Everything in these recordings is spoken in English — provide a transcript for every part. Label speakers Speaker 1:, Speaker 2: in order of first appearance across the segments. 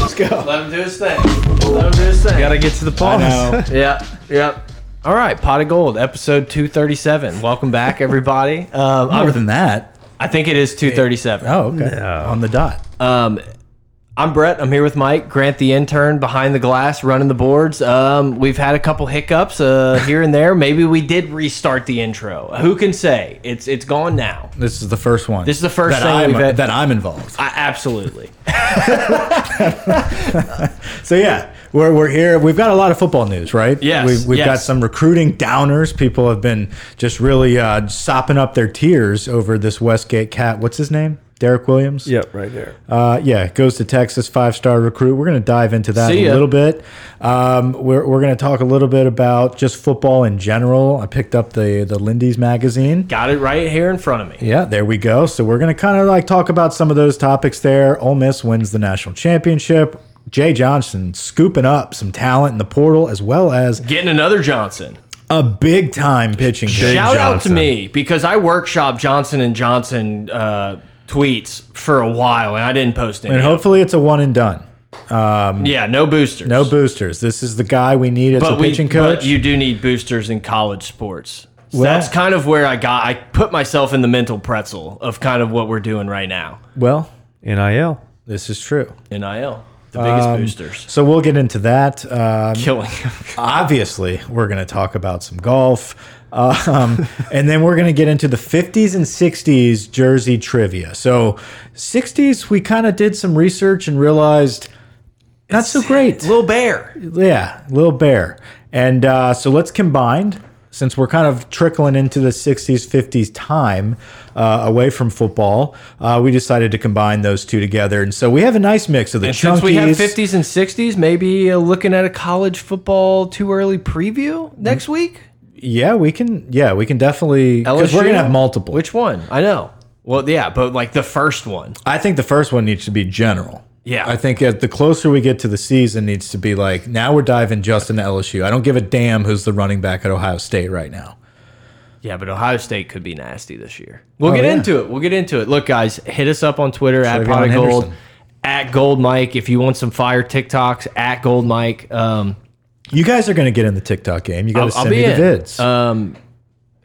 Speaker 1: Let's go.
Speaker 2: Let him do his thing. Let him do his thing.
Speaker 1: Gotta get to the pause.
Speaker 3: know.
Speaker 2: Yeah. Yep. All right, Pot of Gold, episode 237. Welcome back, everybody. Um,
Speaker 3: More
Speaker 2: I'm-
Speaker 3: than that.
Speaker 2: I think it is 237.
Speaker 3: Oh, okay. On the dot.
Speaker 2: Um, I'm Brett. I'm here with Mike Grant, the intern behind the glass, running the boards. Um, we've had a couple hiccups uh, here and there. Maybe we did restart the intro. Who can say? It's it's gone now.
Speaker 3: This is the first one.
Speaker 2: This is the first
Speaker 3: that
Speaker 2: thing
Speaker 3: I'm,
Speaker 2: we've had-
Speaker 3: that I'm involved.
Speaker 2: I, absolutely.
Speaker 3: So yeah, we're, we're here. We've got a lot of football news, right?
Speaker 2: Yes,
Speaker 3: We've, we've got
Speaker 2: yes.
Speaker 3: some recruiting downers. People have been just really uh, sopping up their tears over this Westgate cat. What's his name? Derek Williams.
Speaker 1: Yep, right there.
Speaker 3: Uh, yeah, goes to Texas, five star recruit. We're going to dive into that
Speaker 2: See
Speaker 3: a
Speaker 2: ya.
Speaker 3: little bit. Um, we're we're going to talk a little bit about just football in general. I picked up the the Lindy's magazine.
Speaker 2: Got it right here in front of me.
Speaker 3: Yeah, there we go. So we're going to kind of like talk about some of those topics there. Ole Miss wins the national championship. Jay Johnson scooping up some talent in the portal, as well as
Speaker 2: Getting another Johnson.
Speaker 3: a big time pitching. coach.
Speaker 1: Jay
Speaker 2: Shout out to
Speaker 1: Johnson.
Speaker 2: me because I workshop Johnson and Johnson uh, tweets for a while and I didn't post any.
Speaker 3: And hopefully it's a one and done.
Speaker 2: yeah, no boosters.
Speaker 3: No boosters. This is the guy we need as a
Speaker 2: but we,
Speaker 3: pitching coach.
Speaker 2: but you do need boosters in college sports. So
Speaker 3: Well-
Speaker 2: that's kind of where I got. I put myself in the mental pretzel of kind of what we're doing right now.
Speaker 3: well,
Speaker 1: NIL.
Speaker 3: this is true.
Speaker 2: Nil, the biggest
Speaker 3: Um,
Speaker 2: boosters,
Speaker 3: So we'll get into that. Um,
Speaker 2: killing.
Speaker 3: obviously we're going to talk about some golf um, and then we're going to get into the 50s and 60s jersey trivia so 60s we kind of did some research and realized not so great
Speaker 2: Little bear.
Speaker 3: yeah little bear and uh, so let's combine since we're kind of trickling into the 60s 50s time uh, away from football uh, we decided to combine those two together and so we have a nice mix of the
Speaker 2: And since we have
Speaker 3: Chunkies.
Speaker 2: fifties and sixties, maybe uh, looking at a college football too early preview
Speaker 3: Hmm.
Speaker 2: next week.
Speaker 3: yeah we can yeah we can definitely because we're
Speaker 2: LSU?
Speaker 3: gonna have multiple
Speaker 2: Which one? I know. Well, yeah, but like the first one.
Speaker 3: I think the first one needs to be general.
Speaker 2: Yeah.
Speaker 3: I think as the closer we get to the season needs to be like now we're diving just into LSU. I don't give a damn who's the running back at Ohio State right now.
Speaker 2: Yeah, but Ohio State could be nasty this year. We'll get
Speaker 3: Oh, yeah.
Speaker 2: into it. We'll get into it. Look, guys, hit us up on Twitter at
Speaker 3: Travion
Speaker 2: Pot of Gold,
Speaker 3: Henderson.
Speaker 2: at Gold Mike. If you want some fire TikToks, at Gold Mike. Um,
Speaker 3: You guys are going to get in the TikTok game. You got
Speaker 2: I'll,
Speaker 3: to
Speaker 2: I'll
Speaker 3: send
Speaker 2: be
Speaker 3: me the
Speaker 2: in.
Speaker 3: vids.
Speaker 1: Uh,
Speaker 2: Um,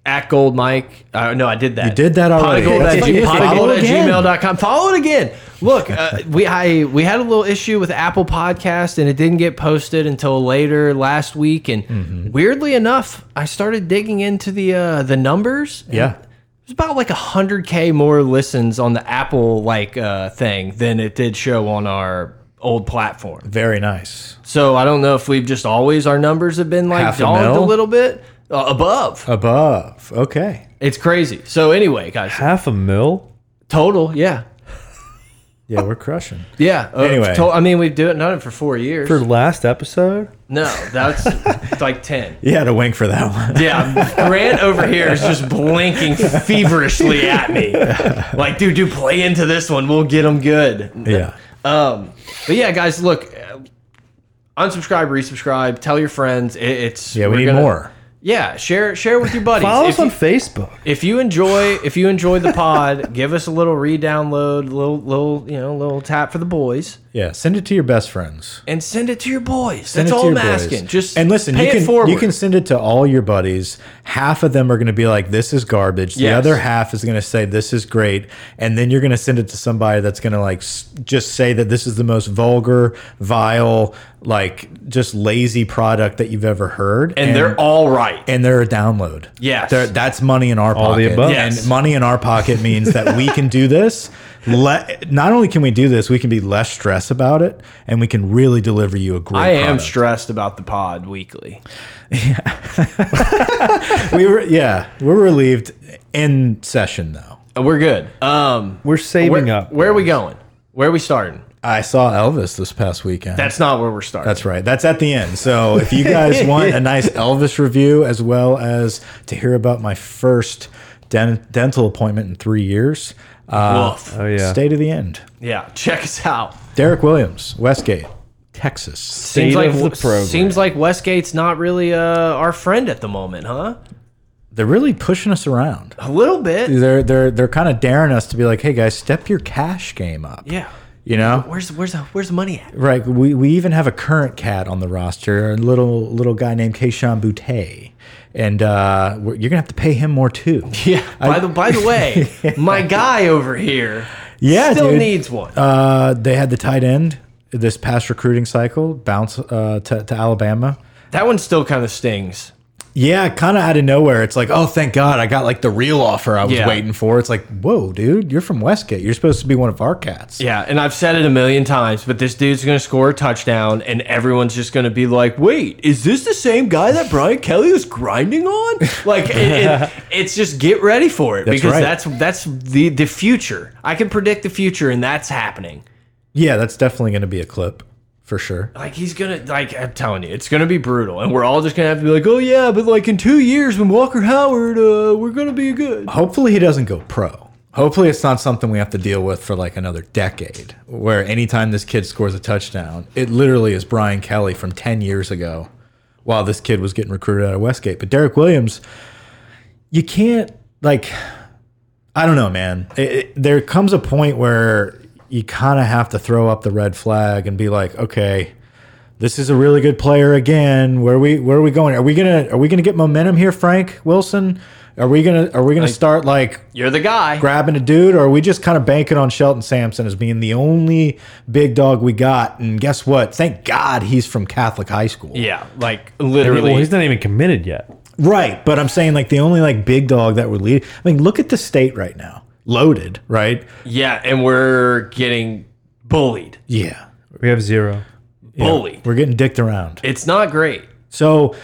Speaker 2: at Gold Mike. Uh, no, I did that. You
Speaker 3: did that already.
Speaker 2: Pot of Gold
Speaker 3: That's
Speaker 2: at,
Speaker 3: fine.
Speaker 2: g-
Speaker 3: Pot of
Speaker 2: pot of
Speaker 3: Gold
Speaker 2: gold at
Speaker 3: again.
Speaker 2: gmail.com. Follow it again. Look, uh, we I we had a little issue with Apple Podcast and it didn't get posted until later last week. And
Speaker 3: Mm-hmm.
Speaker 2: weirdly enough, I started digging into the uh, the numbers.
Speaker 3: yeah.
Speaker 2: It's about like 100k more listens on the Apple like uh, thing than it did show on our old platform.
Speaker 3: Very nice.
Speaker 2: So I don't know if we've just always our numbers have been like
Speaker 3: Half a
Speaker 2: dogged a,
Speaker 3: mil?
Speaker 2: little bit uh, above.
Speaker 3: Above. Okay.
Speaker 2: It's crazy. So anyway, guys,
Speaker 1: Half a mil?
Speaker 2: total, yeah,
Speaker 3: Yeah, we're crushing.
Speaker 2: yeah. Uh,
Speaker 3: Anyway.
Speaker 2: to- I mean we've done done it for four years.
Speaker 1: For last episode?
Speaker 2: no, that's it's like ten.
Speaker 3: You had a wink for that one.
Speaker 2: Yeah, Grant over here is just blinking feverishly at me, like, dude, dude, play into this one. We'll get them good.
Speaker 3: yeah.
Speaker 2: Um, but yeah, guys, look, uh, unsubscribe, resubscribe, tell your friends. It, it's
Speaker 3: Yeah, we
Speaker 2: we're
Speaker 3: need
Speaker 2: gonna-
Speaker 3: more.
Speaker 2: Yeah, share share with your buddies.
Speaker 1: Follow us
Speaker 2: if,
Speaker 1: on
Speaker 2: you,
Speaker 1: Facebook.
Speaker 2: if you enjoy if you enjoy the pod, give us a little re-download, little little you know little tap for the boys,
Speaker 3: Yeah, send it to your best friends.
Speaker 2: and send it to your boys.
Speaker 3: Send
Speaker 2: That's
Speaker 3: it to
Speaker 2: all I'm
Speaker 3: your boys.
Speaker 2: asking. Just
Speaker 3: and listen,
Speaker 2: pay
Speaker 3: you can
Speaker 2: it forward.
Speaker 3: you can send it to all your buddies. Half of them are going to be like, "This is garbage." The
Speaker 2: Yes.
Speaker 3: other half is going to say, "This is great," and then you're going to send it to somebody that's going to like s- just say that this is the most vulgar, vile, like just lazy product that you've ever heard,
Speaker 2: and, they're all right.
Speaker 3: and they're a download.
Speaker 2: Yes.
Speaker 3: They're, that's money in our
Speaker 1: All the
Speaker 3: pocket.
Speaker 1: above.
Speaker 2: Yes.
Speaker 3: And money in our pocket means that we can do this. Let, not only can we do this, we can be less stressed about it, and we can really deliver you a great.
Speaker 2: I am
Speaker 3: product.
Speaker 2: stressed about the pod weekly.
Speaker 3: we were yeah we're relieved in session though
Speaker 2: Uh, We're good. Um,
Speaker 1: We're saving
Speaker 2: where,
Speaker 1: up.
Speaker 2: Where are we going? Where are we starting?
Speaker 3: I saw Elvis this past weekend.
Speaker 2: That's not where we're starting.
Speaker 3: That's right. That's at the end. So if you guys want a nice Elvis review, as well as to hear about my first den dental appointment in three years, uh,
Speaker 2: Woof.
Speaker 1: Oh yeah.
Speaker 3: stay to the end.
Speaker 2: Yeah, check us out.
Speaker 3: Derek Williams, Westgate, Texas.
Speaker 1: State
Speaker 2: like
Speaker 1: of the program.
Speaker 2: seems like Westgate's not really uh, our friend at the moment, huh?
Speaker 3: They're really pushing us around.
Speaker 2: A little bit.
Speaker 3: They're they're they're kind of daring us to be like, hey guys, step your cash game up.
Speaker 2: Yeah.
Speaker 3: You know,
Speaker 2: Where's where's the, where's the money at?
Speaker 3: Right. We, we even have a current cat on the roster, a little little guy named Keishan Boutte. And uh, we're, you're going to have to pay him more too.
Speaker 2: Yeah. By the by the way, my guy over here
Speaker 3: Yeah,
Speaker 2: still
Speaker 3: dude.
Speaker 2: needs one.
Speaker 3: Uh, they had the tight end this past recruiting cycle bounce uh, to, to Alabama.
Speaker 2: that one still kind of stings.
Speaker 3: Yeah, kind of out of nowhere. It's like, oh, thank God, I got like the real offer I was
Speaker 2: Yeah.
Speaker 3: waiting for. It's like, whoa, dude, you're from Westgate. You're supposed to be one of our cats.
Speaker 2: Yeah, and I've said it a million times, but this dude's going to score a touchdown, and everyone's just going to be like, "Wait, is this the same guy that Brian Kelly was grinding on?" Like, it, it, it's just get ready for it because
Speaker 3: right.
Speaker 2: that's that's the the future. I can predict the future, and that's happening.
Speaker 3: Yeah, that's definitely going to be a clip for sure.
Speaker 2: Like he's gonna like I'm telling you, it's gonna be brutal, and we're all just gonna have to be like, "Oh yeah," but like in two years when Walker Howard, uh, we're gonna be good.
Speaker 3: Hopefully, he doesn't go pro. Hopefully, it's not something we have to deal with for like another decade, where anytime this kid scores a touchdown, it literally is Brian Kelly from 10 years ago while this kid was getting recruited out of Westgate. But Derek Williams, you can't, like, I don't know, man. It- it- there comes a point where you kind of have to throw up the red flag and be like, okay. This is a really good player again. Where we where are we going? Are we gonna are we gonna get momentum here, Frank Wilson? Are we gonna are we gonna start like
Speaker 2: You're the guy.
Speaker 3: grabbing a dude, or are we just kind of banking on Shelton Sampson as being the only big dog we got? And guess what? Thank God he's from Catholic high school.
Speaker 2: yeah, like
Speaker 1: Well,
Speaker 2: literally.
Speaker 1: he's not even committed yet.
Speaker 3: Right. But I'm saying like the only like big dog that would lead. I mean, look at the state right now. Loaded, right?
Speaker 2: Yeah, and we're getting bullied,
Speaker 3: Yeah.
Speaker 1: We have zero.
Speaker 2: bullied.
Speaker 3: We're getting dicked around.
Speaker 2: It's not great.
Speaker 3: So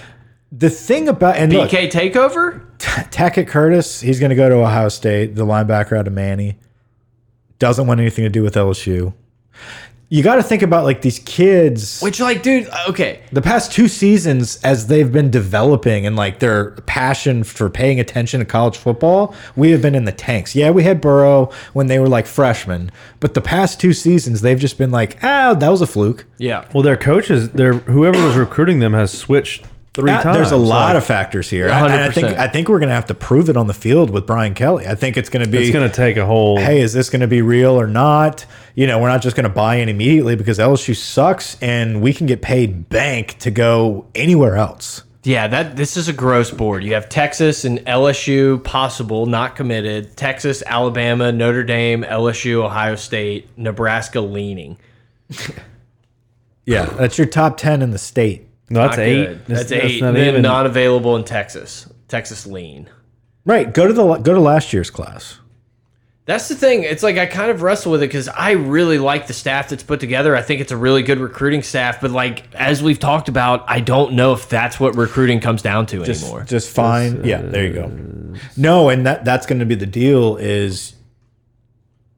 Speaker 3: the thing about and look,
Speaker 2: BK takeover?
Speaker 3: Tackett Curtis, he's going to go to Ohio State, the linebacker out of Manny. Doesn't want anything to do with LSU. You got to think about like these kids.
Speaker 2: Which, like, dude, uh, okay.
Speaker 3: the past two seasons as they've been developing and like their passion for paying attention to college football we have been in the tanks yeah we had burrow when they were like freshmen but the past two seasons they've just been like ah that was a fluke
Speaker 2: Yeah.
Speaker 1: Well, their coaches, their whoever was recruiting them has switched three
Speaker 3: That-
Speaker 1: times.
Speaker 3: there's a lot
Speaker 1: Like,
Speaker 3: of factors here I, and I think
Speaker 2: 100%.
Speaker 3: i think we're gonna have to prove it on the field with brian kelly i think it's gonna be
Speaker 1: It's going to take a whole.
Speaker 3: hey, is this going to be real or not? You know, we're not just going to buy in immediately because LSU sucks and we can get paid bank to go anywhere else.
Speaker 2: Yeah, that this is a gross board. You have Texas and LSU possible, not committed. Texas, Alabama, Notre Dame, LSU, Ohio State, Nebraska leaning.
Speaker 3: Yeah. That's your top 10 in the state.
Speaker 1: no, that's
Speaker 2: Not
Speaker 1: eight.
Speaker 2: good. That's, eight.
Speaker 1: not
Speaker 2: and then
Speaker 1: even-
Speaker 2: not available in Texas. Texas lean.
Speaker 3: Right. Go to the go to last year's class.
Speaker 2: That's the thing. It's like I kind of wrestle with it because I really like the staff that's put together. I think it's a really good recruiting staff, but like as we've talked about, I don't know if that's what recruiting comes down to anymore.
Speaker 3: Just fine. yeah, there you go. No, and that that's going to be the deal is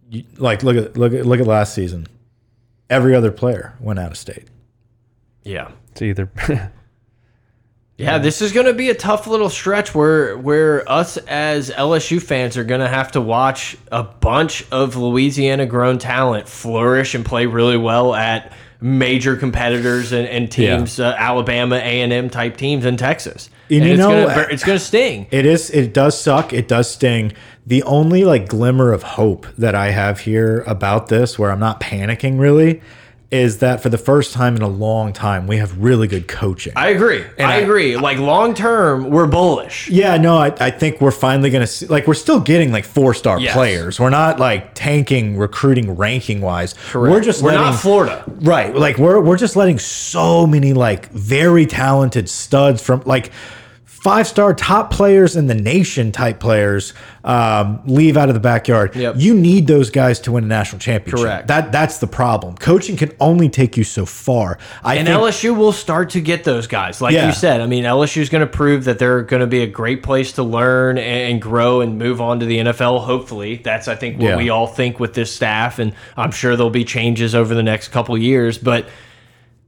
Speaker 3: you, like look at look at look at last season. Every other player went out of state.
Speaker 2: yeah.
Speaker 1: It's either.
Speaker 2: Yeah, this is going to be a tough little stretch where where us as LSU fans are going to have to watch a bunch of Louisiana grown talent flourish and play really well at major competitors and, and teams, uh, Alabama, A and M type teams in Texas.
Speaker 3: And you
Speaker 2: it's
Speaker 3: know-
Speaker 2: gonna, it's going to sting.
Speaker 3: It is. It does suck. It does sting. The only like glimmer of hope that I have here about this, where I'm not panicking really, is that for the first time in a long time, we have really good coaching.
Speaker 2: I agree. I,
Speaker 3: I-
Speaker 2: agree. like long term, we're bullish.
Speaker 3: yeah, no, I, I think we're finally gonna see. Like, we're still getting like four star
Speaker 2: Yes.
Speaker 3: players. We're not like tanking recruiting ranking wise. We're just
Speaker 2: we're
Speaker 3: letting,
Speaker 2: not Florida.
Speaker 3: Right. Like we're we're just letting so many like very talented studs from like five star top players in the nation type players um, leave out of the backyard.
Speaker 2: Yep.
Speaker 3: You need those guys to win a national championship.
Speaker 2: Correct.
Speaker 3: That that's the problem. Coaching can only take you so far. I
Speaker 2: And
Speaker 3: think-
Speaker 2: LSU will start to get those guys, like
Speaker 3: Yeah.
Speaker 2: you said. I mean, LSU is going to prove that they're going to be a great place to learn and and grow and move on to the NFL. Hopefully, that's I think what
Speaker 3: Yeah.
Speaker 2: we all think with this staff, and I'm sure there'll be changes over the next couple years. But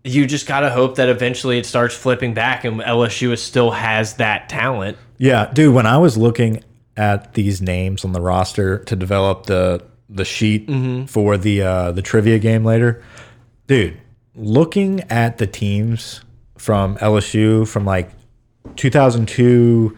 Speaker 2: you just got to hope that eventually it starts flipping back, and LSU is still has that talent.
Speaker 3: Yeah, dude, when I was looking at these names on the roster to develop the the sheet
Speaker 2: Mm-hmm.
Speaker 3: for the uh the trivia game later, dude, looking at the teams from LSU from like 2002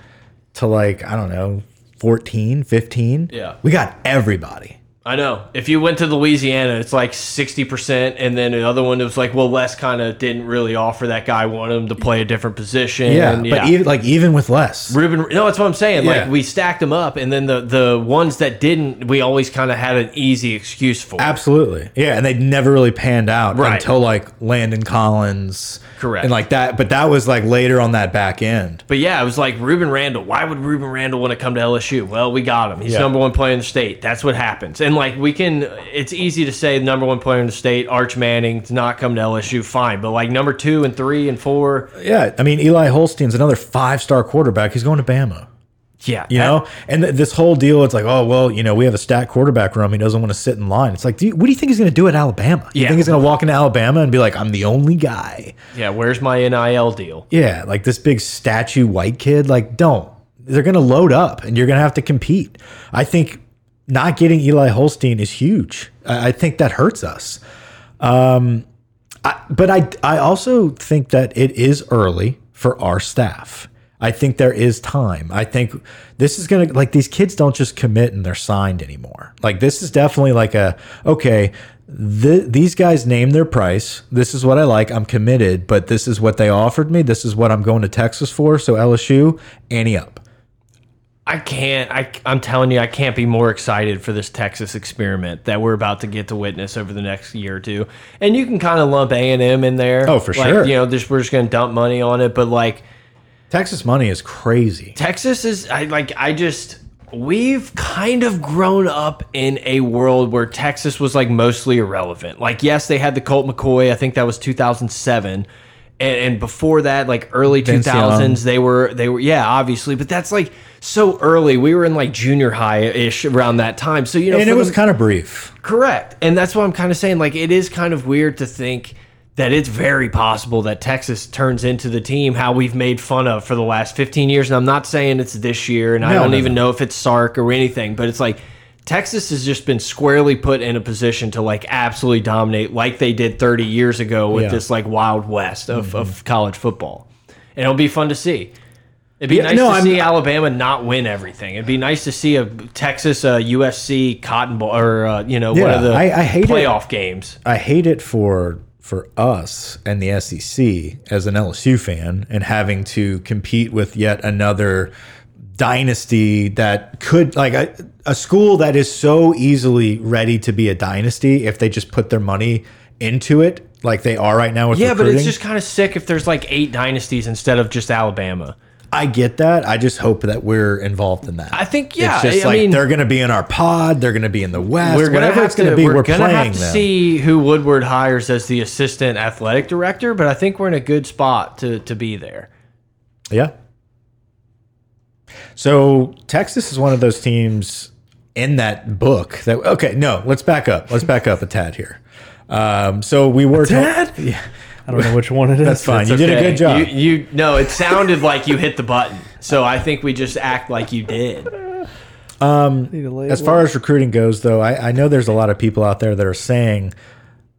Speaker 3: to like I don't know, 14, 15.
Speaker 2: Yeah.
Speaker 3: We got everybody.
Speaker 2: I know. If you went to Louisiana, it's like 60%. And then the other one was like, well, Les kind of didn't really offer that guy, wanted him to play a different position.
Speaker 3: Yeah,
Speaker 2: and
Speaker 3: but even like even with less.
Speaker 2: Ruben, no, that's what I'm saying.
Speaker 3: Yeah.
Speaker 2: Like we stacked them up, and then the the ones that didn't, we always kind of had an easy excuse for.
Speaker 3: Absolutely. Yeah, and they never really panned out
Speaker 2: Right.
Speaker 3: until like Landon Collins.
Speaker 2: Correct.
Speaker 3: And like that, but that was like later on that back end.
Speaker 2: But yeah, it was like Ruben Randall. Why would Ruben Randall want to come to LSU? Well, we got him. He's
Speaker 3: Yeah.
Speaker 2: number one player in the state. That's what happens. And like we can, it's easy to say number one player in the state, Arch Manning, to not come to LSU. Fine, but like number two and three and four,
Speaker 3: Yeah, I mean Eli Holstein's another five-star quarterback. He's going to Bama.
Speaker 2: yeah,
Speaker 3: You know, and th this whole deal, it's like, oh well, you know, we have a stacked quarterback room. He doesn't want to sit in line. It's like, do you, what do you think he's going to do at Alabama? You
Speaker 2: Yeah.
Speaker 3: think he's going to walk into Alabama and be like, I'm the only guy?
Speaker 2: yeah. Where's my nil deal?
Speaker 3: Yeah, like this big statue white kid. Like, don't. They're going to load up, and you're going to have to compete. I think not getting Eli Holstein is huge. I, I think that hurts us. but I I also think that it is early for our staff. I think there is time. I think this is gonna like these kids don't just commit and they're signed anymore. Like this is definitely like a okay. th these guys name their price. This is what I like. I'm committed, but this is what they offered me. This is what I'm going to Texas for. So LSU, ante up.
Speaker 2: I can't. I, I'm telling you, I can't be more excited for this Texas experiment that we're about to get to witness over the next year or two. And you can kind of lump A and M in there.
Speaker 3: Oh, for
Speaker 2: Like,
Speaker 3: sure.
Speaker 2: You know, just we're just going to dump money on it, but like
Speaker 3: Texas money is crazy.
Speaker 2: Texas is. I like. I just. We've kind of grown up in a world where Texas was like mostly irrelevant. Like, yes, they had the Colt McCoy. I think that was 2007. And, and before that, like early
Speaker 3: Vince
Speaker 2: 2000s, they were they were yeah, obviously, but that's like so early. We were in like junior high ish around that time. So you know,
Speaker 3: And it
Speaker 2: for
Speaker 3: was
Speaker 2: the-
Speaker 3: kind of brief.
Speaker 2: Correct. And that's what I'm kind of saying. Like, it is kind of weird to think that it's very possible that Texas turns into the team how we've made fun of for the last 15 years. And I'm not saying it's this year, and I
Speaker 3: No,
Speaker 2: don't
Speaker 3: no,
Speaker 2: even know if it's Sark or anything, but it's like Texas has just been squarely put in a position to like absolutely dominate like they did 30 years ago with
Speaker 3: Yeah. Mm-hmm.
Speaker 2: this like wild west of, of college football. And it'll be fun to see. It'd be
Speaker 3: Yeah,
Speaker 2: nice
Speaker 3: no,
Speaker 2: to
Speaker 3: I'm-
Speaker 2: see Alabama not win everything. It'd be nice to see a Texas, uh, USC, Cotton Bowl, or uh, you know, one
Speaker 3: Yeah,
Speaker 2: of the
Speaker 3: I- I hate it.
Speaker 2: playoff games.
Speaker 3: I hate it for for us and the SEC as an LSU fan and having to compete with yet another dynasty that could like a, a school that is so easily ready to be a dynasty if they just put their money into it like they are right now with
Speaker 2: Yeah, but
Speaker 3: recruiting.
Speaker 2: it's just kind of sick if there's like eight dynasties instead of just Alabama.
Speaker 3: I get that. I just hope that we're involved in that.
Speaker 2: I think yeah.
Speaker 3: it's just
Speaker 2: I
Speaker 3: like
Speaker 2: mean,
Speaker 3: they're going to be in our pod. They're going to be in the West.
Speaker 2: we're gonna
Speaker 3: whatever
Speaker 2: have
Speaker 3: it's going
Speaker 2: to
Speaker 3: to be.
Speaker 2: we're,
Speaker 3: We're,
Speaker 2: gonna
Speaker 3: playing
Speaker 2: have to
Speaker 3: them.
Speaker 2: see who Woodward hires as the assistant athletic director. But I think we're in a good spot to to be there.
Speaker 3: Yeah. So Texas is one of those teams in that book that okay, no, let's back up. Let's back up a tad here. Um, so we were tad. Yeah,
Speaker 1: I don't know which one it is.
Speaker 3: that's fine. you did a
Speaker 2: Okay,
Speaker 3: good job.
Speaker 2: You, you no, it sounded like you hit the button. So I think we just act like you did.
Speaker 3: as far as recruiting goes, though, I, I know there's a lot of people out there that are saying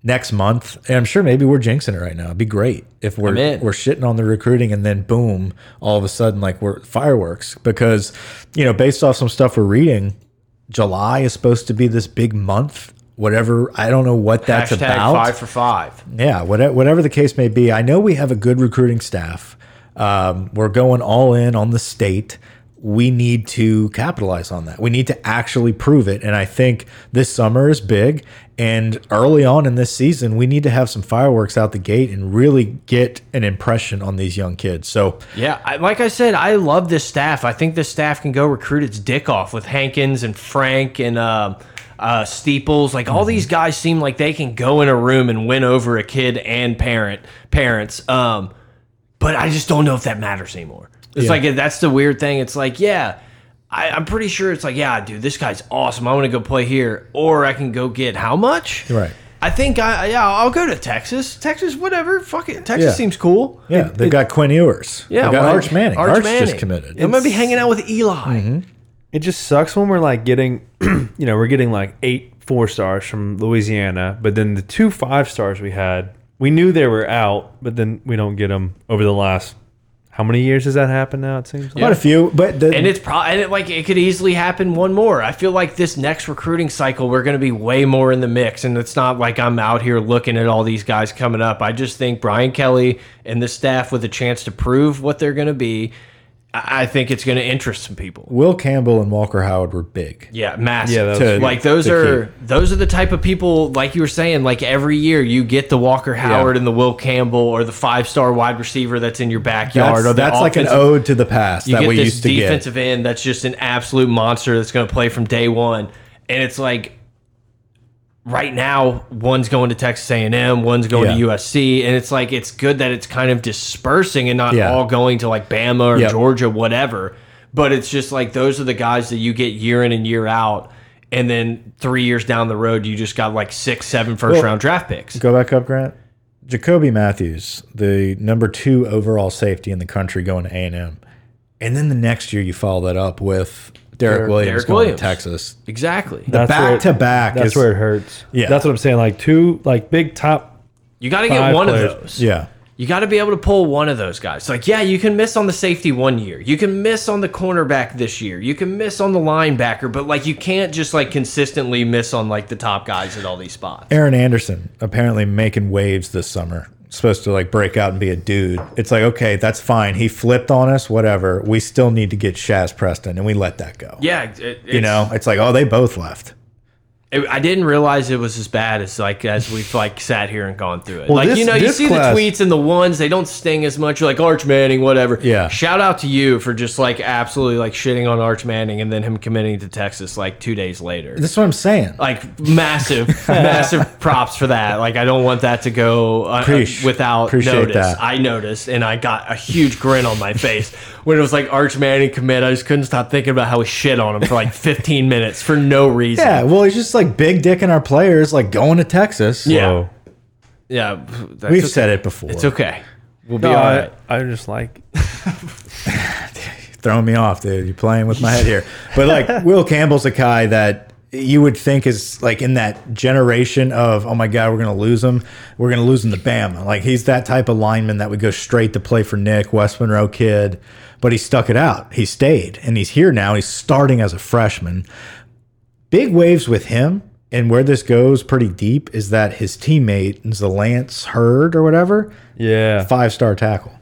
Speaker 3: next month, and I'm sure maybe we're jinxing it right now. It'd be great if we're
Speaker 2: I'm in.
Speaker 3: we're shitting on the recruiting, and then boom, all of a sudden, like we're fireworks because you know, based off some stuff we're reading, July is supposed to be this big month. Whatever, I don't know what that's
Speaker 2: Hashtag
Speaker 3: about.
Speaker 2: five for five.
Speaker 3: Yeah, whatever, whatever the case may be, I know we have a good recruiting staff. Um, we're going all in on the state. we need to capitalize on that. We need to actually prove it. And I think this summer is big. And early on in this season, we need to have some fireworks out the gate and really get an impression on these young kids. So,
Speaker 2: Yeah, I, like I said, I love this staff. I think this staff can go recruit its dick off with Hankins and Frank and um uh, Steeples. Like
Speaker 3: Mm-hmm.
Speaker 2: all these guys seem like they can go in a room and win over a kid and parent parents. Um, but I just don't know if that matters anymore. It's like that's the weird thing. It's like yeah. I, I'm pretty sure it's like, yeah, dude, this guy's awesome. I want to go play here, or I can go get how much?
Speaker 3: Right.
Speaker 2: I think I, yeah, I'll go to Texas. Texas, whatever. Fuck it. Texas
Speaker 3: Yeah.
Speaker 2: seems cool.
Speaker 3: yeah, they've got Quinn Ewers.
Speaker 2: Yeah,
Speaker 3: they've got
Speaker 2: well,
Speaker 3: Arch Manning. Arch, just
Speaker 2: Manning.
Speaker 3: committed. Mm-hmm.
Speaker 2: I'm gonna be hanging out with Eli.
Speaker 1: It just sucks when we're like getting, you know, we're getting like eight four stars from Louisiana, but then the two five stars we had, we knew they were out, but then we don't get them over the last. How many years has that happened now? It seems.
Speaker 3: Quite a few, but the,
Speaker 2: And it's probably and it, like it could easily happen one more. I feel like this next recruiting cycle we're gonna be way more in the mix, and it's not like I'm out here looking at all these guys coming up. I just think Brian Kelly and the staff with a chance to prove what they're gonna be. I I think it's gonna interest some people.
Speaker 3: Will Campbell and Walker Howard were big.
Speaker 2: Yeah, massive.
Speaker 1: Yeah, that was- To-
Speaker 2: like those
Speaker 3: to
Speaker 2: are those are the type of people like you were saying. Like every year you get the Walker Howard and the Will Campbell or the five star wide receiver that's in your backyard.
Speaker 3: That's,
Speaker 2: or the
Speaker 3: that's like an
Speaker 2: offensive
Speaker 3: ode to the past
Speaker 2: you
Speaker 3: that
Speaker 2: get
Speaker 3: we
Speaker 2: this
Speaker 3: used to get.
Speaker 2: defensive end that's just an absolute monster that's going to play from day one, and it's like right now one's going to Texas A and M, one's going
Speaker 3: Yeah.
Speaker 2: to USC, and it's like it's good that it's kind of dispersing and not
Speaker 3: Yeah.
Speaker 2: all going to like Bama or
Speaker 3: Yep.
Speaker 2: Georgia, whatever. But it's just like those are the guys that you get year in and year out. And then three years down the road, you just got like six, seven first round draft picks.
Speaker 3: Go back up, Grant. Jacoby Matthews, the number two overall safety in the country, going to A and M, and then the next year you follow that up with Derek,
Speaker 2: Derek-
Speaker 3: Williams
Speaker 2: Derek
Speaker 3: going
Speaker 2: Williams.
Speaker 3: to Texas.
Speaker 2: Exactly.
Speaker 1: That's where
Speaker 3: back
Speaker 1: it-
Speaker 3: to back.
Speaker 1: That's
Speaker 3: is-
Speaker 1: where it hurts.
Speaker 3: Yeah.
Speaker 1: that's what I'm saying. Like two, like big top.
Speaker 2: You got to get
Speaker 1: Five
Speaker 2: one
Speaker 1: players.
Speaker 2: of those.
Speaker 3: Yeah.
Speaker 2: You got to be able to pull one of those guys. Like, yeah, you can miss on the safety one year. You can miss on the cornerback this year. You can miss on the linebacker, but like you can't just like consistently miss on like the top guys at all these spots.
Speaker 3: Aaron Anderson apparently making waves this summer. Supposed to like break out and be a dude. It's like okay, that's fine. He flipped on us, whatever. We still need to get Shaz Preston, and we let that go.
Speaker 2: Yeah, it, it's,
Speaker 3: You know, it's like oh, they both left.
Speaker 2: it- I didn't realize it was as bad as like as we've like sat here and gone through it. like
Speaker 1: this-
Speaker 2: you know, you
Speaker 1: this
Speaker 2: see
Speaker 1: class-
Speaker 2: the tweets and the ones they don't sting as much. You're like Arch Manning, whatever.
Speaker 3: Yeah.
Speaker 2: Shout out to you for just like absolutely like shitting on Arch Manning and then him committing to Texas like two days later.
Speaker 3: That's what I'm saying.
Speaker 2: like massive, massive props for that. Like I don't want that to go uh,
Speaker 3: Preach.
Speaker 2: without
Speaker 3: Appreciate
Speaker 2: notice.
Speaker 3: that.
Speaker 2: I noticed, and I got a huge grin on my face when it was like Arch Manning commit. I just couldn't stop thinking about how we shit on him for like 15 minutes for no reason.
Speaker 3: Yeah, well, he's just like big dick in our players, like going to Texas.
Speaker 2: yeah,
Speaker 1: Whoa.
Speaker 2: yeah. That's
Speaker 3: we've
Speaker 2: okay.
Speaker 3: said it before.
Speaker 2: It's okay. We'll be
Speaker 1: No,
Speaker 2: all
Speaker 1: I,
Speaker 2: right.
Speaker 1: I'm just like
Speaker 3: throwing me off, dude. You're playing with my head here. But like Will Campbell's a guy that you would think is like in that generation of oh my god, we're gonna lose him. We're gonna lose him to Bama. Like he's that type of lineman that would go straight to play for Nick West Monroe kid. But he stuck it out. He stayed, and he's here now. He's starting as a freshman. Big waves with him. And where this goes pretty deep is that his teammate is the Lance Hurd or whatever,
Speaker 1: yeah.
Speaker 3: five star tackle.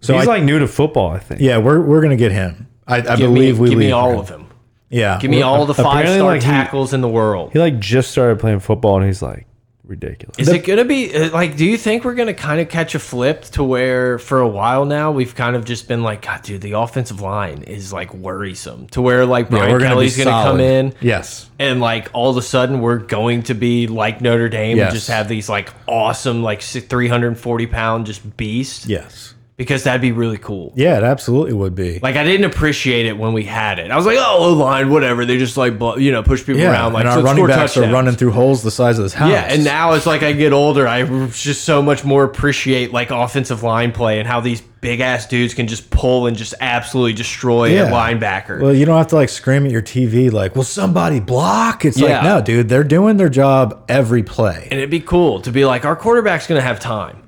Speaker 3: So
Speaker 1: He's
Speaker 3: I-
Speaker 1: like new to football, I think.
Speaker 3: yeah, we're we're gonna get him. I, I
Speaker 2: Give
Speaker 3: believe
Speaker 2: me,
Speaker 3: we
Speaker 2: give
Speaker 3: leave
Speaker 2: me all
Speaker 3: him.
Speaker 2: of them.
Speaker 3: Yeah,
Speaker 2: Give me all the
Speaker 1: Apparently,
Speaker 2: five star
Speaker 1: like, he-
Speaker 2: tackles in the world.
Speaker 1: He like just started playing football, and he's like ridiculous.
Speaker 2: Is it gonna be uh, like? Do you think we're gonna kind of catch a flip to where for a while now we've kind of just been like, God, dude, the offensive line is like worrisome to where like
Speaker 3: Yeah,
Speaker 2: Brian
Speaker 3: be
Speaker 2: Kelly's gonna, come
Speaker 3: solid.
Speaker 2: in
Speaker 3: Yes,
Speaker 2: and like all of a sudden we're going to be like Notre Dame
Speaker 3: Yes.
Speaker 2: and just have these like awesome like three hundred and forty pound just beast
Speaker 3: yes,
Speaker 2: because that'd be really cool.
Speaker 3: yeah. It absolutely would be.
Speaker 2: Like I didn't appreciate it when we had it. I was like, oh, O line, whatever. They just like blo- you know push people
Speaker 3: yeah,
Speaker 2: around like
Speaker 3: and
Speaker 2: so
Speaker 3: our
Speaker 2: it's
Speaker 3: running
Speaker 2: four
Speaker 3: backs are
Speaker 2: touchdowns.
Speaker 3: running through holes the size of this house.
Speaker 2: Yeah, and now it's like I get older, I just so much more appreciate like offensive line play and how these big ass dudes can just pull and just absolutely destroy
Speaker 3: Yeah.
Speaker 2: a linebacker.
Speaker 3: well, you don't have to like scream at your TV like, "Will somebody block?" It's like,
Speaker 2: Yeah.
Speaker 3: no, dude, they're doing their job every play.
Speaker 2: and it'd be cool to be like, our quarterback's gonna have time.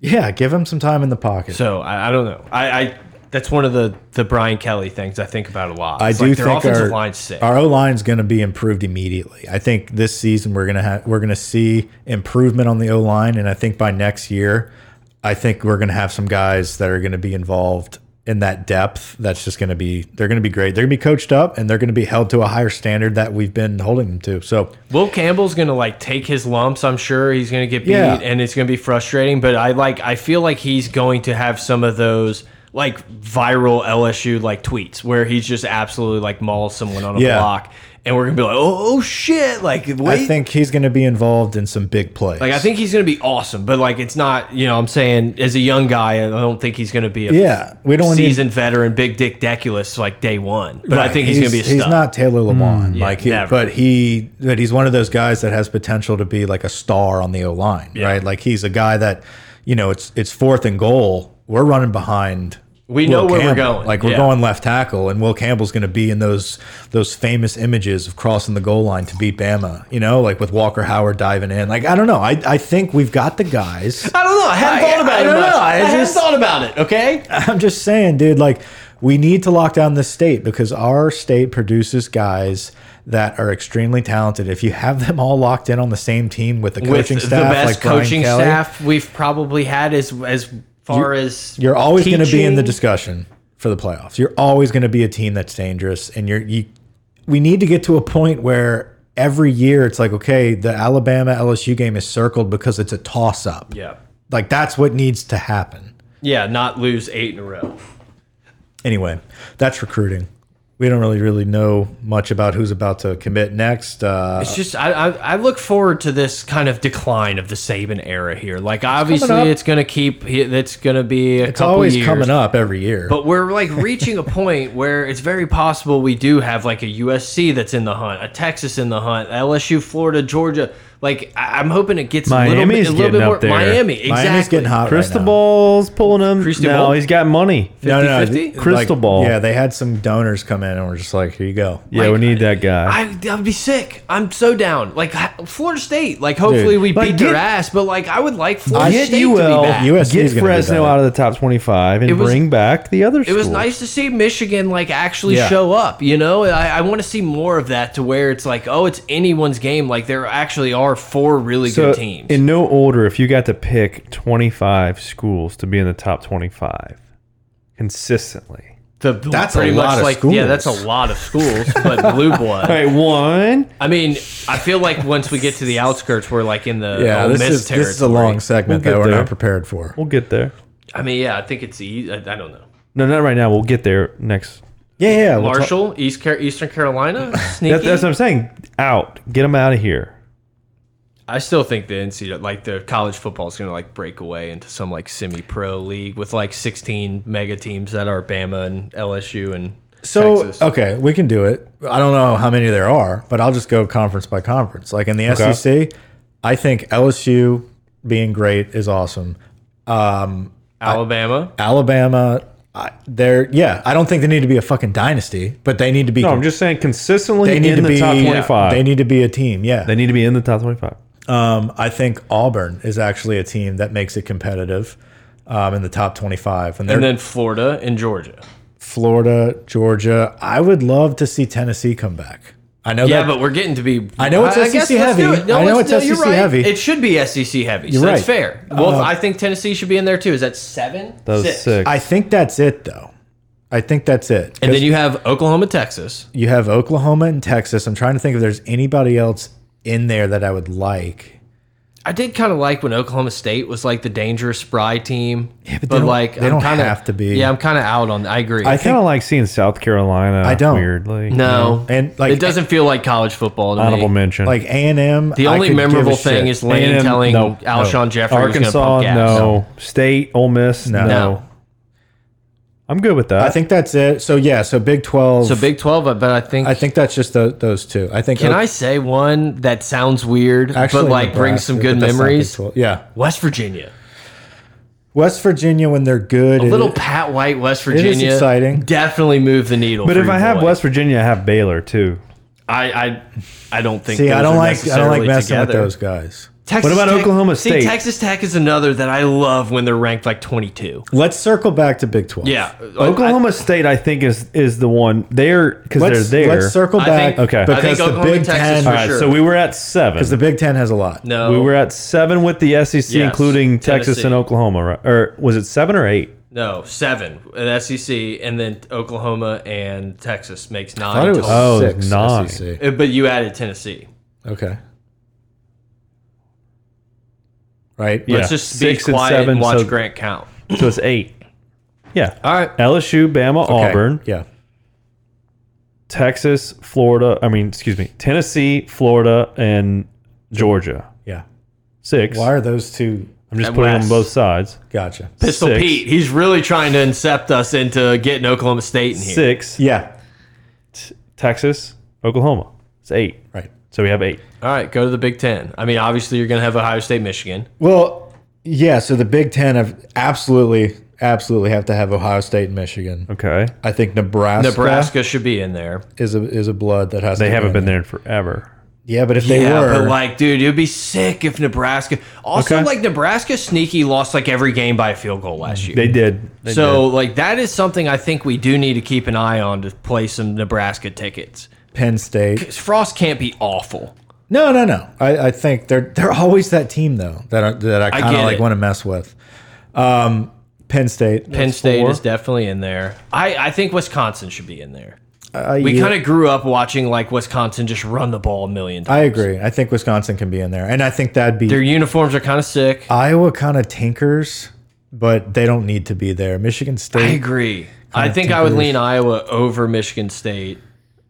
Speaker 3: Yeah, give him some time in the pocket.
Speaker 2: So I, I don't know. I, I that's one of the the Brian Kelly things I think about a lot.
Speaker 3: I
Speaker 2: It's
Speaker 3: do
Speaker 2: like, their
Speaker 3: think
Speaker 2: offensive
Speaker 3: our
Speaker 2: line's sick.
Speaker 3: our O line's going to be improved immediately. I think this season we're gonna have we're gonna see improvement on the O line, and I think by next year, I think we're gonna have some guys that are going to be involved in that depth that's just going to be they're going to be great. They're going to be coached up and they're going to be held to a higher standard that we've been holding them to. So
Speaker 2: Will Campbell's gonna like take his lumps. I'm sure he's gonna get beat,
Speaker 3: Yeah.
Speaker 2: and it's gonna be frustrating. But I like, I feel like he's going to have some of those like viral LSU like tweets where he's just absolutely like mauls someone on a
Speaker 3: Yeah.
Speaker 2: block, and we're gonna be like, oh, oh shit, like wait.
Speaker 3: I think he's going to be involved in some big plays.
Speaker 2: like I think he's gonna be awesome, but like it's not, you know. I'm saying as a young guy, I don't think he's gonna be a
Speaker 3: yeah, we don't need
Speaker 2: seasoned veteran, big dick Deculus like day one. But I
Speaker 3: Right.
Speaker 2: think he's, gonna be a stud.
Speaker 3: He's not Taylor Lamont, like, he,
Speaker 2: never.
Speaker 3: but he, but he's one of those guys that has potential to be like a star on the O line, right? Like he's a guy that, you know, it's it's fourth and goal. We're running behind.
Speaker 2: We know where we're going.
Speaker 3: Like we're
Speaker 2: Yeah.
Speaker 3: going left tackle, and Will Campbell's going to be in those those famous images of crossing the goal line to beat Bama. You know, like with Walker Howard diving in. Like I don't know. I I think we've got the guys.
Speaker 2: I don't know. I hadn't
Speaker 3: I-
Speaker 2: thought about
Speaker 3: I
Speaker 2: it.
Speaker 3: don't
Speaker 2: much.
Speaker 3: know. I
Speaker 2: I, hadn't
Speaker 3: just-
Speaker 2: thought about it. Okay.
Speaker 3: I'm just saying, dude, like we need to lock down this state because our state produces guys that are extremely talented. If you have them all locked in on the same team with the
Speaker 2: with
Speaker 3: coaching
Speaker 2: the
Speaker 3: staff,
Speaker 2: best
Speaker 3: like Brian
Speaker 2: coaching
Speaker 3: Kelly,
Speaker 2: staff we've probably had as as far as
Speaker 3: you're always going to be in the
Speaker 2: teaching.
Speaker 3: discussion for the playoffs. You're always going to be a team that's dangerous, and you're you. We need to get to a point where every year it's like, okay, the Alabama LSU game is circled because it's a toss up.
Speaker 2: yeah
Speaker 3: Like that's what needs to happen.
Speaker 2: yeah not lose eight in a row.
Speaker 3: anyway, that's recruiting. We don't really really know much about who's about to commit next. Uh,
Speaker 2: It's just I, I I look forward to this kind of decline of the Saban era here. Like obviously
Speaker 3: up.
Speaker 2: it's gonna keep it's gonna be a
Speaker 3: it's
Speaker 2: couple
Speaker 3: always
Speaker 2: years.
Speaker 3: coming up every year.
Speaker 2: But we're like reaching a point where it's very possible we do have like a USC that's in the hunt, a Texas in the hunt, LSU, Florida, Georgia. Like I- I'm hoping it gets a little bit,
Speaker 1: Miami's
Speaker 2: a little bit
Speaker 1: getting
Speaker 2: more
Speaker 1: up there.
Speaker 2: Miami. Exactly.
Speaker 3: Miami's getting hot. right now.
Speaker 1: Cristobal's pulling him.
Speaker 2: Cristobal?
Speaker 1: No, he's got money.
Speaker 3: No, no,
Speaker 2: 50-50?
Speaker 3: like,
Speaker 1: Crystal ball.
Speaker 3: Yeah, they had some donors come in and we're just like, here you go.
Speaker 1: Yeah, we need that guy.
Speaker 2: I, I'd be sick. I'm so down. Like ha- Florida State. Like hopefully
Speaker 3: Dude,
Speaker 2: we
Speaker 1: but
Speaker 2: beat
Speaker 1: get-
Speaker 2: their ass, but like I would like Florida
Speaker 1: get
Speaker 2: State
Speaker 1: UL,
Speaker 2: to be back.
Speaker 3: You- USC
Speaker 1: get
Speaker 3: is gonna be
Speaker 1: Fresno
Speaker 3: better.
Speaker 1: out of the top twenty-five, and
Speaker 2: was-
Speaker 1: bring back the other.
Speaker 2: it was nice to see Michigan like actually
Speaker 3: Yeah.
Speaker 2: show up. You know, I, I want to see more of that to where it's like, oh, it's anyone's game. Like there actually are four really
Speaker 1: So
Speaker 2: good teams.
Speaker 1: in no order, if you got to pick twenty-five schools to be in the top twenty-five consistently.
Speaker 2: The- the-
Speaker 3: That's a lot of
Speaker 2: like yeah, that's a
Speaker 3: schools.
Speaker 2: lot of schools, but blue blood.
Speaker 1: All right, one.
Speaker 2: I mean, I feel like once we get to the outskirts, we're like in the
Speaker 3: Yeah,
Speaker 2: Ole
Speaker 3: this
Speaker 2: Miss
Speaker 3: is,
Speaker 2: territory.
Speaker 3: this is a long segment
Speaker 1: We'll get
Speaker 3: that we're
Speaker 1: there.
Speaker 3: not prepared for.
Speaker 1: We'll get there.
Speaker 2: I mean, yeah, I think it's e- I, I don't know.
Speaker 1: No, not right now. We'll get there next.
Speaker 3: Yeah, yeah. we'll talk-
Speaker 2: Marshall, East Car Eastern Carolina, sneaky.
Speaker 1: That, that's what I'm saying. Out. Get them out of here.
Speaker 2: I still think the NCAA, like the college football, is going to like break away into some like semi-pro league with like 16 mega teams that are Bama and LSU and
Speaker 3: So
Speaker 2: Texas.
Speaker 3: okay, we can do it. I don't know how many there are, but I'll just go conference by conference. Like in the SEC, I think LSU being great is awesome. Um,
Speaker 2: Alabama.
Speaker 3: Alabama, I, they're yeah. I don't think they need to be a fucking dynasty, but they need to be.
Speaker 1: No, I'm just saying consistently
Speaker 3: they need
Speaker 1: in
Speaker 3: to
Speaker 1: the
Speaker 3: be uh,
Speaker 1: top 25.
Speaker 3: They
Speaker 1: they, need,
Speaker 3: need to be a team. Yeah.
Speaker 1: to be in the top 25.
Speaker 3: um, I think Auburn is actually a team that makes it competitive um, in the top 25. And they're
Speaker 2: And then Florida and Georgia.
Speaker 3: Florida, Georgia. I would love to see Tennessee come back. I know
Speaker 2: Yeah,
Speaker 3: that.
Speaker 2: but we're getting to be.
Speaker 3: I know it's SEC
Speaker 2: guess let's do
Speaker 3: heavy.
Speaker 2: it.
Speaker 3: I know
Speaker 2: let's-
Speaker 3: it's
Speaker 2: you're
Speaker 3: SEC
Speaker 2: right.
Speaker 3: heavy.
Speaker 2: It should be SEC heavy. so
Speaker 3: You're
Speaker 2: that's
Speaker 3: right. Uh,
Speaker 2: fair. Well, I think Tennessee should be in there too. Is that seven?
Speaker 1: That was
Speaker 2: Six.
Speaker 1: six.
Speaker 3: I think that's it, though. I think that's it.
Speaker 2: And then you have Oklahoma, Texas.
Speaker 3: you have Oklahoma and Texas. I'm trying to think if there's anybody else in there that I would like.
Speaker 2: I did kind of like when Oklahoma State was like the dangerous spry team. Yeah,
Speaker 3: but they don't- they don't have to be.
Speaker 2: Yeah, I'm kind of out on. I agree.
Speaker 1: I kind of like seeing South Carolina. I
Speaker 3: don't.
Speaker 1: Weirdly.
Speaker 2: no,
Speaker 3: And, like-
Speaker 2: it doesn't feel like college football to
Speaker 1: Honorable
Speaker 2: me.
Speaker 1: mention.
Speaker 3: Like A and M.
Speaker 2: The only memorable thing is Lane
Speaker 1: A&M,
Speaker 2: telling
Speaker 1: no.
Speaker 2: Alshon Jeffrey he was gonna
Speaker 1: Arkansas,
Speaker 2: pump gas.
Speaker 1: no. State, Ole Miss, no.
Speaker 2: No.
Speaker 1: I'm good with that.
Speaker 3: I think that's it. So yeah, so Big Twelve.
Speaker 2: So Big Twelve, but I think.
Speaker 3: I think that's just tho- those two. I think.
Speaker 2: can I say one that sounds weird, but like brings some
Speaker 3: Nebraska,
Speaker 2: good
Speaker 3: but that's not Big
Speaker 2: memories?
Speaker 3: 12. Yeah,
Speaker 2: West Virginia.
Speaker 3: West Virginia when they're good.
Speaker 2: A little
Speaker 3: it-
Speaker 2: Pat White, West
Speaker 3: is
Speaker 2: Virginia.
Speaker 3: exciting.
Speaker 2: Definitely move the needle.
Speaker 1: but
Speaker 2: for
Speaker 1: if
Speaker 2: your
Speaker 1: I have
Speaker 2: boy.
Speaker 1: West Virginia, I have Baylor too.
Speaker 2: I, I, I don't think.
Speaker 3: See,
Speaker 2: those
Speaker 3: I don't
Speaker 2: are
Speaker 3: like. I don't like
Speaker 2: necessarily
Speaker 3: messing with
Speaker 2: together.
Speaker 3: those guys.
Speaker 2: Texas
Speaker 1: about
Speaker 2: Tech-
Speaker 1: Oklahoma State?
Speaker 2: See, Texas Tech is another that I love when they're ranked like 22.
Speaker 3: Let's circle back to Big Twelve.
Speaker 2: Yeah,
Speaker 1: Oklahoma State, I think, is is the one there because they're
Speaker 3: let's
Speaker 1: there.
Speaker 3: let's circle
Speaker 2: I
Speaker 3: back.
Speaker 2: think-
Speaker 1: Okay. I think
Speaker 3: because the
Speaker 2: Oklahoma
Speaker 3: Big
Speaker 2: and Texas
Speaker 3: Ten.
Speaker 2: for
Speaker 1: All right,
Speaker 2: sure.
Speaker 1: so we were at seven.
Speaker 3: Because the Big Ten has a lot.
Speaker 2: no,
Speaker 1: We were at seven with the
Speaker 2: Yes.
Speaker 1: SEC, including Texas
Speaker 2: Tennessee.
Speaker 1: and Oklahoma, right? Or was it seven or eight?
Speaker 2: No, seven at SEC, and then Oklahoma and Texas makes nine.
Speaker 3: I thought it was
Speaker 2: total.
Speaker 1: Oh,
Speaker 3: six.
Speaker 1: nine.
Speaker 3: SEC.
Speaker 2: Uh, But you added Tennessee.
Speaker 3: Okay. Right.
Speaker 1: Yeah.
Speaker 2: Let's just be
Speaker 1: Six and
Speaker 2: quiet and,
Speaker 1: seven,
Speaker 2: watch
Speaker 1: so-
Speaker 2: Grant count.
Speaker 1: So it's eight. Yeah.
Speaker 2: All right.
Speaker 1: LSU, Bama,
Speaker 3: Okay.
Speaker 1: Auburn,
Speaker 3: Yeah.
Speaker 1: Texas, Florida. I mean, excuse me, Tennessee, Florida, and Georgia.
Speaker 3: Yeah.
Speaker 1: Six.
Speaker 3: Why are those two?
Speaker 1: I'm just
Speaker 2: And
Speaker 1: putting them
Speaker 2: West.
Speaker 1: on both sides.
Speaker 3: Gotcha.
Speaker 2: Pistol
Speaker 1: Six.
Speaker 2: Pete, he's really trying to incept us into getting Oklahoma State in here.
Speaker 1: Six.
Speaker 3: Yeah.
Speaker 1: Texas, Oklahoma. It's eight.
Speaker 3: Right.
Speaker 1: So we have eight.
Speaker 2: All right, go to the Big Ten. I mean, obviously, you're going to have Ohio State, Michigan.
Speaker 3: Well, yeah. So the Big Ten have absolutely, absolutely have to have Ohio State and Michigan.
Speaker 1: Okay.
Speaker 3: I think Nebraska,
Speaker 2: Nebraska should be in there.
Speaker 3: is a is a blood that has.
Speaker 1: They
Speaker 3: to
Speaker 1: haven't
Speaker 3: be in
Speaker 1: been there in forever.
Speaker 3: Yeah, but if they
Speaker 2: yeah,
Speaker 3: were,
Speaker 2: but like, dude, it would be sick if Nebraska. Also,
Speaker 1: Okay.
Speaker 2: like, Nebraska sneaky lost like every game by a field goal last year.
Speaker 1: They did. They
Speaker 2: so, like, that is something I think we do need to keep an eye on to play some Nebraska tickets.
Speaker 3: Penn State.
Speaker 2: Frost can't be awful.
Speaker 3: No, no, no. I, I think they're they're always that team though that I, that I kind
Speaker 2: get
Speaker 3: of like
Speaker 2: it.
Speaker 3: want to mess with. Um, Penn State.
Speaker 2: Penn State
Speaker 1: four.
Speaker 2: is definitely in there. I, I think Wisconsin should be in there.
Speaker 3: I,
Speaker 2: We
Speaker 3: yeah,
Speaker 2: kind of grew up watching like Wisconsin just run the ball a million times.
Speaker 3: I agree. I think Wisconsin can be in there, and I think that'd be
Speaker 2: Their uniforms are kind of sick.
Speaker 3: Iowa kind of tinkers, but they don't need to be there. Michigan
Speaker 2: I
Speaker 3: State,
Speaker 2: agree. I think I would lean Iowa over Michigan State.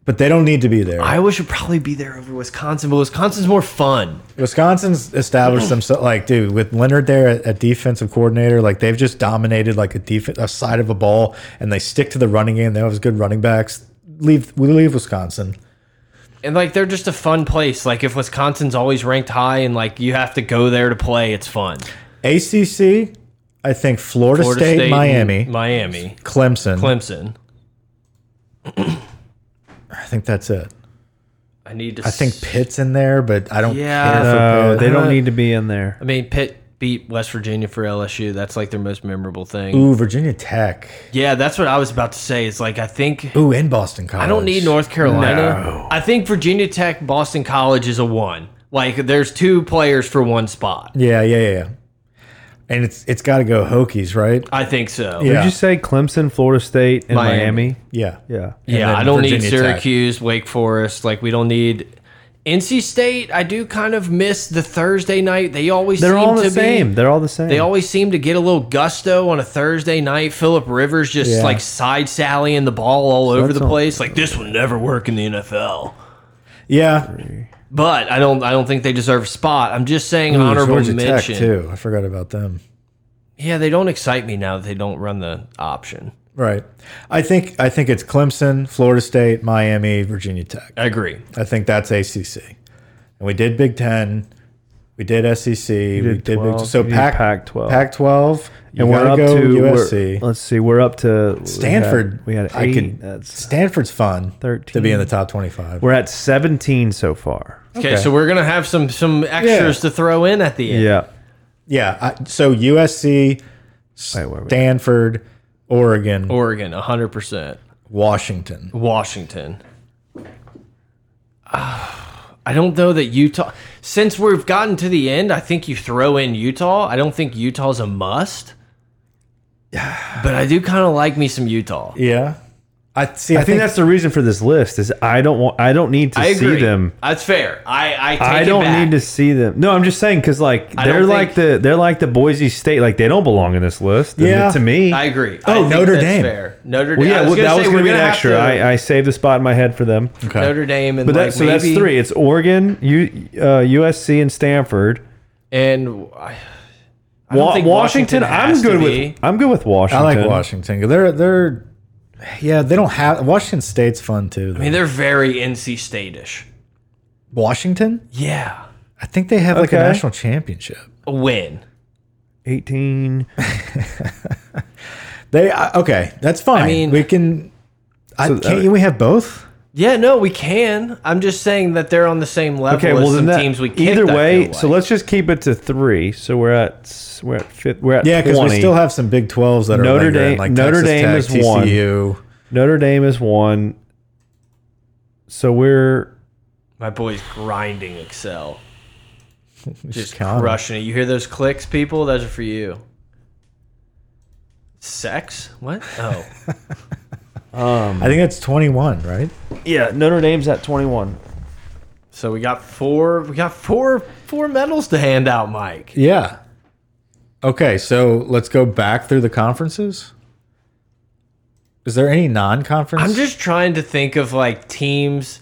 Speaker 3: but they don't need to be there.
Speaker 2: Iowa should probably be there over Wisconsin, but Wisconsin's more fun.
Speaker 3: Wisconsin's established themselves like, dude, with Leonard there at, at defensive coordinator, like they've just dominated like a defense a side of a ball, and they stick to the running game. They have good running backs. Leave we leave Wisconsin.
Speaker 2: And like they're just a fun place. Like if Wisconsin's always ranked high and like you have to go there to play, it's fun.
Speaker 3: ACC, I think Florida, State,
Speaker 2: and
Speaker 3: Miami,
Speaker 2: mm, Miami,
Speaker 3: Clemson.
Speaker 2: Clemson.
Speaker 3: I think that's it.
Speaker 2: I need to
Speaker 3: I think Pitt's in there, but I don't
Speaker 2: Yeah.
Speaker 3: care.
Speaker 1: did.
Speaker 3: for
Speaker 1: No,
Speaker 3: Pitt.
Speaker 1: they
Speaker 2: Uh,
Speaker 1: don't need to be in there.
Speaker 2: I mean Pitt beat West Virginia for LSU. That's like their most memorable thing.
Speaker 3: Ooh, Virginia Tech.
Speaker 2: Yeah, that's what I was about to say. Is like I think
Speaker 3: Ooh, in Boston College.
Speaker 2: I don't need North Carolina. I think Virginia Tech, Boston College is a one. Like there's two players for one spot.
Speaker 3: Yeah, yeah, yeah, yeah. And it's it's got to go Hokies, right?
Speaker 2: I think so.
Speaker 3: Yeah.
Speaker 1: Did you say Clemson, Florida State, and
Speaker 2: Miami.
Speaker 1: Miami?
Speaker 3: Yeah.
Speaker 1: Yeah.
Speaker 2: Yeah,
Speaker 3: then
Speaker 2: I don't need
Speaker 3: Virginia Tech.
Speaker 2: Syracuse, Wake Forest. Like we don't need NC State. I do kind of miss the Thursday night. They always
Speaker 1: They're
Speaker 2: seem
Speaker 1: all
Speaker 2: to
Speaker 1: the
Speaker 2: be-
Speaker 1: same. They're all the same.
Speaker 2: They always seem to get a little gusto on a Thursday night. Philip Rivers just
Speaker 3: Yeah.
Speaker 2: like side sallying the ball all over
Speaker 1: that's
Speaker 2: the
Speaker 1: all-
Speaker 2: place. Like this will never work in the NFL.
Speaker 3: Yeah.
Speaker 2: But I don't. I don't think they deserve a spot. I'm just saying
Speaker 3: Ooh,
Speaker 2: honorable
Speaker 3: Georgia
Speaker 2: mention.
Speaker 3: Tech too. I forgot about them.
Speaker 2: Yeah, they don't excite me now that they don't run the option.
Speaker 3: Right. I think I think it's Clemson, Florida State, Miami, Virginia Tech.
Speaker 2: I agree.
Speaker 3: I think that's ACC. And we did Big 10. We did SEC. we did
Speaker 1: 12,
Speaker 3: Big So
Speaker 1: we did
Speaker 3: Pac
Speaker 1: Pac-12.
Speaker 3: Pac 12.
Speaker 1: and we're up
Speaker 3: go
Speaker 1: to we're-
Speaker 3: USC.
Speaker 1: Let's see, we're up to we had-
Speaker 3: Stanford.
Speaker 1: We had,
Speaker 3: I
Speaker 1: eight.
Speaker 3: could-
Speaker 1: That's
Speaker 3: Stanford's fun
Speaker 1: 13.
Speaker 3: to be in the top 25.
Speaker 1: we're at seventeen so far.
Speaker 2: Okay,
Speaker 3: Okay.
Speaker 2: so we're gonna have some some extras to throw in at the end.
Speaker 1: Yeah.
Speaker 3: Yeah. I, so USC,
Speaker 1: Wait, where are we?
Speaker 3: Stanford, Oregon,
Speaker 2: Oregon, hundred percent.
Speaker 3: Washington.
Speaker 2: Washington. Ah, I don't know that Utah. Since we've gotten to the end, I think you throw in Utah. I don't think Utah's a must. But I do kind of like me some Utah.
Speaker 3: Yeah. I see.
Speaker 1: I think that's the reason for this list is I don't want I don't need to
Speaker 2: I agree.
Speaker 1: see them.
Speaker 2: That's fair. I I, take
Speaker 1: I
Speaker 2: it
Speaker 1: don't
Speaker 2: back.
Speaker 1: need to see them. No, I'm just saying because like
Speaker 2: don't
Speaker 1: they're like
Speaker 2: think-
Speaker 1: the they're like the Boise State like they don't belong in this list. And
Speaker 3: Yeah.
Speaker 1: to me,
Speaker 2: I agree. I
Speaker 3: Oh,
Speaker 2: think
Speaker 3: Notre
Speaker 2: that's
Speaker 3: Dame.
Speaker 2: Fair. Notre Dame.
Speaker 1: well,
Speaker 2: I
Speaker 1: yeah, well,
Speaker 2: gonna
Speaker 1: that
Speaker 2: say
Speaker 1: was going
Speaker 2: we're
Speaker 1: to be an
Speaker 2: have
Speaker 1: extra.
Speaker 2: to-
Speaker 1: I, I saved the spot in my head for them.
Speaker 3: Okay.
Speaker 2: Notre Dame and
Speaker 1: But
Speaker 2: like
Speaker 1: that, so that's
Speaker 2: maybe-
Speaker 1: three. It's Oregon, U, uh, USC, and Stanford.
Speaker 2: And I, I don't
Speaker 1: Wa-
Speaker 2: think
Speaker 1: Washington,
Speaker 2: has
Speaker 1: I'm
Speaker 2: to
Speaker 1: good
Speaker 2: be.
Speaker 1: with. I'm good with
Speaker 3: I
Speaker 1: Washington.
Speaker 3: like Washington. They're they're yeah, they don't have Washington State's fun too.
Speaker 2: I
Speaker 3: though.
Speaker 2: mean, they're very NC State-ish.
Speaker 3: Washington?
Speaker 2: Yeah,
Speaker 3: I think they have like a
Speaker 1: Okay.
Speaker 3: national championship.
Speaker 2: a win.
Speaker 1: 18.
Speaker 3: They I- okay, that's fine.
Speaker 2: mean-
Speaker 3: we can I
Speaker 1: So, uh,
Speaker 3: can't we have both?
Speaker 2: Yeah, no, we can. I'm just saying that they're on the same level
Speaker 1: Okay,
Speaker 2: as
Speaker 1: well
Speaker 2: some
Speaker 1: then that,
Speaker 2: teams we kicked,
Speaker 1: either
Speaker 2: I
Speaker 1: way.
Speaker 2: feel
Speaker 1: So
Speaker 2: like.
Speaker 1: let's just keep it to three. So we're at s- we're at fifth. We're at
Speaker 3: Yeah, because
Speaker 1: 20.
Speaker 3: we still have some Big 12s that are
Speaker 1: Notre
Speaker 3: lingering,
Speaker 1: Dame-
Speaker 3: like
Speaker 1: Notre
Speaker 3: Texas
Speaker 1: Dame
Speaker 3: Tech,
Speaker 1: is one.
Speaker 3: TCU.
Speaker 1: Notre Dame is one. So we're
Speaker 2: my boy's grinding Excel, just
Speaker 3: count 'em.
Speaker 2: crushing it. You hear those clicks, people? Those are for you. Sex? What? Oh.
Speaker 3: I think that's 21, right?
Speaker 1: Yeah, Notre Dame's at 21.
Speaker 2: so we got four we got four four medals to hand out, Mike.
Speaker 3: Yeah. Okay, so let's go back through the conferences. Is there any non-conference?
Speaker 2: I'm just trying to think of like teams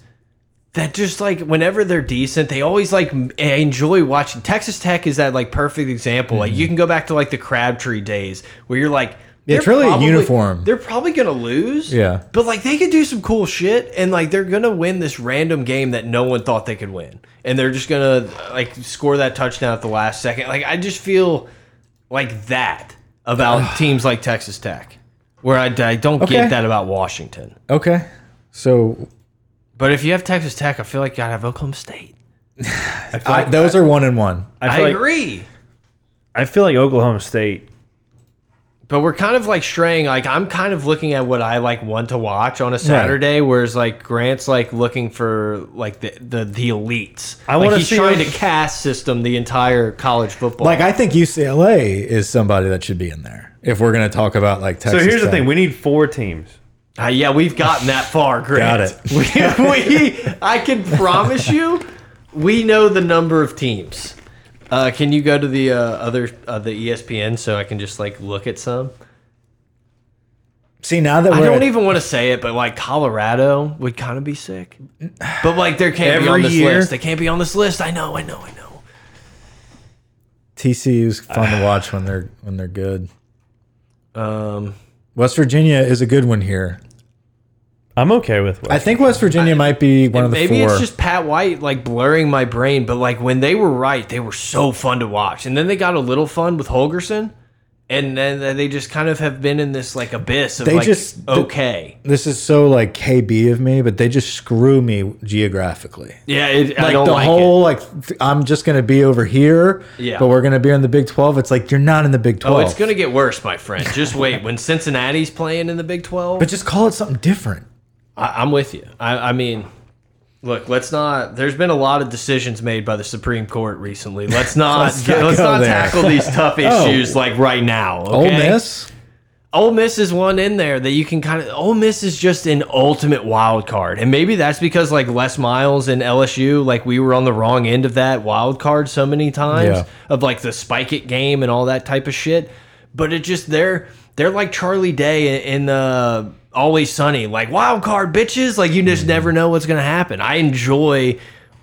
Speaker 2: that just like whenever they're decent, they always like m- I enjoy watching. Texas Tech is that like perfect example. Like you can go back to like the Crabtree days where you're like
Speaker 3: Mm-hmm. It's
Speaker 2: they're
Speaker 3: really a
Speaker 2: probably-
Speaker 3: uniform.
Speaker 2: They're probably gonna lose.
Speaker 3: Yeah.
Speaker 2: But like they could do some cool shit and like they're gonna win this random game that no one thought they could win. And they're just gonna like score that touchdown at the last second. Like I just feel like that about teams like Texas Tech. Where I, I don't
Speaker 3: Okay.
Speaker 2: get that about Washington.
Speaker 3: okay. So
Speaker 2: But if you have Texas Tech, I feel like you gotta have Oklahoma State.
Speaker 3: I, those are one and one.
Speaker 1: I,
Speaker 2: I,
Speaker 1: feel like,
Speaker 2: agree.
Speaker 1: I feel like Oklahoma State.
Speaker 2: But we're kind of like straying. Like I'm kind of looking at what I like want to watch on a Saturday, whereas like Grant's like looking for like the the, the elites.
Speaker 1: I
Speaker 2: like,
Speaker 1: wanna
Speaker 2: he's
Speaker 1: see
Speaker 2: trying
Speaker 1: if-
Speaker 2: to cast system the entire college football.
Speaker 3: Like I think UCLA is somebody that should be in there. If we're going to talk about like
Speaker 1: So
Speaker 3: Texas.
Speaker 1: here's the
Speaker 3: Tech.
Speaker 1: thing we need four teams.
Speaker 2: Uh, yeah, we've gotten that far, Grant.
Speaker 3: Got
Speaker 2: it. We, we I can promise you, we know the number of teams. Uh, can you go to the uh, other uh, the ESPN so I can just like look at some?
Speaker 3: See now that
Speaker 2: I
Speaker 3: we're
Speaker 2: don't
Speaker 3: at-
Speaker 2: even want to say it, but like Colorado would kind of be sick. But like they can't be on
Speaker 1: Every
Speaker 2: this
Speaker 1: year.
Speaker 2: list. They can't be on this list. I know, I know, I know.
Speaker 3: TCU's fun to watch when they're when they're good.
Speaker 2: Um,
Speaker 3: West Virginia is a good one here.
Speaker 1: I'm okay with what.
Speaker 3: I think West Virginia might be one of the
Speaker 2: maybe
Speaker 3: four.
Speaker 2: it's just Pat White like blurring my brain, but like when they were right, they were so fun to watch. And then they got a little fun with Holgerson, and then they just kind of have been in this like abyss of
Speaker 3: They
Speaker 2: like
Speaker 3: just-
Speaker 2: okay.
Speaker 3: this is so like KB of me, but they just screw me geographically.
Speaker 2: Yeah, it, I
Speaker 3: like
Speaker 2: don't
Speaker 3: the
Speaker 2: like
Speaker 3: whole like th- I'm just gonna be over here,
Speaker 2: Yeah.
Speaker 3: but we're gonna be in the Big Twelve. It's like you're not in the Big
Speaker 2: it. Oh,
Speaker 3: Twelve.
Speaker 2: it's gonna get worse, my friend. Just wait. when Cincinnati's playing in the Big Twelve,
Speaker 3: but just call it something different.
Speaker 2: I, I'm with you. I, I mean, look, let's not. There's been a lot of decisions made by the Supreme Court recently. Let's not. let's
Speaker 3: not
Speaker 2: not, Oh.
Speaker 3: go there.
Speaker 2: tackle these tough issues like right now. Okay?
Speaker 3: Ole Miss,
Speaker 2: Ole Miss is one in there that you can kind of. Ole Miss is just an ultimate wild card, and maybe that's because like Les Miles and LSU, like we were on the wrong end of that wild card so many times
Speaker 3: Yeah.
Speaker 2: of like the spike it game and all that type of shit. But it just they're they're like Charlie Day in, in the Always Sunny, like wild card bitches. Like you just never know what's gonna happen. I enjoy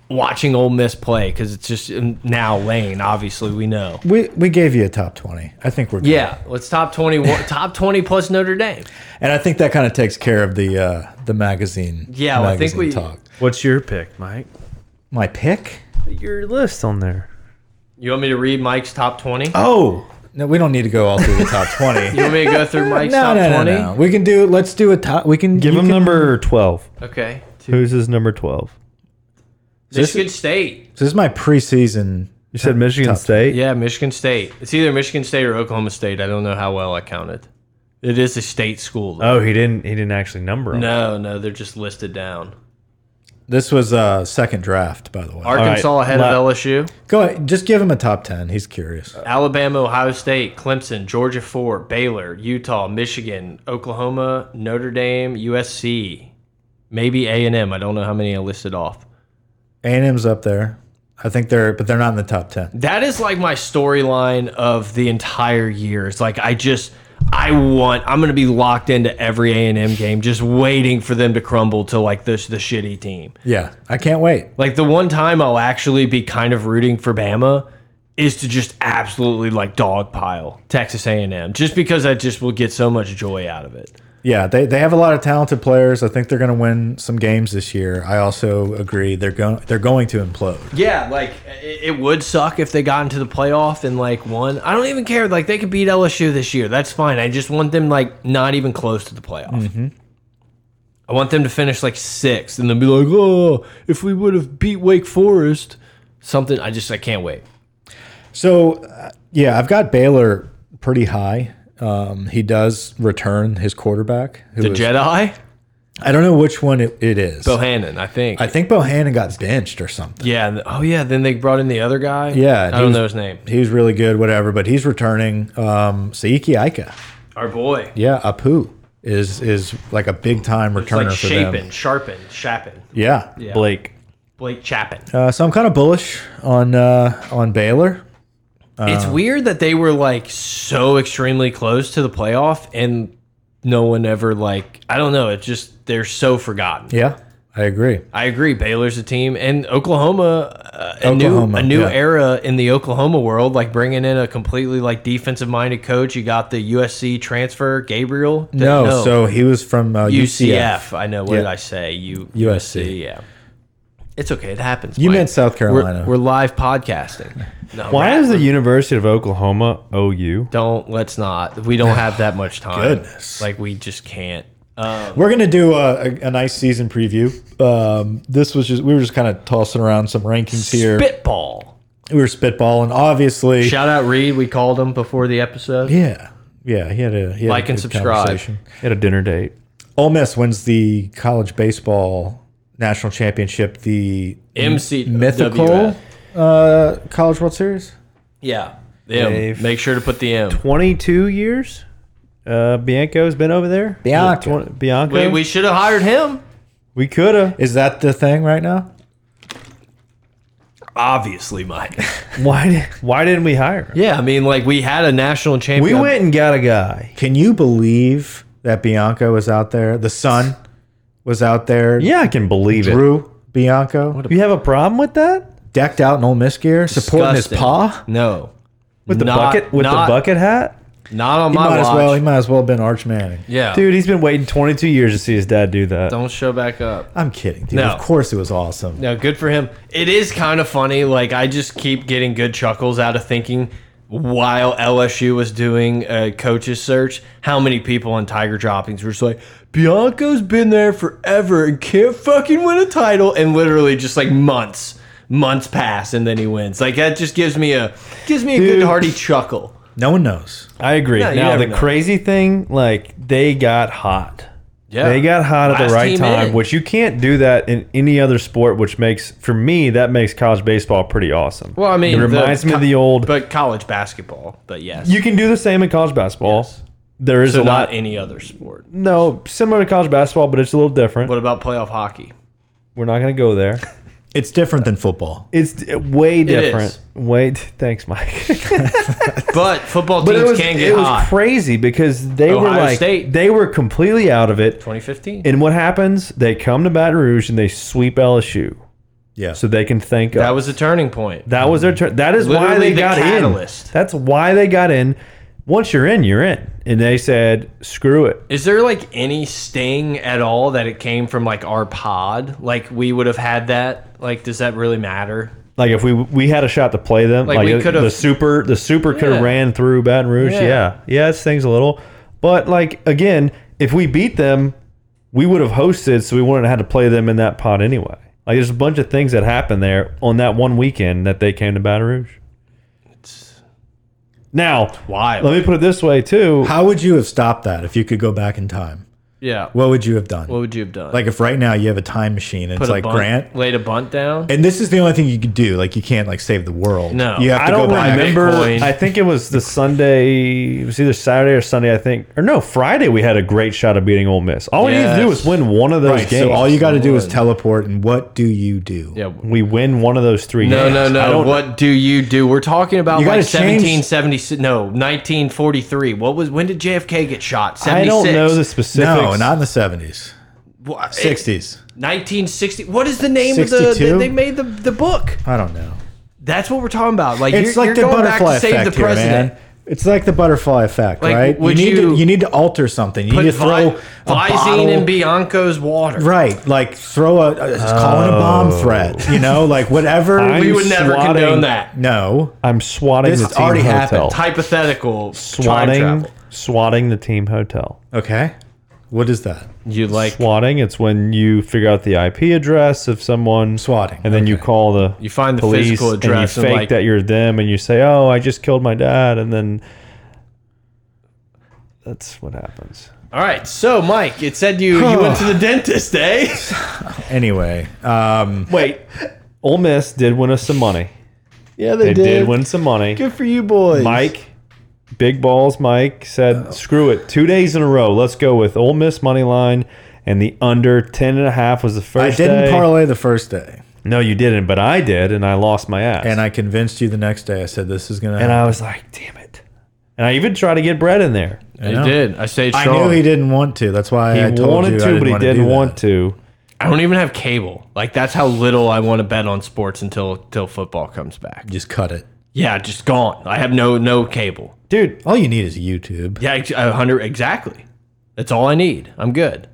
Speaker 2: watching Ole Miss play because it's just um, now Lane. Obviously, we know.
Speaker 3: we we gave you a top twenty. I think we're good.
Speaker 2: Yeah, let's top twenty one, top twenty plus Notre Dame.
Speaker 3: and I think that kind of takes care of the uh, the magazine.
Speaker 2: Yeah, well, I think
Speaker 3: magazine
Speaker 2: we-
Speaker 3: talk.
Speaker 1: What's your pick, Mike?
Speaker 3: My pick.
Speaker 1: Your list on there.
Speaker 2: You want me to read Mike's top 20? You
Speaker 3: Oh no, we don't need to go all through the top twenty.
Speaker 2: want me to go through Mike's
Speaker 3: No,
Speaker 2: top
Speaker 3: no, no,
Speaker 2: 20?
Speaker 3: no. We can do. Let's do a top. We can
Speaker 1: Give
Speaker 3: you
Speaker 1: him
Speaker 3: can-
Speaker 1: number 12.
Speaker 2: Okay. To
Speaker 1: Who's his number 12?
Speaker 3: This
Speaker 2: Michigan State.
Speaker 3: This is my preseason.
Speaker 1: You said Michigan
Speaker 3: top-
Speaker 1: State?
Speaker 2: Yeah, Michigan State. It's either Michigan State or Oklahoma State. I don't know how well I counted. It is a state school. though.
Speaker 1: Oh, he didn't he didn't actually number them.
Speaker 2: No, no, they're just listed down.
Speaker 3: This was uh, second draft, by the way.
Speaker 2: Arkansas ahead
Speaker 1: la-
Speaker 2: of LSU.
Speaker 3: Go ahead. Just give him a top ten. He's curious.
Speaker 2: Alabama, Ohio State, Clemson, Georgia 4, Baylor, Utah, Michigan, Oklahoma, Notre Dame, USC, maybe A&M. I don't know how many I listed off.
Speaker 3: A&M's up there. I think they're, but they're not in the top ten.
Speaker 2: That is like my storyline of the entire year. It's like I just I want I'm gonna be locked into every A and M game, just waiting for them to crumble to like this the shitty team.
Speaker 3: Yeah, I can't wait.
Speaker 2: Like the one time I'll actually be kind of rooting for Bama is to just absolutely like dogpile Texas A and M, just because I just will get so much joy out of it.
Speaker 3: Yeah, they, they have a lot of talented players. I think they're going to win some games this year. I also agree they're going they're going to implode.
Speaker 2: Yeah, like it, it would suck if they got into the playoff and like won. I don't even care. Like they could beat LSU this year. That's fine. I just want them like not even close to the playoff.
Speaker 3: Mm-hmm.
Speaker 2: I want them to finish like sixth and then be like, oh, if we would have beat Wake Forest, something. I just I can't wait.
Speaker 3: So, uh, yeah, I've got Baylor pretty high. Um, he does return his quarterback. Who
Speaker 2: The
Speaker 3: is-
Speaker 2: Jedi
Speaker 3: I don't know which one it, it is.
Speaker 2: Bohannon, I think.
Speaker 3: I think Bohannon got benched or something.
Speaker 2: yeah. and- Oh yeah. Then they brought in the other guy.
Speaker 3: Yeah,
Speaker 2: I
Speaker 3: he
Speaker 2: don't
Speaker 3: was-
Speaker 2: know his name.
Speaker 3: He was really good, whatever, but he's returning. Um, Saiki Aika.
Speaker 2: Our boy.
Speaker 3: Yeah, Apu is is like a big time
Speaker 2: It's
Speaker 3: returner
Speaker 2: like
Speaker 3: for
Speaker 2: Shapin,
Speaker 3: them.
Speaker 2: Sharpin, Shappin.
Speaker 3: Yeah.
Speaker 2: Yeah.
Speaker 1: Blake.
Speaker 2: Blake Chapin.
Speaker 3: Uh, so I'm kind of bullish on uh, on Baylor. Um,
Speaker 2: it's weird that they were like so extremely close to the playoff and no one ever like I don't know, it's just they're so forgotten.
Speaker 3: Yeah, I agree.
Speaker 2: I agree. Baylor's a team, and Oklahoma, uh, a new
Speaker 3: Oklahoma,
Speaker 2: a new
Speaker 3: yeah.
Speaker 2: era in the Oklahoma world, like bringing in a completely like defensive minded coach. You got the USC transfer Gabriel.
Speaker 3: No, so he was from uh,
Speaker 2: UCF.
Speaker 3: UCF.
Speaker 2: I know. What
Speaker 3: Yeah.
Speaker 2: did I say? U
Speaker 3: USC.
Speaker 2: Yeah, it's okay. It happens.
Speaker 3: You
Speaker 2: Mike.
Speaker 3: meant South
Speaker 2: We're-
Speaker 3: Carolina.
Speaker 2: We're, live podcasting. No,
Speaker 1: Why
Speaker 2: we're-
Speaker 1: is the University of Oklahoma OU?
Speaker 2: don't let's not. We don't have that much time.
Speaker 3: Goodness.
Speaker 2: like we just can't.
Speaker 3: We're gonna do a, a, a nice season preview. Um, this was just we were just kind of tossing around some rankings here.
Speaker 2: Spitball.
Speaker 3: We were spitballing, obviously.
Speaker 2: Shout out Reed. We called him before the episode.
Speaker 3: yeah, yeah. He had a he had
Speaker 2: Like
Speaker 3: a
Speaker 2: and
Speaker 3: good
Speaker 2: subscribe.
Speaker 3: conversation.
Speaker 1: At a dinner date.
Speaker 3: Ole Miss wins the college baseball national championship. The
Speaker 2: MC
Speaker 3: mythical uh, college World Series.
Speaker 2: Yeah. The M.
Speaker 1: They've-
Speaker 2: Make sure to put the M.
Speaker 1: 22 years? Uh, Bianco's been over there?
Speaker 3: Bianco.
Speaker 1: Twen- Bianco?
Speaker 2: We, we should have hired him.
Speaker 1: we could have.
Speaker 3: Is that the thing right now?
Speaker 2: Obviously, Mike.
Speaker 1: Why, di- why didn't we hire him?
Speaker 2: yeah, I mean, like we had a national
Speaker 1: We
Speaker 2: champion.
Speaker 1: went and got a guy.
Speaker 3: Can you believe that Bianco was out there? The son was out there.
Speaker 1: Yeah, I can believe it.
Speaker 3: Drew Bianco
Speaker 1: You have a problem with that?
Speaker 3: decked out in Ole Miss gear, supporting his
Speaker 2: Disgusting.
Speaker 3: paw.
Speaker 2: No.
Speaker 1: With the
Speaker 2: Not-
Speaker 1: bucket with
Speaker 2: not,
Speaker 1: the bucket hat?
Speaker 2: Not on
Speaker 3: He
Speaker 2: my
Speaker 3: might
Speaker 2: watch.
Speaker 3: as well. He might as well have been Arch Manning.
Speaker 2: yeah.
Speaker 1: Dude, he's been waiting 22 years to see his dad do that.
Speaker 2: Don't show back up.
Speaker 3: I'm kidding, dude.
Speaker 2: No.
Speaker 3: Of course, it was awesome.
Speaker 2: No, good for him. It is kind of funny. Like, I just keep getting good chuckles out of thinking while LSU was doing a coaches search, how many people on Tiger Droppings were just like, Bianco's been there forever and can't fucking win a title. And literally just like months, months pass and then he wins. Like, that just gives me a, gives me a
Speaker 1: Dude.
Speaker 2: good hearty chuckle.
Speaker 3: No one knows.
Speaker 1: I agree.
Speaker 2: Yeah, you
Speaker 1: now
Speaker 2: never
Speaker 1: the
Speaker 2: know.
Speaker 1: crazy thing, like they got hot.
Speaker 2: Yeah.
Speaker 1: They got hot at
Speaker 2: Last
Speaker 1: the right
Speaker 2: team
Speaker 1: time,
Speaker 2: in.
Speaker 1: which you can't do that in any other sport. Which makes, for me, that makes college baseball pretty awesome.
Speaker 2: Well, I mean,
Speaker 1: it reminds me of the old.
Speaker 2: but college basketball. But yes,
Speaker 1: you can do the same in college basketball. There is
Speaker 2: so
Speaker 1: a lot.
Speaker 2: not any other sport.
Speaker 1: no, similar to college basketball, but it's a little different.
Speaker 2: What about playoff hockey?
Speaker 1: We're not going to go there.
Speaker 3: It's different than football.
Speaker 1: It's d- way different.
Speaker 2: is.
Speaker 1: Way. Thanks, Mike.
Speaker 2: But football
Speaker 1: but
Speaker 2: teams
Speaker 1: it was,
Speaker 2: can
Speaker 1: it
Speaker 2: get
Speaker 1: was
Speaker 2: hot.
Speaker 1: crazy because they were
Speaker 2: Ohio
Speaker 1: like
Speaker 2: State.
Speaker 1: they were completely out of it.
Speaker 2: 2015.
Speaker 1: And what happens? They come to Baton Rouge and they sweep LSU.
Speaker 3: Yeah.
Speaker 1: so they can thank
Speaker 2: that
Speaker 1: us.
Speaker 2: was a turning point.
Speaker 1: That was their turn. That is why
Speaker 2: Literally
Speaker 1: they
Speaker 2: the
Speaker 1: got in.
Speaker 2: catalyst.
Speaker 1: That's why they got in. Once you're in, you're in. And they said, screw it.
Speaker 2: Is there like any sting at all that it came from like our pod? Like we would have had that. Like does that really matter?
Speaker 1: Like if we we had a shot to play them, like,
Speaker 2: Like, we
Speaker 1: it-
Speaker 2: could've-
Speaker 1: the super the super could
Speaker 2: Yeah.
Speaker 1: have ran through Baton Rouge.
Speaker 2: Yeah.
Speaker 1: Yeah. yeah, it stings a little, but like again, if we beat them, we would have hosted, so we wouldn't have had to play them in that pot anyway. Like there's a bunch of things that happened there on that one weekend that they came to Baton Rouge. Now,
Speaker 2: Wild.
Speaker 1: let me put it this way too.
Speaker 3: How would you have stopped that if you could go back in time?
Speaker 2: Yeah.
Speaker 3: What would you have done?
Speaker 2: What would you have done?
Speaker 3: like if right now you have a time machine and
Speaker 2: Put
Speaker 3: it's
Speaker 2: a
Speaker 3: like
Speaker 2: bunt-
Speaker 3: Grant,
Speaker 2: laid a bunt down.
Speaker 3: and this is the only thing you could do. Like you can't like save the world.
Speaker 2: No.
Speaker 3: you have to
Speaker 1: I don't
Speaker 3: go back.
Speaker 1: remember.
Speaker 2: Bitcoin.
Speaker 1: I think it was the Sunday. It was either Saturday or Sunday. I think, or no, Friday. We had a great shot of beating Ole Miss. All we needed to do was
Speaker 2: Yes.
Speaker 1: win one of those
Speaker 3: Right,
Speaker 1: games.
Speaker 3: so all you got to do is teleport, and what do you do?
Speaker 2: yeah.
Speaker 1: we win one of those three.
Speaker 2: No,
Speaker 1: games.
Speaker 2: no,
Speaker 1: I
Speaker 2: no.
Speaker 1: don't-
Speaker 2: What do you do? We're talking about
Speaker 3: You
Speaker 2: like
Speaker 3: gotta change-
Speaker 2: 1776. No, 1943. What was when did JFK get shot? 76.
Speaker 1: I don't know the specifics.
Speaker 3: No, not in the seventies,
Speaker 2: Wha-
Speaker 3: sixties.
Speaker 2: 1960. What is the name of the?
Speaker 3: 62?
Speaker 2: They made the the book.
Speaker 3: I don't know.
Speaker 2: That's what we're talking about. Like
Speaker 3: It's
Speaker 2: you're, you're
Speaker 3: like the
Speaker 2: going
Speaker 3: butterfly
Speaker 2: back to save
Speaker 3: effect
Speaker 2: the
Speaker 3: here,
Speaker 2: president.
Speaker 3: man. It's like the butterfly effect,
Speaker 2: Like,
Speaker 3: right?
Speaker 2: would
Speaker 3: you need
Speaker 2: you
Speaker 3: to you need to alter something. You
Speaker 2: Put
Speaker 3: need to throw
Speaker 2: Vi-
Speaker 3: a bottle,
Speaker 2: Visine in Bianco's water.
Speaker 3: right? Like throw a, a calling a bomb
Speaker 2: Oh.
Speaker 3: threat. You know, like whatever.
Speaker 1: I'm
Speaker 2: We would never
Speaker 1: Swatting.
Speaker 2: condone that.
Speaker 3: no,
Speaker 1: I'm swatting
Speaker 3: This
Speaker 1: the team
Speaker 3: already
Speaker 1: hotel.
Speaker 3: happened.
Speaker 2: Hypothetical time
Speaker 1: Swatting,
Speaker 2: travel.
Speaker 1: swatting the team hotel.
Speaker 3: okay. What is that?
Speaker 2: You like
Speaker 1: swatting. It's when you figure out the IP address of someone.
Speaker 3: Swatting,
Speaker 1: And then you call the
Speaker 2: You find the
Speaker 1: police
Speaker 2: physical address
Speaker 1: and
Speaker 2: and,
Speaker 1: you fake
Speaker 2: like-
Speaker 1: that you're them, and you say, "Oh, I just killed my dad," and then that's what happens.
Speaker 2: All right, so Mike, it said you you went to the dentist, eh?
Speaker 3: Anyway, um,
Speaker 1: Wait, Ole Miss did win us some money.
Speaker 2: Yeah,
Speaker 1: They did win some money.
Speaker 2: Good for you boys.
Speaker 1: Mike, Big Balls Mike said,
Speaker 3: Oh.
Speaker 1: "Screw it, two days in a row. Let's go with Ole Miss money line." And the under 10 and a half was the
Speaker 3: I
Speaker 1: first
Speaker 3: didn't
Speaker 1: day.
Speaker 3: parlay the first day,
Speaker 1: no, you didn't, but I did, and I lost my ass.
Speaker 3: and I convinced you the next day. I said this is gonna.
Speaker 1: And
Speaker 3: happen."
Speaker 1: I was like, damn it. And I even tried to get bread in there.
Speaker 2: I did. I stayed
Speaker 3: I
Speaker 2: strong. I,
Speaker 3: knew he didn't want to. That's why
Speaker 1: He
Speaker 3: I told
Speaker 1: wanted
Speaker 3: you I
Speaker 1: to, but he
Speaker 3: wanna do
Speaker 1: didn't
Speaker 3: that.
Speaker 1: want to.
Speaker 2: don't even have cable. Like that's how little I want to bet on sports until until football comes back.
Speaker 3: Just cut it.
Speaker 2: Yeah, just gone. I have no no cable.
Speaker 1: Dude,
Speaker 3: All you need is YouTube.
Speaker 2: Yeah, ex- a hundred exactly. That's all I need. I'm good.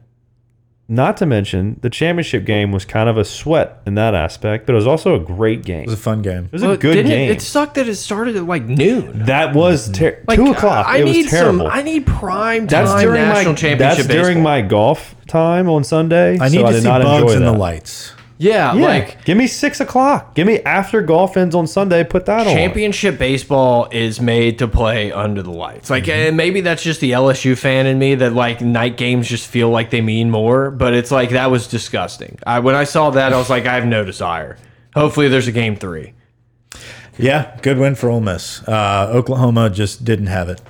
Speaker 1: not to mention the championship game was kind of a sweat in that aspect, but it was also a great game.
Speaker 3: It was a fun game.
Speaker 1: It was a good
Speaker 2: didn't
Speaker 1: game.
Speaker 2: It, it sucked that it started at like noon.
Speaker 1: that was ter-
Speaker 2: Like,
Speaker 1: two o'clock.
Speaker 2: I, I
Speaker 1: it
Speaker 2: need
Speaker 1: was terrible.
Speaker 2: Some, I need prime
Speaker 1: that's
Speaker 2: time
Speaker 1: during my
Speaker 2: national championship.
Speaker 1: that's during
Speaker 2: baseball.
Speaker 1: my golf time on Sunday.
Speaker 3: I need
Speaker 1: so I
Speaker 3: to
Speaker 1: did
Speaker 3: see
Speaker 1: not
Speaker 3: bugs
Speaker 1: enjoy
Speaker 3: in the
Speaker 1: that.
Speaker 3: lights.
Speaker 2: yeah,
Speaker 1: Yeah,
Speaker 2: like
Speaker 1: give me six o'clock. Give me after golf ends on Sunday. Put that on.
Speaker 2: championship baseball is made to play under the lights. Like, and maybe that's just the LSU fan in me that like night games just feel like they mean more. But it's like that was disgusting. I when I saw that, I was like, I have no desire. Hopefully, there's a game three.
Speaker 3: Yeah, good win for Ole Miss. Uh, Oklahoma just didn't have it.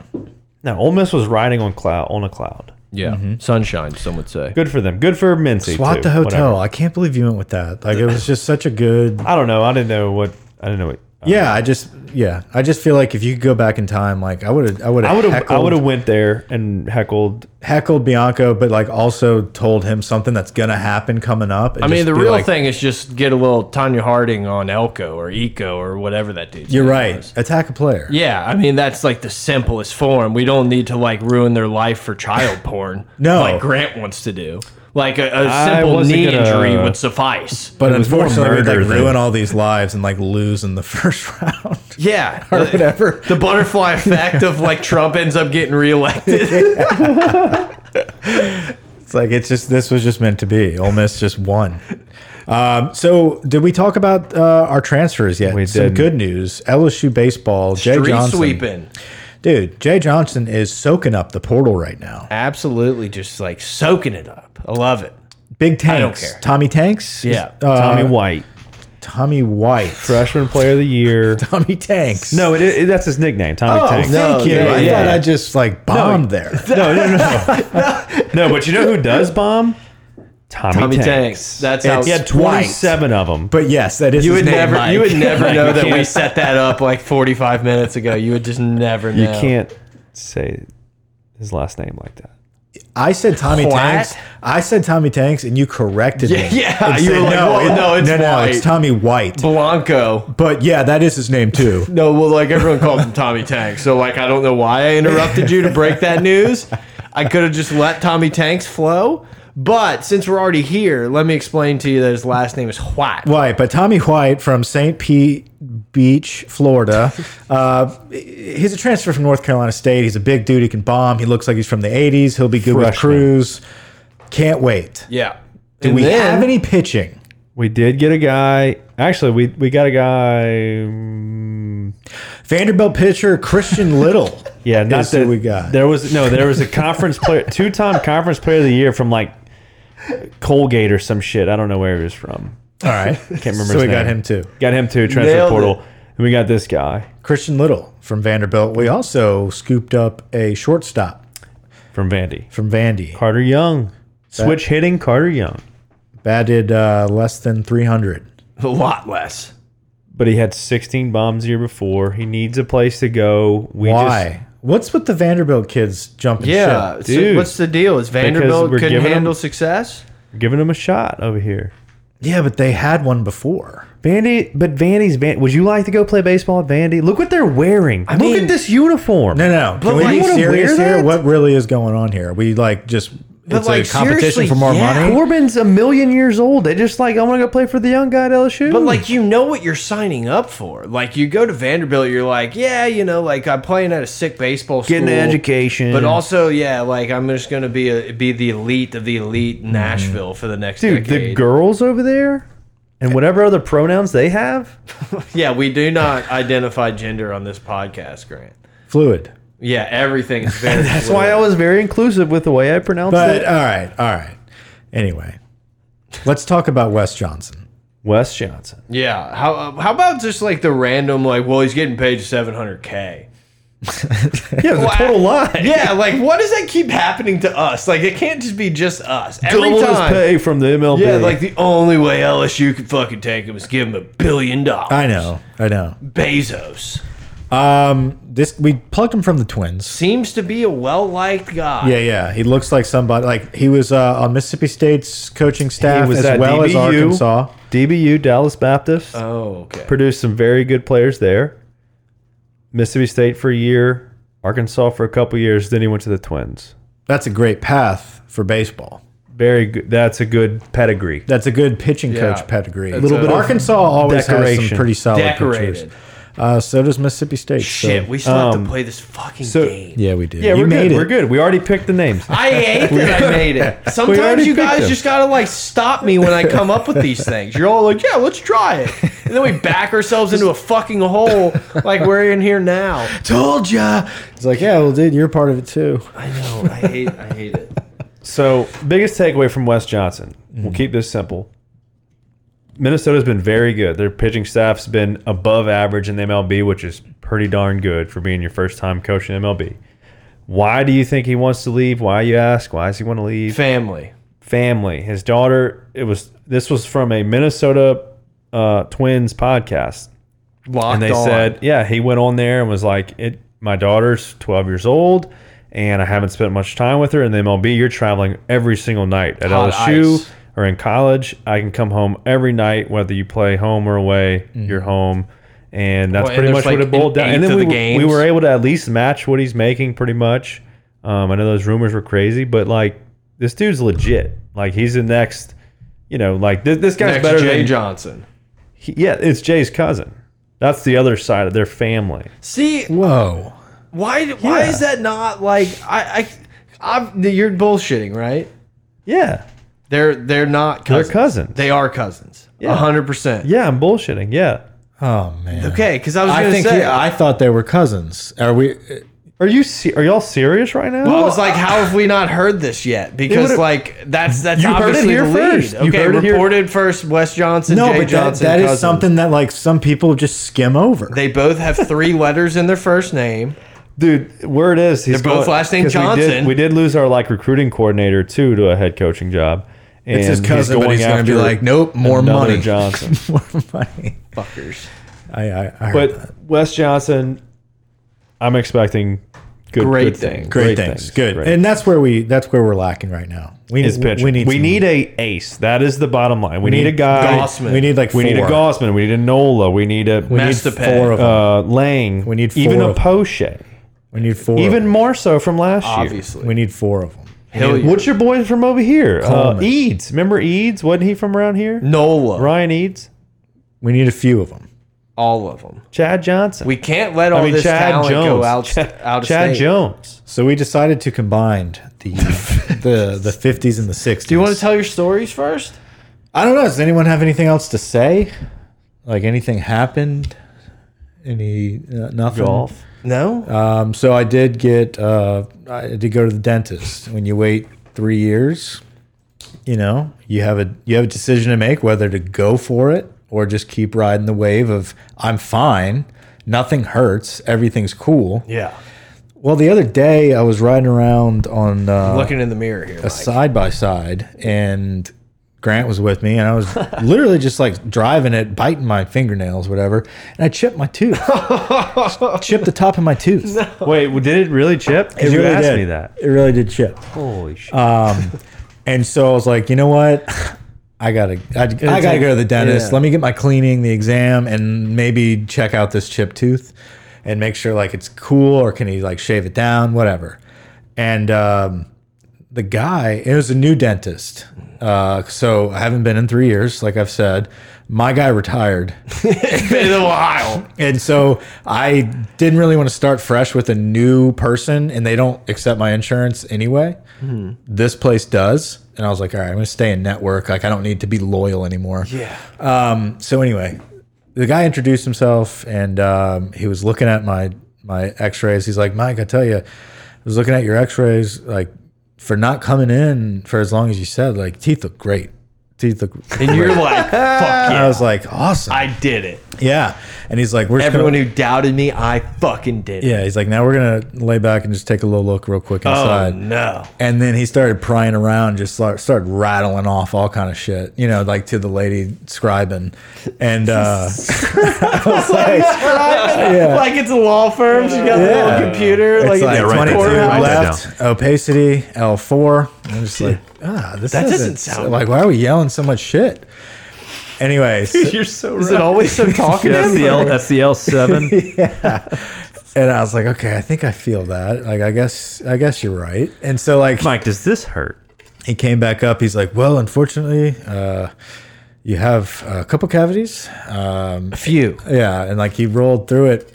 Speaker 1: Now, Ole Miss was riding on cloud on a cloud.
Speaker 2: Yeah, sunshine. Some would say.
Speaker 1: Good for them. Good for Mincy.
Speaker 3: Swat the
Speaker 1: too. Whatever.
Speaker 3: hotel. I can't believe you went with that. Like it was just such a good.
Speaker 1: I don't know. I didn't know what. I didn't know what.
Speaker 3: Yeah, I just yeah, I just feel like if you could go back in time, like I would have, I would
Speaker 1: I would
Speaker 3: have,
Speaker 1: have. I would have went there and heckled.
Speaker 3: heckled Bianco, but like also told him something that's gonna happen coming up. and
Speaker 2: I mean,
Speaker 3: just
Speaker 2: the
Speaker 3: be
Speaker 2: real
Speaker 3: like,
Speaker 2: thing is just get a little Tanya Harding on Elko or Eco or whatever that dude's
Speaker 3: You're
Speaker 2: name
Speaker 3: right.
Speaker 2: was.
Speaker 3: Attack a player.
Speaker 2: Yeah, I mean that's like the simplest form. We don't need to like ruin their life for child porn.
Speaker 3: No.
Speaker 2: like Grant wants to do. Like a, a
Speaker 1: I
Speaker 2: simple
Speaker 1: wasn't
Speaker 2: knee
Speaker 1: gonna-
Speaker 2: injury would suffice.
Speaker 3: But
Speaker 1: It was more
Speaker 3: unfortunately, we'd like
Speaker 1: murder than-
Speaker 3: ruin all these lives and like lose in the first round.
Speaker 2: yeah,
Speaker 3: or whatever.
Speaker 2: The butterfly effect of like Trump ends up getting reelected.
Speaker 3: It's like it's just this was just meant to be. Ole Miss just won. Um, so did we talk about uh, our transfers yet?
Speaker 1: We
Speaker 3: Some
Speaker 1: didn't.
Speaker 3: good news. LSU baseball. Jay
Speaker 2: Street
Speaker 3: Johnson.
Speaker 2: sweeping.
Speaker 3: Dude, Jay Johnson is soaking up the portal right now.
Speaker 2: Absolutely, just like soaking it up. I love it.
Speaker 3: Big Tanks.
Speaker 2: don't care.
Speaker 3: Tommy Tanks.
Speaker 2: Yeah.
Speaker 3: Uh,
Speaker 1: Tommy
Speaker 3: Tommy.
Speaker 1: White,
Speaker 3: White.
Speaker 1: freshman player of the year.
Speaker 3: Tommy Tanks.
Speaker 1: No, it, it, that's his nickname, Tommy
Speaker 3: Oh,
Speaker 1: Tank.
Speaker 3: thank
Speaker 2: No,
Speaker 3: you.
Speaker 2: yeah,
Speaker 3: I
Speaker 1: yeah.
Speaker 3: thought I just like bombed there.
Speaker 1: No, no, no, no. But you know who does bomb? Tommy,
Speaker 2: Tommy
Speaker 1: Tanks.
Speaker 2: Tanks. That's how
Speaker 3: It's-
Speaker 1: He had twenty-seven of them.
Speaker 3: But yes, that is
Speaker 2: You
Speaker 3: his
Speaker 2: would
Speaker 3: name,
Speaker 2: never,
Speaker 3: Mike.
Speaker 2: you would never know
Speaker 1: you
Speaker 2: that we
Speaker 1: can't-
Speaker 2: set that up like 45 minutes ago. You would just never know.
Speaker 1: You can't say his last name like that.
Speaker 3: I said Tommy
Speaker 2: What?
Speaker 3: Tanks. I said Tommy Tanks, and you corrected
Speaker 2: Yeah,
Speaker 3: me.
Speaker 2: yeah.
Speaker 3: and
Speaker 2: You
Speaker 3: said,
Speaker 2: were like, well,
Speaker 3: it-
Speaker 2: no, it's
Speaker 3: no, no,
Speaker 2: White."
Speaker 3: it's Tommy White.
Speaker 2: Blanco.
Speaker 3: But yeah, that is his name too.
Speaker 2: No, well, like everyone called him Tommy Tanks. So, like, I don't know why I interrupted you to break that news. I could have just let Tommy Tanks flow. But since we're already here, let me explain to you that his last name is White.
Speaker 3: White, but Tommy White from St. Pete Beach, Florida. Uh, he's a transfer from North Carolina State. He's a big dude. He can bomb. He looks like he's from the 80s. He'll be good with
Speaker 1: Freshman.
Speaker 3: Cruz. Can't wait.
Speaker 2: Yeah.
Speaker 3: Do we have any pitching?
Speaker 1: We did get a guy. Actually, we we got a guy. um,
Speaker 3: Vanderbilt pitcher Christian Little.
Speaker 1: Yeah, not
Speaker 3: is who
Speaker 1: that
Speaker 3: we got.
Speaker 1: There was no. There was a conference player, two-time conference player of the year from like Colgate or some shit. I don't know where he was from.
Speaker 3: All right.
Speaker 1: Can't remember.
Speaker 3: So
Speaker 1: his
Speaker 3: we got
Speaker 1: name.
Speaker 3: him too.
Speaker 1: Got him too. Transfer
Speaker 2: Nailed it.
Speaker 1: portal. And we got this guy
Speaker 3: Christian Little from Vanderbilt. We also scooped up a shortstop
Speaker 1: from Vandy.
Speaker 3: from Vandy.
Speaker 1: Carter Young. Switch hitting Carter Young.
Speaker 3: Batted uh, less than 300.
Speaker 2: A lot less.
Speaker 1: But he had 16 bombs the year before. He needs a place to go. We
Speaker 3: Why? What's with the Vanderbilt kids jumping
Speaker 2: Yeah.
Speaker 3: ship?
Speaker 2: so
Speaker 1: dude.
Speaker 2: what's the deal? Is Vanderbilt
Speaker 1: we're
Speaker 2: couldn't
Speaker 1: giving him-
Speaker 2: handle success?
Speaker 1: Just giving him a shot over here.
Speaker 3: Yeah, but they had one before.
Speaker 1: Vandy, but Vandy's Van. Would you like to go play baseball at Vandy? Look what they're wearing. Look
Speaker 2: mean-
Speaker 1: at this uniform.
Speaker 3: No, no.
Speaker 2: But,
Speaker 3: Can we
Speaker 2: like,
Speaker 3: be
Speaker 2: you wanna
Speaker 3: serious
Speaker 1: wear
Speaker 3: here?
Speaker 1: that?
Speaker 3: What really is going on here? Are we like just it's
Speaker 2: like,
Speaker 3: a competition
Speaker 2: seriously,
Speaker 3: for more
Speaker 2: yeah.
Speaker 3: money?
Speaker 1: Corbin's a million years old. They just like I want to go play for the young guy at LSU.
Speaker 2: But like you know what you're signing up for. Like you go to Vanderbilt, you're like, yeah, you know, like I'm playing at a sick baseball school,
Speaker 1: Getting an education.
Speaker 2: but also yeah, like I'm just gonna be a, be the elite of the elite in Nashville for the next
Speaker 1: Hmm. dude, the
Speaker 2: decade.
Speaker 1: girls over there and whatever other pronouns they have.
Speaker 2: yeah, we do not identify gender on this podcast, Grant.
Speaker 3: Fluid.
Speaker 2: Yeah, everything is very.
Speaker 1: That's why I was very inclusive with the way I pronounced
Speaker 3: But
Speaker 1: it.
Speaker 3: all right, all right. Anyway, let's talk about Wes Johnson.
Speaker 1: Wes Johnson.
Speaker 2: uh, Yeah. How how about just like the random like, well, he's getting paid 700k.
Speaker 1: Yeah, it's a total lie.
Speaker 2: Yeah, like why does that keep happening to us? Like it can't just be just us. Every
Speaker 1: Double his
Speaker 2: time.
Speaker 1: pay from the MLB.
Speaker 2: Yeah, like the only way LSU could fucking take him is give him a billion dollars.
Speaker 3: I know. I know.
Speaker 2: Bezos
Speaker 3: Um, this we plugged him from the Twins.
Speaker 2: seems to be a well liked guy.
Speaker 3: Yeah, yeah. He looks like somebody. Like he was uh, on Mississippi State's coaching staff
Speaker 1: was
Speaker 3: as
Speaker 1: at
Speaker 3: well as
Speaker 1: DBU.
Speaker 3: Arkansas.
Speaker 1: DBU Dallas Baptist
Speaker 2: Oh, okay.
Speaker 1: produced some very good players there. Mississippi State for a year, Arkansas for a couple years. Then he went to the Twins.
Speaker 3: That's a great path for baseball.
Speaker 1: Very good. That's a good pedigree.
Speaker 3: That's a good pitching
Speaker 2: Yeah.
Speaker 3: coach pedigree. A
Speaker 2: Little bit of
Speaker 3: Arkansas always has
Speaker 1: decoration.
Speaker 3: some pretty solid
Speaker 2: Decorated.
Speaker 3: pitchers. Uh, so does Mississippi State. so-
Speaker 2: Shit, we still have to play this fucking
Speaker 1: Um, so-
Speaker 2: game.
Speaker 3: yeah, we do.
Speaker 1: Yeah,
Speaker 3: You
Speaker 1: we're
Speaker 3: made
Speaker 1: good.
Speaker 3: it.
Speaker 1: We're good. We already picked the names.
Speaker 2: I hate that I made it.
Speaker 1: already
Speaker 2: Sometimes you
Speaker 1: picked
Speaker 2: guys
Speaker 1: them.
Speaker 2: just gotta like stop me when I come up with these things. You're all like, "Yeah, let's try it," and then we back ourselves into a fucking hole like we're in here now.
Speaker 3: Told ya. It's like, yeah, well, dude, you're part of it too.
Speaker 2: I know. I hate. I hate it.
Speaker 1: So, biggest takeaway from Wes Johnson. We'll keep this simple. Minnesota's been very good. Their pitching staff's been above average in the MLB, which is pretty darn good for being your first time coaching MLB. Why do you think he wants to leave? Why you ask? Why does he want to leave?
Speaker 2: Family.
Speaker 1: Family. His daughter. It was. This was from a Minnesota uh, Twins podcast
Speaker 2: Locked
Speaker 1: and they
Speaker 2: on.
Speaker 1: said, yeah, he went on there and was like, it. My daughter's 12 years old, and I haven't spent much time with her. And the MLB, you're traveling every single night at
Speaker 2: Hot
Speaker 1: LSU
Speaker 2: ice.
Speaker 1: or in college. I can come home every night, whether you play home or away. You're home,
Speaker 2: Mm-hmm.
Speaker 1: and that's
Speaker 2: Well, and
Speaker 1: pretty
Speaker 2: there's
Speaker 1: much what
Speaker 2: like
Speaker 1: it boiled
Speaker 2: an
Speaker 1: down. And
Speaker 2: eighth
Speaker 1: then
Speaker 2: of
Speaker 1: we,
Speaker 2: the
Speaker 1: were- we
Speaker 2: games.
Speaker 1: were able to at least match what he's making, pretty much. Um, I know those rumors were crazy, but like this dude's legit. Like he's the next. You know, like this, this guy's
Speaker 2: Next
Speaker 1: better
Speaker 2: Jay
Speaker 1: than
Speaker 2: Johnson.
Speaker 1: he- yeah, it's Jay's cousin. That's the other side of their family.
Speaker 2: See,
Speaker 3: Whoa.
Speaker 2: why? Why
Speaker 1: Yeah.
Speaker 2: is that not like I? I, I'm, you're bullshitting, right?
Speaker 1: Yeah.
Speaker 2: They're they're not. Cousins.
Speaker 1: cousins.
Speaker 2: They are cousins. A hundred percent.
Speaker 1: Yeah, I'm bullshitting. Yeah.
Speaker 3: Oh man.
Speaker 2: Okay, because I was
Speaker 3: I
Speaker 2: gonna
Speaker 3: think
Speaker 2: say.
Speaker 3: he-
Speaker 1: uh,
Speaker 3: I thought they were cousins. Are we?
Speaker 1: Are you se- are y'all serious right now?
Speaker 2: I was like, how have we not heard this yet? Because
Speaker 1: would've-
Speaker 2: like that's that's
Speaker 1: You heard it
Speaker 2: obviously
Speaker 1: here
Speaker 2: the lead.
Speaker 1: first. You
Speaker 2: Okay,
Speaker 1: heard it here-
Speaker 2: reported first. Wes Johnson,
Speaker 3: No,
Speaker 2: Jay
Speaker 3: but that,
Speaker 2: Johnson.
Speaker 3: that is
Speaker 2: cousins.
Speaker 3: something that like some people just skim over.
Speaker 2: They both have three letters in their first name.
Speaker 1: dude, word is he's
Speaker 2: They're both last name
Speaker 1: 'cause We did,
Speaker 2: Johnson.
Speaker 1: we did lose our like recruiting coordinator too to a head coaching job. And
Speaker 3: it's his cousin,
Speaker 1: going
Speaker 3: but he's going to be
Speaker 1: after
Speaker 3: like, nope, more
Speaker 1: another
Speaker 3: money.
Speaker 1: Johnson.
Speaker 3: more money.
Speaker 2: Fuckers.
Speaker 3: I, I, I heard that.
Speaker 1: but Wes Johnson, I'm expecting good,
Speaker 2: Great
Speaker 1: good
Speaker 2: things.
Speaker 3: great, things. Good,
Speaker 1: Great.
Speaker 3: and that's where we that's where we're lacking right now. We
Speaker 1: His
Speaker 3: need
Speaker 1: pitch.
Speaker 3: we need
Speaker 1: we
Speaker 3: some-
Speaker 1: need a ace. That is the bottom line. We need, a guy.
Speaker 2: Goss- Gossman.
Speaker 3: We need like
Speaker 1: We need a
Speaker 3: four.
Speaker 1: Gossman. We need a Nola. We need a
Speaker 3: We need
Speaker 2: Master Pet.
Speaker 3: four of them.
Speaker 1: uh, Lang.
Speaker 3: We need
Speaker 1: even
Speaker 3: four
Speaker 1: a
Speaker 3: of them.
Speaker 1: Poche.
Speaker 3: we need four.
Speaker 1: Even
Speaker 3: Even
Speaker 1: more so from last year.
Speaker 2: Obviously.
Speaker 3: we need four of them.
Speaker 2: Hilliard.
Speaker 1: What's your boy from over here? Uh,
Speaker 3: Coleman.
Speaker 1: Eads. Remember Eads? Wasn't he from around here?
Speaker 2: Nola.
Speaker 1: Ryan Eads.
Speaker 3: We need a few of them.
Speaker 2: All of them.
Speaker 1: Chad Johnson.
Speaker 2: We can't let all
Speaker 1: I mean,
Speaker 2: this
Speaker 1: Chad
Speaker 2: talent
Speaker 1: Jones.
Speaker 2: go out,
Speaker 1: Chad,
Speaker 2: out of
Speaker 1: Chad
Speaker 2: state.
Speaker 1: Jones.
Speaker 3: So we decided to combine the the the fifties and the sixties.
Speaker 2: Do you want to tell your stories first?
Speaker 3: I don't know. Does anyone have anything else to say? Like anything happened? Any uh, nothing?
Speaker 1: Golf.
Speaker 2: No.
Speaker 3: Um, so I did get. Uh, I did go to the dentist. When you wait three years, you know you have a you have a decision to make whether to go for it or just keep riding the wave of I'm fine, nothing hurts, everything's cool.
Speaker 2: yeah.
Speaker 3: Well, the other day I was riding around on uh,
Speaker 2: Looking in the mirror here.
Speaker 3: a
Speaker 2: Mike.
Speaker 3: side by side, and Grant was with me, and I was literally just like driving it, biting my fingernails, whatever, and I chipped my tooth, chipped the top of my tooth.
Speaker 1: Wait, well, did it really chip? 'Cause you
Speaker 3: really
Speaker 1: asked
Speaker 3: did. Uh,
Speaker 1: me that.
Speaker 3: It really did chip.
Speaker 1: Holy shit.
Speaker 3: And so I was like, you know what? I gotta, I, I gotta
Speaker 2: take-
Speaker 3: go to the dentist.
Speaker 2: yeah.
Speaker 3: Let me get my cleaning, the exam, and maybe check out this chipped tooth, and make sure like it's cool or can he like shave it down, whatever. And um, the guy, it was a new dentist, uh, so I haven't been in three years, like I've said. My guy retired.
Speaker 2: It's been a while.
Speaker 3: And so I didn't really want to start fresh with a new person, and they don't accept my insurance anyway.
Speaker 2: Hmm.
Speaker 3: This place does. And I was like, all right, I'm going to stay in network. Like, I don't need to be loyal anymore.
Speaker 2: Yeah.
Speaker 3: Um, so, anyway, the guy introduced himself and um, he was looking at my, my x rays. He's like, Mike, I tell you, I was looking at your x rays, like, for not coming in for as long as you said, like, teeth look great. Teeth look.
Speaker 2: And you're like, fuck
Speaker 3: I
Speaker 2: yeah.
Speaker 3: was like, awesome.
Speaker 2: I did it.
Speaker 3: Yeah. And he's like, we're just
Speaker 2: Everyone
Speaker 3: gonna,
Speaker 2: who doubted me, I fucking did. it.
Speaker 3: yeah, he's like, now we're gonna lay back and just take a little look real quick
Speaker 2: Oh
Speaker 3: inside.
Speaker 2: no.
Speaker 3: And then he started prying around, just start, started rattling off all kind of shit, you know, like to the lady scribing. And uh, I was like, Yeah.
Speaker 2: Like it's a law firm. She got a
Speaker 3: Yeah.
Speaker 2: little computer. like,
Speaker 3: it's like
Speaker 2: it's
Speaker 4: write that
Speaker 3: 22
Speaker 4: down, write that
Speaker 3: left, opacity, L4. I'm just like, ah, this
Speaker 2: That
Speaker 3: doesn't,
Speaker 2: doesn't sound-
Speaker 3: like, why are we yelling so much shit? Anyways,
Speaker 4: You're so
Speaker 2: Is it always so talkative?
Speaker 4: FCL, FCL seven.
Speaker 3: and I was like, okay, I think I feel that. Like, I guess, I guess you're right. And so, like,
Speaker 4: Mike, does this hurt?
Speaker 3: he came back up. He's like, well, unfortunately, uh, you have a couple cavities. Um,
Speaker 2: A few.
Speaker 3: Yeah, and like he rolled through it,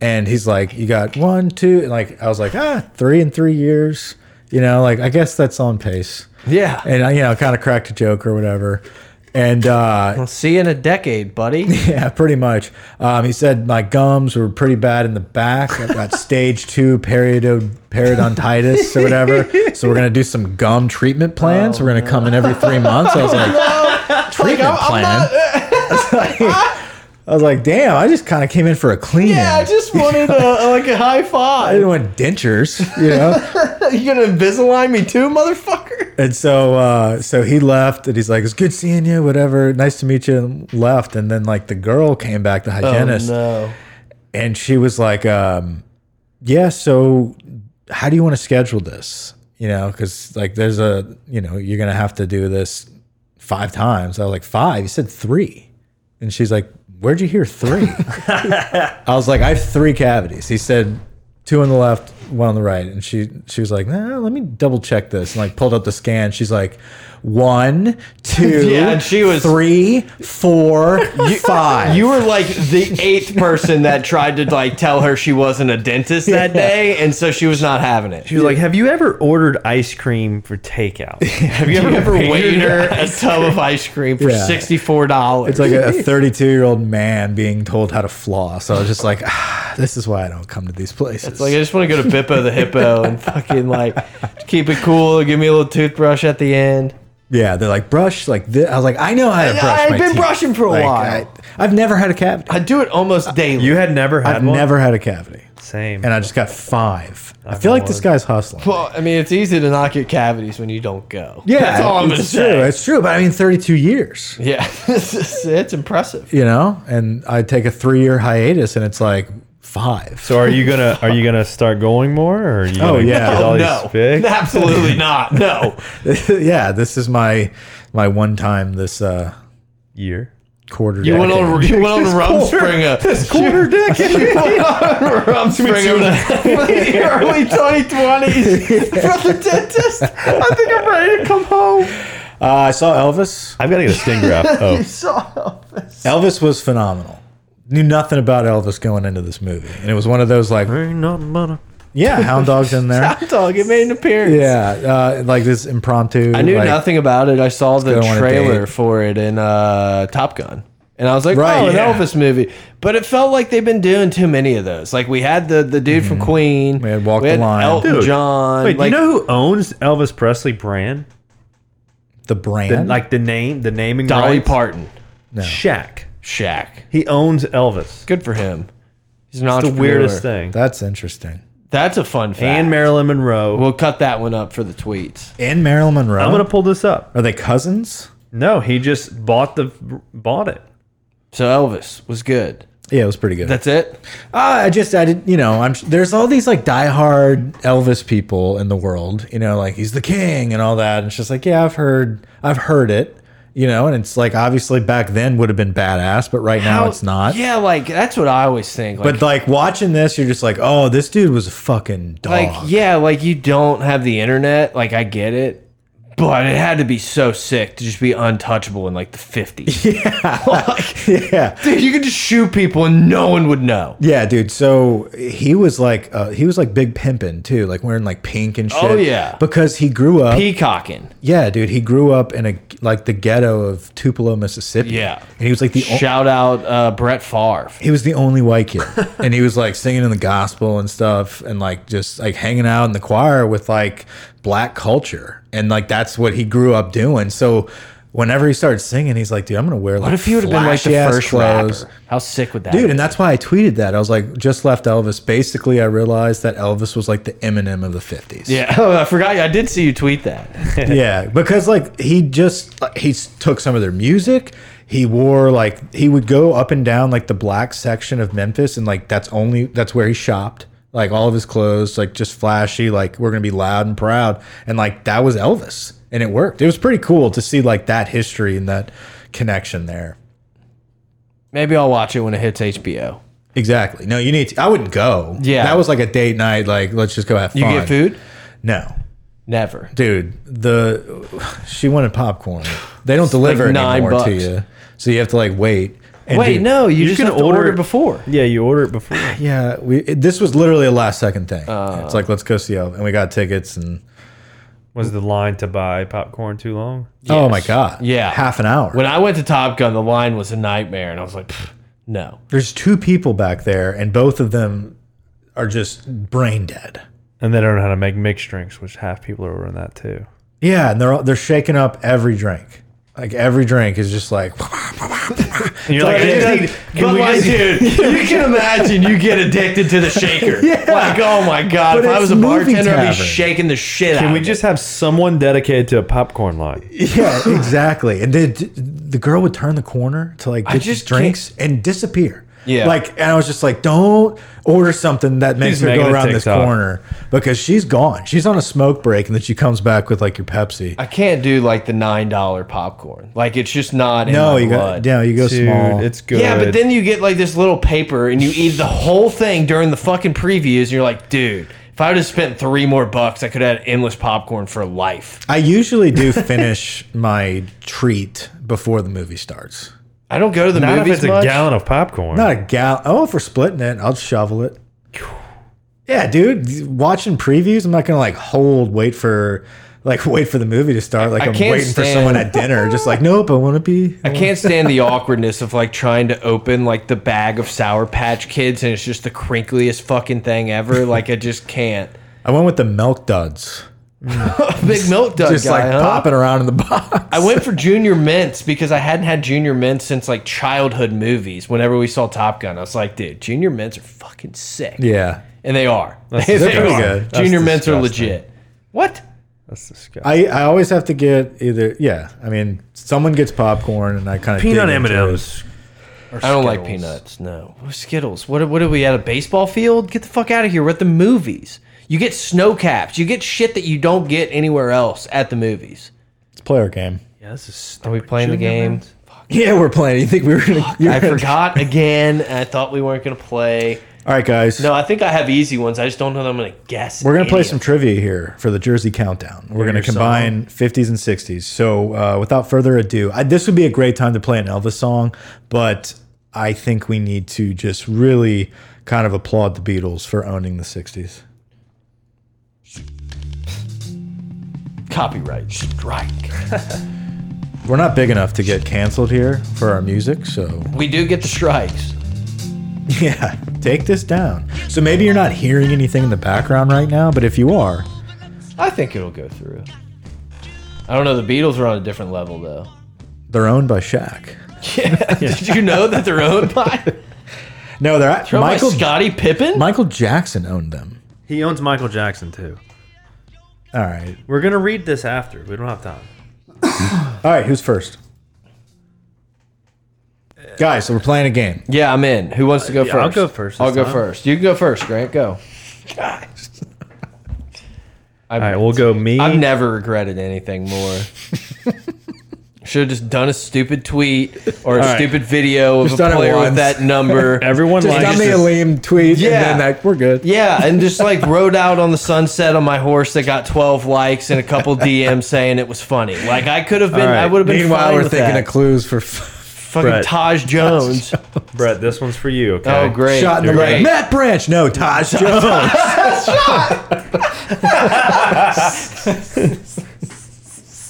Speaker 3: and he's like, "You got one, two, and like I was like, ah, three in three years. You know, like I guess that's on pace.
Speaker 2: Yeah.
Speaker 3: And I, you know, kind of cracked a joke or whatever. And uh,
Speaker 2: I'll see you in a decade, buddy.
Speaker 3: yeah, pretty much. Um, he said my gums were pretty bad in the back. I've got stage two periodo periodontitis or whatever. So we're gonna do some gum treatment plans. we're gonna come in every three months. I was Oh, like, treatment plan. I was like, damn, I just kind of came in for a clean.
Speaker 2: just wanted a, like a high
Speaker 3: I
Speaker 2: five.
Speaker 3: didn't want dentures, you know.
Speaker 2: You gonna Invisalign me too, motherfucker?
Speaker 3: and so, uh, so he left, and he's like, "It's good seeing you, whatever. Nice to meet you." And left, and then like the girl came back, the hygienist,
Speaker 2: Oh, no.
Speaker 3: and she was like, um, "Yeah, so how do you want to schedule this? You know, because like there's a, you know, you're gonna have to do this five times." I was like, five? You said three," and she's like, "Where'd you hear three? I was like, "I have three cavities." He said, two on the left, one on the right," and she she was like, "Nah, let me double check this." And like pulled up the scan. She's like. One, two,
Speaker 2: Yeah, and she was-
Speaker 3: three, four, five.
Speaker 2: You were like the eighth person that tried to like tell her she wasn't a dentist that day, and so she was not having it.
Speaker 1: She was like, "Have you ever ordered ice cream for takeout?"
Speaker 2: Have you ever weighed her a tub of ice cream for
Speaker 3: Yeah.
Speaker 2: sixty four dollars?
Speaker 3: It's like a 32 year old man being told how to floss. I was just like, ah, this is why I don't come to these places.
Speaker 2: It's like I just want to go to Bippo the Hippo and fucking like keep it cool. Give me a little toothbrush at the end.
Speaker 3: yeah, they're like, brush like this. I was like, I know how to brush.
Speaker 2: I've
Speaker 3: my
Speaker 2: been
Speaker 3: teeth."
Speaker 2: brushing for a
Speaker 3: Like,
Speaker 2: while.
Speaker 3: I, have never had a cavity.
Speaker 2: I do it almost daily.
Speaker 1: You had never had
Speaker 3: I've
Speaker 1: one.
Speaker 3: never had a cavity.
Speaker 1: Same.
Speaker 3: And I just got five. I feel like this
Speaker 1: one.
Speaker 3: guy's hustling.
Speaker 2: well, I mean, it's easy to not get cavities when you don't go. that's all I'm gonna
Speaker 3: it's true.
Speaker 2: say.
Speaker 3: It's true. But I mean, 32 years,
Speaker 2: Yeah, it's, it's impressive.
Speaker 3: you know? And I take a three year hiatus and it's like five.
Speaker 1: so are you gonna are you gonna start going more? Or are you
Speaker 3: Oh,
Speaker 1: gonna
Speaker 3: yeah.
Speaker 1: get
Speaker 3: Oh,
Speaker 1: all
Speaker 2: no,
Speaker 1: these fixed?
Speaker 2: absolutely not. No,
Speaker 3: yeah, this is my my one time this uh,
Speaker 1: year.
Speaker 3: quarter.
Speaker 2: you went
Speaker 3: decade.
Speaker 2: on you went on rum spring a
Speaker 1: Quarter decade.
Speaker 2: rum spring over the early twenty twenties from the dentist. I think I'm ready to come home.
Speaker 3: Uh, I saw Elvis.
Speaker 1: I've got to get a skin graft. Oh,
Speaker 2: So
Speaker 3: Elvis was phenomenal. Knew nothing about Elvis going into this movie, and it was one of those like, yeah, hound dogs in there.
Speaker 2: dog, it made an appearance.
Speaker 3: Yeah, uh, like this impromptu.
Speaker 2: I knew
Speaker 3: like,
Speaker 2: nothing about it. I saw the
Speaker 3: go on a
Speaker 2: trailer
Speaker 3: date.
Speaker 2: for it in uh, Top Gun. And I was like,
Speaker 3: Right,
Speaker 2: oh, an
Speaker 3: yeah.
Speaker 2: Elvis movie. But it felt like they've been doing too many of those. Like, we had the, the dude from Queen.
Speaker 3: Mm-hmm. We had Walk the Line.
Speaker 2: Elton
Speaker 1: Dude,
Speaker 2: John.
Speaker 1: Wait,
Speaker 2: like,
Speaker 1: do you know who owns Elvis Presley brand?
Speaker 3: The
Speaker 1: The-
Speaker 3: brand,
Speaker 1: like the name, the naming
Speaker 2: Dolly
Speaker 1: rights?
Speaker 2: Parton.
Speaker 1: Shaq.
Speaker 2: Shaq.
Speaker 1: He owns Elvis.
Speaker 2: Good for him. He's an
Speaker 1: It's the
Speaker 2: entrepreneur.
Speaker 1: weirdest thing.
Speaker 3: that's interesting.
Speaker 2: That's a fun fact.
Speaker 1: And Marilyn Monroe.
Speaker 2: We'll cut that one up for the tweets.
Speaker 3: And Marilyn Monroe.
Speaker 1: I'm gonna pull this up.
Speaker 3: Are they cousins?
Speaker 1: No, he just bought the bought it.
Speaker 2: So Elvis was good.
Speaker 3: Yeah, it was pretty good.
Speaker 2: That's it.
Speaker 3: Uh, I just, I didn't, you know, I'm, there's all these like diehard Elvis people in the world, you know, like he's the king and all that. And it's just like, yeah, I've heard, I've heard it, you know, and it's like, obviously back then would have been badass, but right now
Speaker 2: How-
Speaker 3: it's not.
Speaker 2: Yeah, like that's what I always think. Like,
Speaker 3: But like watching this, you're just like, oh, this dude was a fucking dog.
Speaker 2: like yeah like you don't have the internet like i get it but it had to be so sick to just be untouchable in like the 50s
Speaker 3: yeah.
Speaker 2: dude you could just shoot people and no one would know
Speaker 3: Yeah, dude. So he was like, uh, he was like big pimpin' too, like wearing like pink and shit.
Speaker 2: Oh, yeah.
Speaker 3: because he grew up.
Speaker 2: peacocking
Speaker 3: yeah, dude, he grew up in a like the ghetto of Tupelo, Mississippi.
Speaker 2: Yeah.
Speaker 3: and he was like the o-
Speaker 2: shout out uh brett Favre.
Speaker 3: he was the only white kid, and he was like singing in the gospel and stuff, and like just like hanging out in the choir with like black culture, and like that's what he grew up doing. So whenever he started singing, he's like, dude, I'm gonna wear like
Speaker 2: What if he would have been like the
Speaker 3: flashy-ass
Speaker 2: first
Speaker 3: clothes.
Speaker 2: rapper? How sick would that
Speaker 3: Dude,
Speaker 2: be?
Speaker 3: and that's why I tweeted that. I was like, just left Elvis. Basically, I realized that Elvis was like the Eminem of the 50s.
Speaker 2: yeah, oh, I forgot. I did see you tweet that.
Speaker 3: yeah, because like he just like, he s- took some of their music. He wore like he would go up and down like the black section of Memphis, and like that's only that's where he shopped. Like all of his clothes, like just flashy. Like we're gonna be loud and proud, and like that was Elvis, and it worked. It was pretty cool to see like that history and that connection there.
Speaker 2: Maybe I'll watch it when it hits HBO.
Speaker 3: Exactly. No, you need. To, I wouldn't go.
Speaker 2: Yeah.
Speaker 3: that was like a date night. Like let's just go have fun.
Speaker 2: You get food?
Speaker 3: No,
Speaker 2: Never.
Speaker 3: dude the she wanted popcorn they don't deliver
Speaker 2: like nine
Speaker 3: anymore to
Speaker 2: bucks.
Speaker 3: you so you have to like wait and
Speaker 2: Wait,
Speaker 3: dude,
Speaker 2: no, you,
Speaker 1: you
Speaker 2: just
Speaker 1: can
Speaker 2: have to order,
Speaker 1: order-
Speaker 2: it before.
Speaker 1: Yeah, you order it before.
Speaker 3: yeah we it, this was literally a last second thing it's like let's go see Elvis. and we got tickets and
Speaker 1: Was the line to buy popcorn too long?
Speaker 3: oh my god
Speaker 2: Yeah.
Speaker 3: half an hour
Speaker 2: When I went to Top Gun, the line was a nightmare, and I was like, "Pfft, no.
Speaker 3: there's two people back there and both of them are just brain dead
Speaker 1: And they don't know how to make mixed drinks, which half people are ordering that too.
Speaker 3: yeah and they're all- they're shaking up every drink like every drink is just like
Speaker 1: And you're like,
Speaker 2: But
Speaker 1: "Hey,
Speaker 2: like,
Speaker 1: dude, can we just-
Speaker 2: dude, you can imagine you get addicted to the shaker. Like, oh my god,
Speaker 3: But
Speaker 2: if I
Speaker 3: it's
Speaker 2: was a
Speaker 3: movie
Speaker 2: bartender, I'd be
Speaker 3: tavern.
Speaker 2: shaking the shit out.
Speaker 1: can we
Speaker 2: of
Speaker 1: just have someone dedicated to a popcorn line?
Speaker 3: Yeah, exactly. And then the girl would turn the corner to like get
Speaker 2: just
Speaker 3: these drinks and disappear.
Speaker 2: Yeah.
Speaker 3: Like, and I was just like, don't order something that makes
Speaker 1: She's
Speaker 3: her
Speaker 1: making
Speaker 3: go
Speaker 1: a
Speaker 3: around this
Speaker 1: TikTok.
Speaker 3: corner because she's gone. She's on a smoke break, and then she comes back with like your Pepsi.
Speaker 2: it. I can't do like the nine dollar popcorn. Like it's just not. In
Speaker 3: no,
Speaker 2: my
Speaker 3: you
Speaker 2: blood.
Speaker 3: go. No, you go
Speaker 1: Dude,
Speaker 3: small.
Speaker 1: it's good.
Speaker 2: Yeah, but then you get like this little paper and you eat the whole thing during the fucking previews, and you're like, dude, if I would have spent three more bucks, I could have had endless popcorn for life.
Speaker 3: I usually do finish my treat before the movie starts.
Speaker 2: I don't go to the
Speaker 1: Not if
Speaker 2: movies
Speaker 1: it's
Speaker 2: much.
Speaker 1: a gallon of popcorn.
Speaker 3: Not a gal. Oh, if we're splitting it, I'll shovel it. Yeah, dude. Watching previews, I'm not gonna like hold, wait for, like wait for the movie to start. Like
Speaker 2: I
Speaker 3: I am
Speaker 2: can't
Speaker 3: waiting for
Speaker 2: stand-
Speaker 3: someone at dinner, just like nope, I want to be.
Speaker 2: I can't stand the awkwardness of like trying to open like the bag of Sour Patch Kids and it's just the crinkliest fucking thing ever. Like I just can't.
Speaker 3: I went with the milk duds,
Speaker 2: Big milk dud
Speaker 3: just
Speaker 2: guy,
Speaker 3: like
Speaker 2: huh?
Speaker 3: popping around in the box.
Speaker 2: I went for Junior Mints because I hadn't had Junior Mints since like childhood movies. Whenever we saw Top Gun, I was like, dude, Junior Mints are fucking sick.
Speaker 3: yeah,
Speaker 2: And they are. They
Speaker 3: they're pretty
Speaker 2: are.
Speaker 3: good.
Speaker 1: That's
Speaker 2: Junior Mints are
Speaker 1: disgusting.
Speaker 2: legit. What?
Speaker 1: That's disgusting.
Speaker 3: I I always have to get either. Yeah, I mean, someone gets popcorn, and I kind of
Speaker 1: Peanut M&Ms.
Speaker 2: I don't like peanuts. No Skittles. What? What are we at a baseball field? Get the fuck out of here. We're at the movies. You get snow caps. You get shit that you don't get anywhere else at the movies.
Speaker 3: Let's play our game.
Speaker 1: Yeah, this is
Speaker 2: Are we playing the game?
Speaker 3: Yeah, we're playing. You think we were gonna? you were
Speaker 2: I
Speaker 3: gonna-
Speaker 2: forgot again. and I thought we weren't gonna play.
Speaker 3: All right, guys.
Speaker 2: No, I think I have easy ones. I just don't know that I'm gonna guess.
Speaker 3: We're gonna play
Speaker 2: any
Speaker 3: some
Speaker 2: of them.
Speaker 3: trivia here for the Jersey Countdown. We're gonna
Speaker 1: your song.
Speaker 3: combine fifties and sixties. So uh, without further ado, I, this would be a great time to play an Elvis song, but I think we need to just really kind of applaud the Beatles for owning the sixties.
Speaker 2: copyright strike.
Speaker 3: We're not big enough to get canceled here for our music, so
Speaker 2: we do get the strikes.
Speaker 3: yeah, take this down. So maybe you're not hearing anything in the background right now, but if you are,
Speaker 2: I think it'll go through. I don't know. The Beatles are on a different level though.
Speaker 3: they're owned by Shaq.
Speaker 2: Yeah. Did you know that they're owned by?
Speaker 3: No, they're at,
Speaker 2: Owned by
Speaker 3: Michael.
Speaker 2: Scottie Pippen?
Speaker 3: Michael Jackson owned them.
Speaker 1: He owns Michael Jackson too.
Speaker 3: All right,
Speaker 1: We're gonna read this after. We don't have time.
Speaker 3: All right, who's first? Guys, so we're playing a game.
Speaker 2: Yeah, I'm in. Who wants to go
Speaker 1: yeah,
Speaker 2: 1st
Speaker 1: I'll go first this
Speaker 2: I'll go
Speaker 1: time.
Speaker 2: first. You can go first, Grant. Go. I've,
Speaker 1: All right, we'll go me.
Speaker 2: I've never regretted anything more. Should have just done a stupid tweet or a
Speaker 1: right.
Speaker 2: stupid video of
Speaker 3: Just
Speaker 2: a
Speaker 3: done it
Speaker 2: player with
Speaker 3: once.
Speaker 2: that number.
Speaker 1: Everyone
Speaker 3: Just got
Speaker 1: likes
Speaker 3: me a lame tweet,
Speaker 2: Yeah.
Speaker 3: and then like we're good.
Speaker 2: yeah, and just like rode out on the sunset on my horse that got 12 likes and a couple DMs saying it was funny. Like I could have been,
Speaker 1: right.
Speaker 2: I would have been.
Speaker 3: Meanwhile,
Speaker 2: fine
Speaker 3: we're
Speaker 2: with
Speaker 3: thinking
Speaker 2: that.
Speaker 3: of clues for f-
Speaker 2: fucking
Speaker 1: Brett.
Speaker 2: Taj Jones.
Speaker 1: Brett. This one's for you. Okay.
Speaker 2: Oh, great!
Speaker 3: shot in the
Speaker 2: Great.
Speaker 3: leg. Matt Branch, no Taj Jones.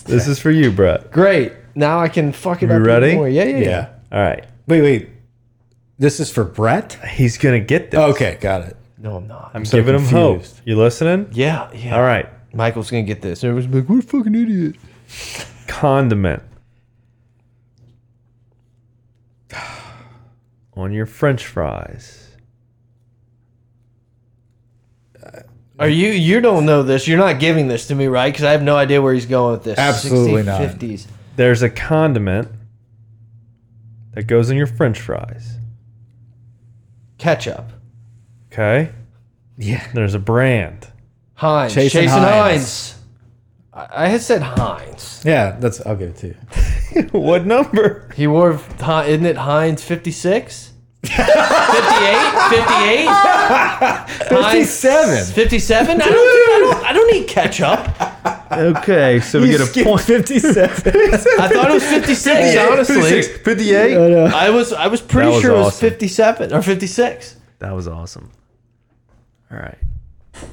Speaker 1: This is for you, Brett.
Speaker 2: Great. Now I can fuck it
Speaker 1: You
Speaker 2: up even
Speaker 1: ready?
Speaker 2: more. Yeah, yeah, yeah.
Speaker 3: yeah.
Speaker 1: All right.
Speaker 3: Wait, wait. This is for Brett.
Speaker 1: He's gonna get this.
Speaker 3: Okay, got it.
Speaker 2: No, I'm not.
Speaker 1: I'm giving him hope.
Speaker 3: Oh, confused.
Speaker 1: You listening?
Speaker 2: yeah, yeah.
Speaker 1: All right.
Speaker 2: Michael's gonna get this. Everyone's like, "What a fucking idiot."
Speaker 1: Condiment. on your French fries?
Speaker 2: Are you? You don't know this. You're not giving this to me, right? Because I have no idea where he's going with this.
Speaker 3: Absolutely not.
Speaker 2: 50s.
Speaker 1: There's a condiment that goes in your French fries.
Speaker 2: Ketchup.
Speaker 1: Okay.
Speaker 3: Yeah.
Speaker 1: There's a brand.
Speaker 2: Heinz.
Speaker 3: Chase
Speaker 2: Chasing
Speaker 3: and
Speaker 2: Heinz. I, I had said Heinz.
Speaker 3: Yeah, that's I'll give it to you.
Speaker 1: what number?
Speaker 2: He wore, Hi- isn't it Heinz 56? 58? 58?
Speaker 3: 57.
Speaker 2: 57? I don't, I, don't, I don't need ketchup.
Speaker 4: Okay, so we
Speaker 3: You
Speaker 4: get a
Speaker 3: skipped
Speaker 4: point.
Speaker 3: 57.
Speaker 2: I thought it was 56, honestly.
Speaker 4: 58.
Speaker 3: I know.
Speaker 2: I was I was pretty
Speaker 4: That was
Speaker 2: sure it was
Speaker 4: awesome.
Speaker 2: 57 or 56.
Speaker 4: That was awesome. All right.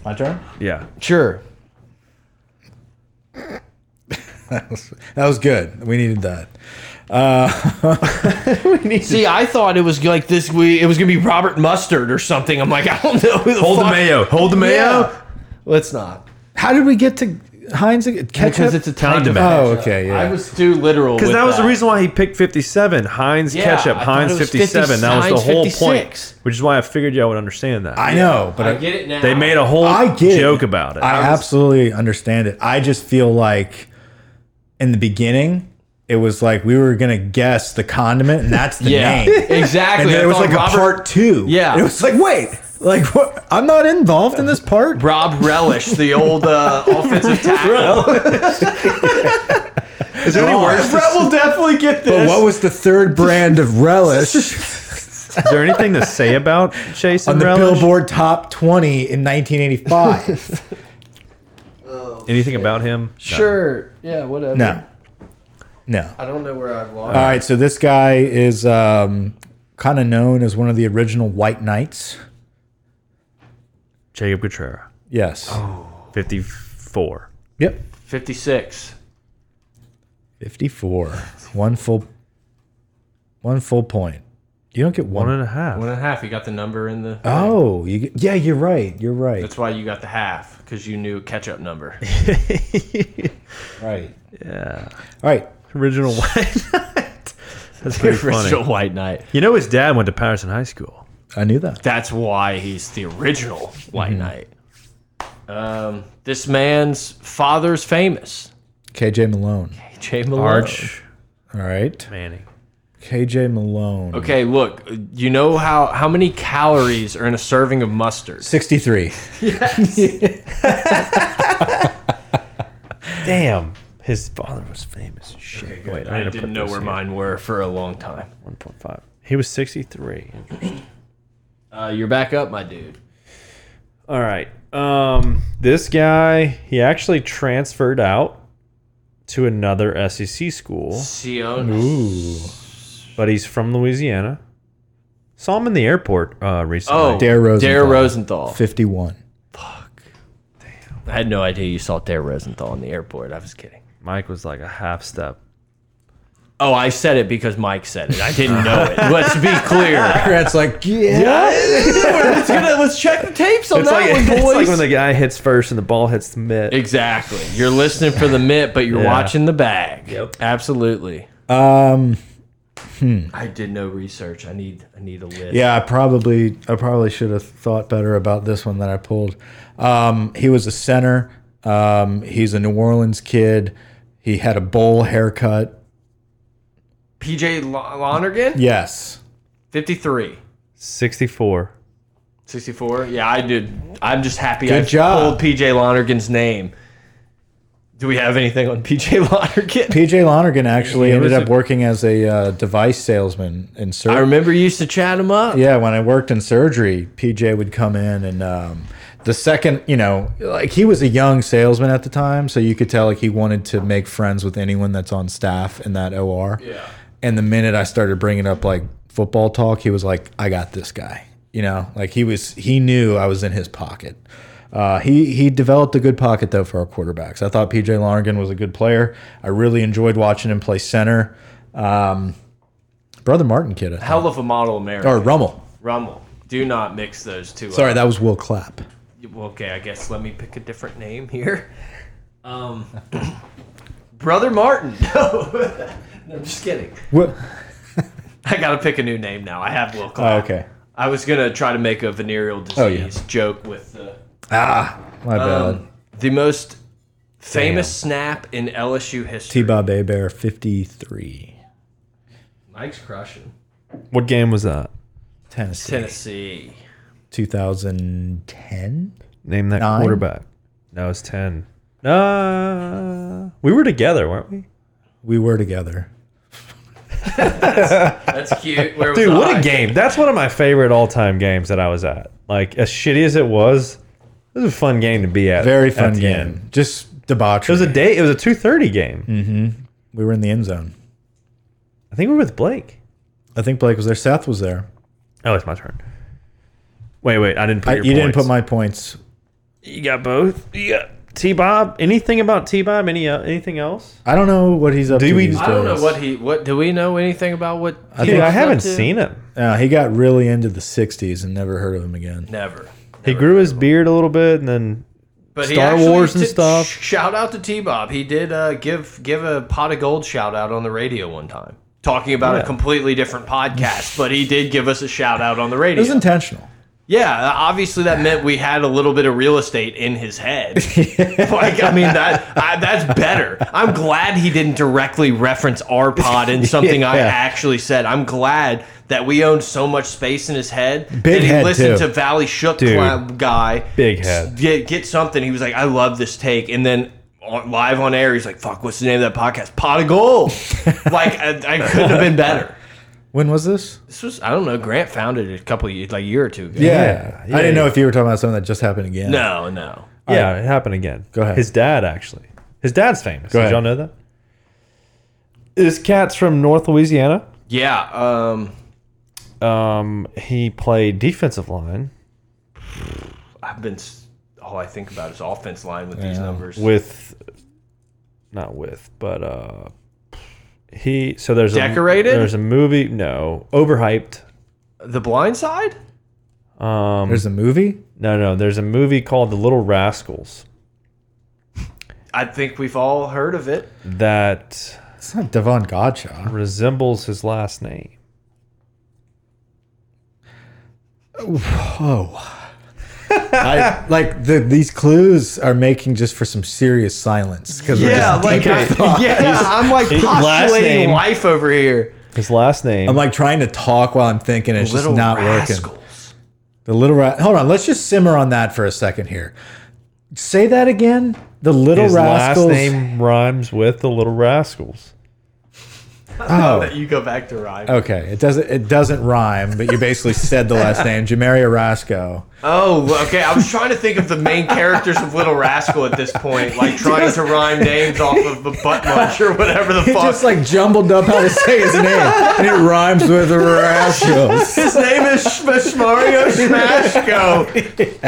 Speaker 3: My turn.
Speaker 4: Yeah.
Speaker 2: Sure.
Speaker 3: That was good. We needed that.
Speaker 2: See, I thought it was like this we it was going to be Robert Mustard or something. I'm like, I don't know who the
Speaker 4: Hold the
Speaker 2: fuck-
Speaker 4: mayo. Hold the mayo.
Speaker 2: Yeah. Let's not.
Speaker 3: How did we get to Heinz again? ketchup?
Speaker 2: Because it's Italian.
Speaker 4: Condiment.
Speaker 3: oh, okay, yeah.
Speaker 2: I was too literal.
Speaker 4: Because
Speaker 2: with uh,
Speaker 4: that was the reason why he picked 57. Heinz
Speaker 2: Yeah,
Speaker 4: ketchup,
Speaker 2: I thought
Speaker 4: Heinz
Speaker 2: it was
Speaker 4: 57. that was the
Speaker 2: Heinz
Speaker 4: whole
Speaker 2: 56.
Speaker 4: point. Which is why I figured y'all would understand that.
Speaker 3: I know, but
Speaker 2: I
Speaker 3: I,
Speaker 2: get it now.
Speaker 4: they made a whole
Speaker 3: I get it.
Speaker 4: joke about it.
Speaker 3: I absolutely understand it. I just feel like in the beginning, it was like we were gonna guess the condiment, and that's the
Speaker 2: yeah,
Speaker 3: name.
Speaker 2: exactly.
Speaker 3: And
Speaker 2: I
Speaker 3: then it was
Speaker 2: thought
Speaker 3: like
Speaker 2: Robert-
Speaker 3: a part two.
Speaker 2: Yeah.
Speaker 3: it was like wait, like what? I'm not involved in this part.
Speaker 2: Rob Relish, the old uh, offensive tackle.
Speaker 4: is there any worse?
Speaker 2: Brett will definitely get this.
Speaker 3: But what was the third brand of relish
Speaker 4: Is there anything to say about Chase
Speaker 3: on
Speaker 4: and
Speaker 3: the
Speaker 4: Relish?
Speaker 3: Billboard Top 20 in 1985?
Speaker 4: Anything about him?
Speaker 2: sure. Yeah, whatever.
Speaker 3: no, no.
Speaker 2: I don't know where I've lost.
Speaker 3: All right, so this guy is um, kind of known as one of the original White Knights.
Speaker 4: Jacob Cotrera,
Speaker 3: Yes.
Speaker 4: 54.
Speaker 3: Yep.
Speaker 2: 56.
Speaker 3: 54. One full one full point. You don't get one.
Speaker 4: One and a half.
Speaker 2: One and a half. You got the number in the.
Speaker 3: oh, you get, yeah, you're right. You're right.
Speaker 2: That's why you got the half, because you knew catch-up number.
Speaker 3: right.
Speaker 4: Yeah.
Speaker 3: All right.
Speaker 4: Original White Knight. That's pretty
Speaker 2: original
Speaker 4: funny.
Speaker 2: White Knight.
Speaker 4: You know, his dad went to Patterson High School.
Speaker 3: I knew that.
Speaker 2: That's why he's the original White Knight. Um, this man's father's famous.
Speaker 3: KJ Malone.
Speaker 2: Jay Malone.
Speaker 4: Arch
Speaker 3: All right.
Speaker 4: Manning.
Speaker 3: KJ Malone.
Speaker 2: Okay, look, you know how how many calories are in a serving of mustard?
Speaker 3: 63.
Speaker 1: Damn. His father was famous as shit. Wait,
Speaker 2: I
Speaker 1: gotta
Speaker 2: didn't
Speaker 1: put
Speaker 2: know
Speaker 1: this
Speaker 2: where
Speaker 1: here.
Speaker 2: mine were for a long time.
Speaker 1: 1.5. He was 63.
Speaker 2: Uh, you're back up, my dude.
Speaker 1: All right. Um, this guy, he actually transferred out to another SEC school,
Speaker 2: Sion.
Speaker 1: but he's from Louisiana. Saw him in the airport uh, recently.
Speaker 2: Oh,
Speaker 3: Dare Rosenthal.
Speaker 2: Dare
Speaker 3: Oh.
Speaker 2: Rosenthal.
Speaker 3: 51.
Speaker 2: I had no idea you saw Dare Rosenthal in the airport. I was kidding.
Speaker 4: Mike was like a half step.
Speaker 2: Oh, I said it because Mike said it. I didn't know it. Let's be clear.
Speaker 3: That's like, yeah.
Speaker 2: let's, gonna- let's check the tapes on
Speaker 4: It's,
Speaker 2: that
Speaker 4: like,
Speaker 2: one, boys.
Speaker 4: it's like when the guy hits first and the ball hits the mitt.
Speaker 2: Exactly. You're listening for the mitt, but you're
Speaker 4: Yeah.
Speaker 2: watching the bag. Yep. Absolutely.
Speaker 3: Um,
Speaker 2: I did no research. I need I need a list.
Speaker 3: Yeah, I probably I probably should have thought better about this one that I pulled. Um, he was a center. Um, he's a New Orleans kid. He had a bowl haircut.
Speaker 2: PJ Lo- Lonergan?
Speaker 3: Yes.
Speaker 2: 53.
Speaker 1: 64.
Speaker 2: 64? Yeah, I did. I'm just happy I
Speaker 3: Good job.
Speaker 2: pulled PJ Lonergan's name. Do we have anything on PJ Lonergan?
Speaker 3: PJ Lonergan actually ended
Speaker 4: was
Speaker 3: up
Speaker 4: a-
Speaker 3: working as a uh, device salesman in
Speaker 2: I
Speaker 3: surgery.
Speaker 2: remember you used to chat him up.
Speaker 3: Yeah, when I worked in surgery, PJ would come in and um, the second, you know, like he was a young salesman at the time, so you could tell like he wanted to make friends with anyone that's on staff in that OR.
Speaker 2: Yeah.
Speaker 3: And the minute I started bringing up like football talk, he was like, "I got this guy." You know, like he was he knew I was in his pocket. Uh, he he developed a good pocket though for our quarterbacks. I thought PJ Lonergan was a good player. I really enjoyed watching him play center. Um, Brother Martin kid, I
Speaker 2: Hell of a model American.
Speaker 3: or Rummel.
Speaker 2: Rummel. Do not mix those two
Speaker 3: Sorry,
Speaker 2: up.
Speaker 3: that was Will Clapp.
Speaker 2: Well, okay, I guess let me pick a different name here. Um, Brother Martin. No, no, I'm just kidding.
Speaker 3: What?
Speaker 2: I gotta pick a new name now. I have Will Cloud.
Speaker 3: Oh, okay.
Speaker 2: I was gonna try to make a venereal disease
Speaker 3: Oh, yeah.
Speaker 2: joke with the
Speaker 3: Ah, my bad.
Speaker 2: um, the most famous snap in LSU
Speaker 3: T
Speaker 2: history.
Speaker 3: Bob A Bear 53.
Speaker 2: Mike's crushing
Speaker 1: What game was that?
Speaker 3: Tennessee.
Speaker 2: Tennessee.
Speaker 3: 2010?
Speaker 1: Name that
Speaker 3: Nine?
Speaker 1: quarterback. No, it's ten. Uh, we were together, weren't we?
Speaker 3: We were together.
Speaker 2: That's cute. Where was
Speaker 1: Dude, what
Speaker 2: I?
Speaker 1: a game! That's one of my favorite all-time games that I was at. Like as shitty as it was, it was a fun game to be at.
Speaker 3: Very
Speaker 1: at
Speaker 3: fun
Speaker 1: the
Speaker 3: game.
Speaker 1: end.
Speaker 3: Just
Speaker 1: It
Speaker 3: debauchery.
Speaker 1: was a day. It was a two thirty game.
Speaker 3: Hmm. we were in the end zone.
Speaker 1: I think we were with Blake.
Speaker 3: I think Blake was there. Seth was there.
Speaker 1: Oh, it's my turn. Wait, wait, I didn't put
Speaker 3: I,
Speaker 1: your
Speaker 3: you didn't put
Speaker 1: points.
Speaker 3: my points.
Speaker 1: You got both. You got T Bob. Anything about T Bob? Any uh, anything else?
Speaker 3: I don't know what he's up
Speaker 1: Do
Speaker 3: to
Speaker 1: we-
Speaker 3: these
Speaker 2: I don't know
Speaker 3: days.
Speaker 2: what he. What do we know anything about what? I,
Speaker 1: Dude, I haven't seen him.
Speaker 3: Uh, he got really into the 60s and never heard of him again.
Speaker 2: Never.
Speaker 1: He grew his beard a little bit, and then
Speaker 2: But he
Speaker 1: Star
Speaker 2: actually
Speaker 1: Wars and
Speaker 2: did-
Speaker 1: stuff.
Speaker 2: sh- Shout out to T Bob. He did uh, give give a pot of gold shout out on the radio one time, talking about a completely different podcast. but he did give us a shout out on the
Speaker 3: It
Speaker 2: radio.
Speaker 3: was intentional.
Speaker 2: yeah, uh, obviously that meant we had a little bit of real estate in his head. like, I mean that I, that's better. I'm glad he didn't directly reference our pod and something I
Speaker 3: Yeah.
Speaker 2: actually said. I'm glad that we owned so much space in his head that
Speaker 3: Big
Speaker 2: he
Speaker 3: head,
Speaker 2: listened
Speaker 3: too.
Speaker 2: to Valley Shook
Speaker 1: Dude.
Speaker 2: Clown guy
Speaker 1: big head.
Speaker 2: get get something. He was like, I love this take, and then on, live on air, he's like, "Fuck, what's the name of that podcast? Pot of Gold." like I, I couldn't have been better.
Speaker 3: When was this?
Speaker 2: This was I don't know. Grant founded it a couple of years, like a year or two ago.
Speaker 3: Yeah.
Speaker 1: yeah,
Speaker 3: I didn't know
Speaker 1: yeah.
Speaker 3: if you were talking about something that just happened again.
Speaker 2: No, no.
Speaker 1: Yeah, it happened again.
Speaker 3: Go ahead.
Speaker 1: His dad actually. His dad's famous.
Speaker 3: Go
Speaker 1: Did
Speaker 3: ahead.
Speaker 1: y'all know that? This cat's from North Louisiana.
Speaker 2: Yeah. Um,
Speaker 1: Um, he played defensive line
Speaker 2: I've been. s- All I think about is offense line with these numbers.
Speaker 1: with, not with, but uh, he. So there's
Speaker 2: Decorated?
Speaker 1: A, there's a movie. No, overhyped.
Speaker 2: the Blind Side.
Speaker 1: Um,
Speaker 3: There's a movie?
Speaker 1: no, no. There's a movie called The Little Rascals
Speaker 2: I think we've all heard of it.
Speaker 1: that
Speaker 3: It's not Devon Godshaw.
Speaker 1: resembles his last name.
Speaker 3: Oh. I, like the, these clues are making just for some serious silence because we're just deep in thought.
Speaker 2: yeah. I'm like
Speaker 1: his last
Speaker 2: postulating
Speaker 1: name-
Speaker 2: life over here.
Speaker 1: His last name.
Speaker 3: I'm like trying to talk while I'm thinking. It's
Speaker 2: Little
Speaker 3: just not working.
Speaker 2: rascals.
Speaker 3: The little rat. Hold on. Let's just simmer on that for a second here. Say that again. The little
Speaker 1: his
Speaker 3: rascals.
Speaker 1: last name rhymes with The Little Rascals.
Speaker 3: Oh,
Speaker 2: That you go back to rhyme.
Speaker 3: okay. It doesn't. It doesn't rhyme. But you basically said the last name, Jamaria Rasco.
Speaker 2: Oh, okay. I was trying to think of the main characters of Little Rascal at this point, like trying to rhyme names off of the butt munch or whatever the
Speaker 3: He
Speaker 2: fuck.
Speaker 3: just like jumbled up how to say his name, and it rhymes with Rascos.
Speaker 2: His name is Schmario Smashko.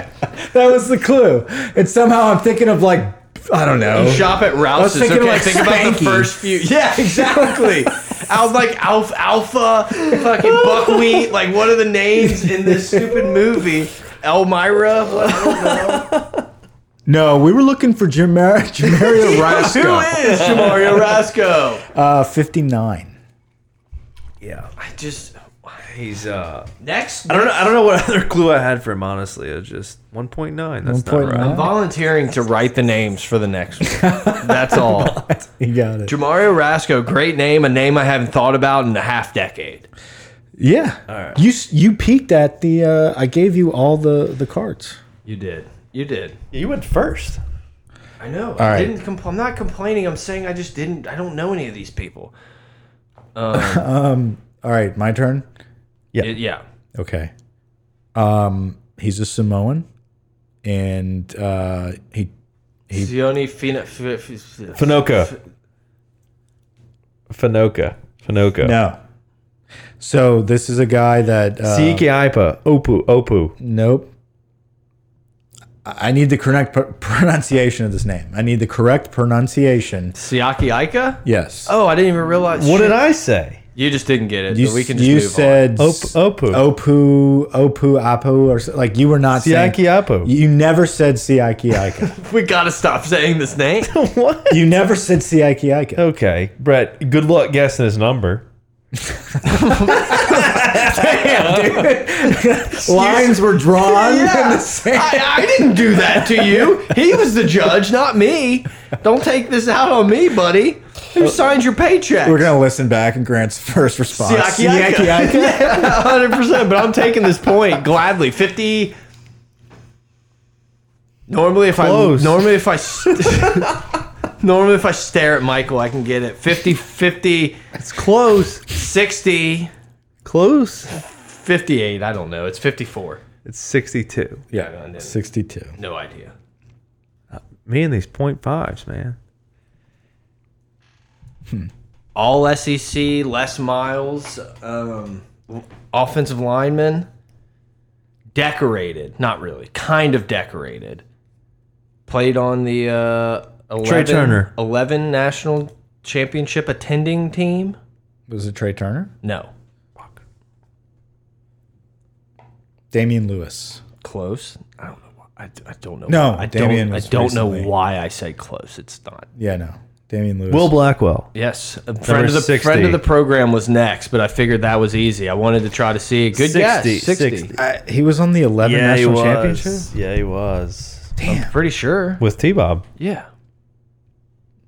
Speaker 3: That was the clue. And somehow I'm thinking of like I don't know.
Speaker 2: Shop at Rouse's.
Speaker 3: Oh. thinking
Speaker 2: Okay,
Speaker 3: like
Speaker 2: think about the
Speaker 3: Spanky.
Speaker 2: first few. Yeah, exactly. I was like Alf Alpha, fucking Buckwheat. Like, what are the names in this stupid movie? Elmira. What, I
Speaker 3: Oh,
Speaker 2: don't know.
Speaker 3: No, we were looking for Jamar Jamaria
Speaker 2: Who
Speaker 3: Rasco.
Speaker 2: is Schmario Rasco?
Speaker 3: Uh, Fifty nine.
Speaker 4: Yeah.
Speaker 2: I just
Speaker 4: He's uh
Speaker 2: next.
Speaker 4: I don't know I don't know what other clue I had for him, honestly. It was just one point nine. That's not
Speaker 3: 1.9.
Speaker 4: right.
Speaker 2: volunteering to write the names for the next one. That's all.
Speaker 3: You got it.
Speaker 2: Jamario Rasco, great name, a name I haven't thought about in a half decade.
Speaker 3: Yeah. All right. You s- you peeked at the. Uh, I gave you all the the cards.
Speaker 2: You did. You did.
Speaker 1: You went first.
Speaker 2: I know.
Speaker 3: right.
Speaker 2: I didn't compl- I'm not complaining. I'm saying I just didn't I don't know any of these people.
Speaker 3: All right, my turn.
Speaker 2: It- yeah.
Speaker 3: Okay. Um, he's a Samoan, and uh, he
Speaker 2: Sione Fina F- F- F-
Speaker 1: Finoka. Finoka. Finoka.
Speaker 3: no. So this is a guy that. Uh,
Speaker 1: Siiki Aipa. Opu. Opu.
Speaker 3: Nope. I I need the correct pr- pronunciation of this name. I need the correct pronunciation.
Speaker 2: Siaki Aika?
Speaker 3: Yes.
Speaker 2: Oh, I didn't even realize.
Speaker 1: What
Speaker 2: shit.
Speaker 1: did I say?
Speaker 2: You just didn't get it.
Speaker 3: You,
Speaker 2: so we can
Speaker 3: s-
Speaker 2: just
Speaker 3: you
Speaker 2: move on.
Speaker 3: said
Speaker 1: Op-
Speaker 3: s-
Speaker 1: Opu.
Speaker 3: opu opu apu or s- like you were not saying
Speaker 1: Siaki Aipa.
Speaker 3: You never said Siaki Aika.
Speaker 2: We gotta stop saying this name.
Speaker 1: what?
Speaker 3: you never said Siaki Aika.
Speaker 1: Okay, Brett. Good luck guessing his number. Oh.
Speaker 3: Lines were drawn in
Speaker 2: Yeah,
Speaker 3: the sand.
Speaker 2: I, I didn't do that to you. He was the judge, not me. Don't take this out on me, buddy. Who signed your paycheck?
Speaker 3: Uh, We're gonna listen back and Grant's first response.
Speaker 2: Siaki-
Speaker 3: Siaki-
Speaker 2: Yeah, 100%. But I'm taking this point gladly. 50. Normally, if
Speaker 1: Close.
Speaker 2: I normally if I s- normally if I stare at Michael, I can get it. 50, 50,
Speaker 1: It's close.
Speaker 2: 60,
Speaker 1: Close.
Speaker 2: 58. I don't know. It's 54.
Speaker 1: It's 62.
Speaker 3: yeah, sixty-two.
Speaker 2: No idea.
Speaker 1: Me and these point fives, man.
Speaker 2: All SEC, Les Miles, um, offensive lineman, decorated. Not really, kind of decorated. Played on the uh, 11,
Speaker 1: Turner.
Speaker 2: eleven national championship attending team.
Speaker 3: Was it Trey Turner?
Speaker 2: No,
Speaker 3: Damian Lewis.
Speaker 2: close. I don't know. Why. I, I don't know.
Speaker 3: No,
Speaker 2: why. I
Speaker 3: Damian
Speaker 2: don't. I
Speaker 3: was
Speaker 2: don't know
Speaker 3: recently.
Speaker 2: why I said close. It's not.
Speaker 3: Yeah, no, Damian Lewis.
Speaker 1: Will Blackwell.
Speaker 2: Yes, a friend of the
Speaker 1: 60.
Speaker 2: friend of the program was next, but I figured that was easy. I wanted to try to see a good guess.
Speaker 1: 60,
Speaker 2: 60.
Speaker 1: 60.
Speaker 3: I- he was on the eleven national championship.
Speaker 1: Yeah, he was.
Speaker 2: I'm pretty sure.
Speaker 1: With T Bob.
Speaker 2: Yeah.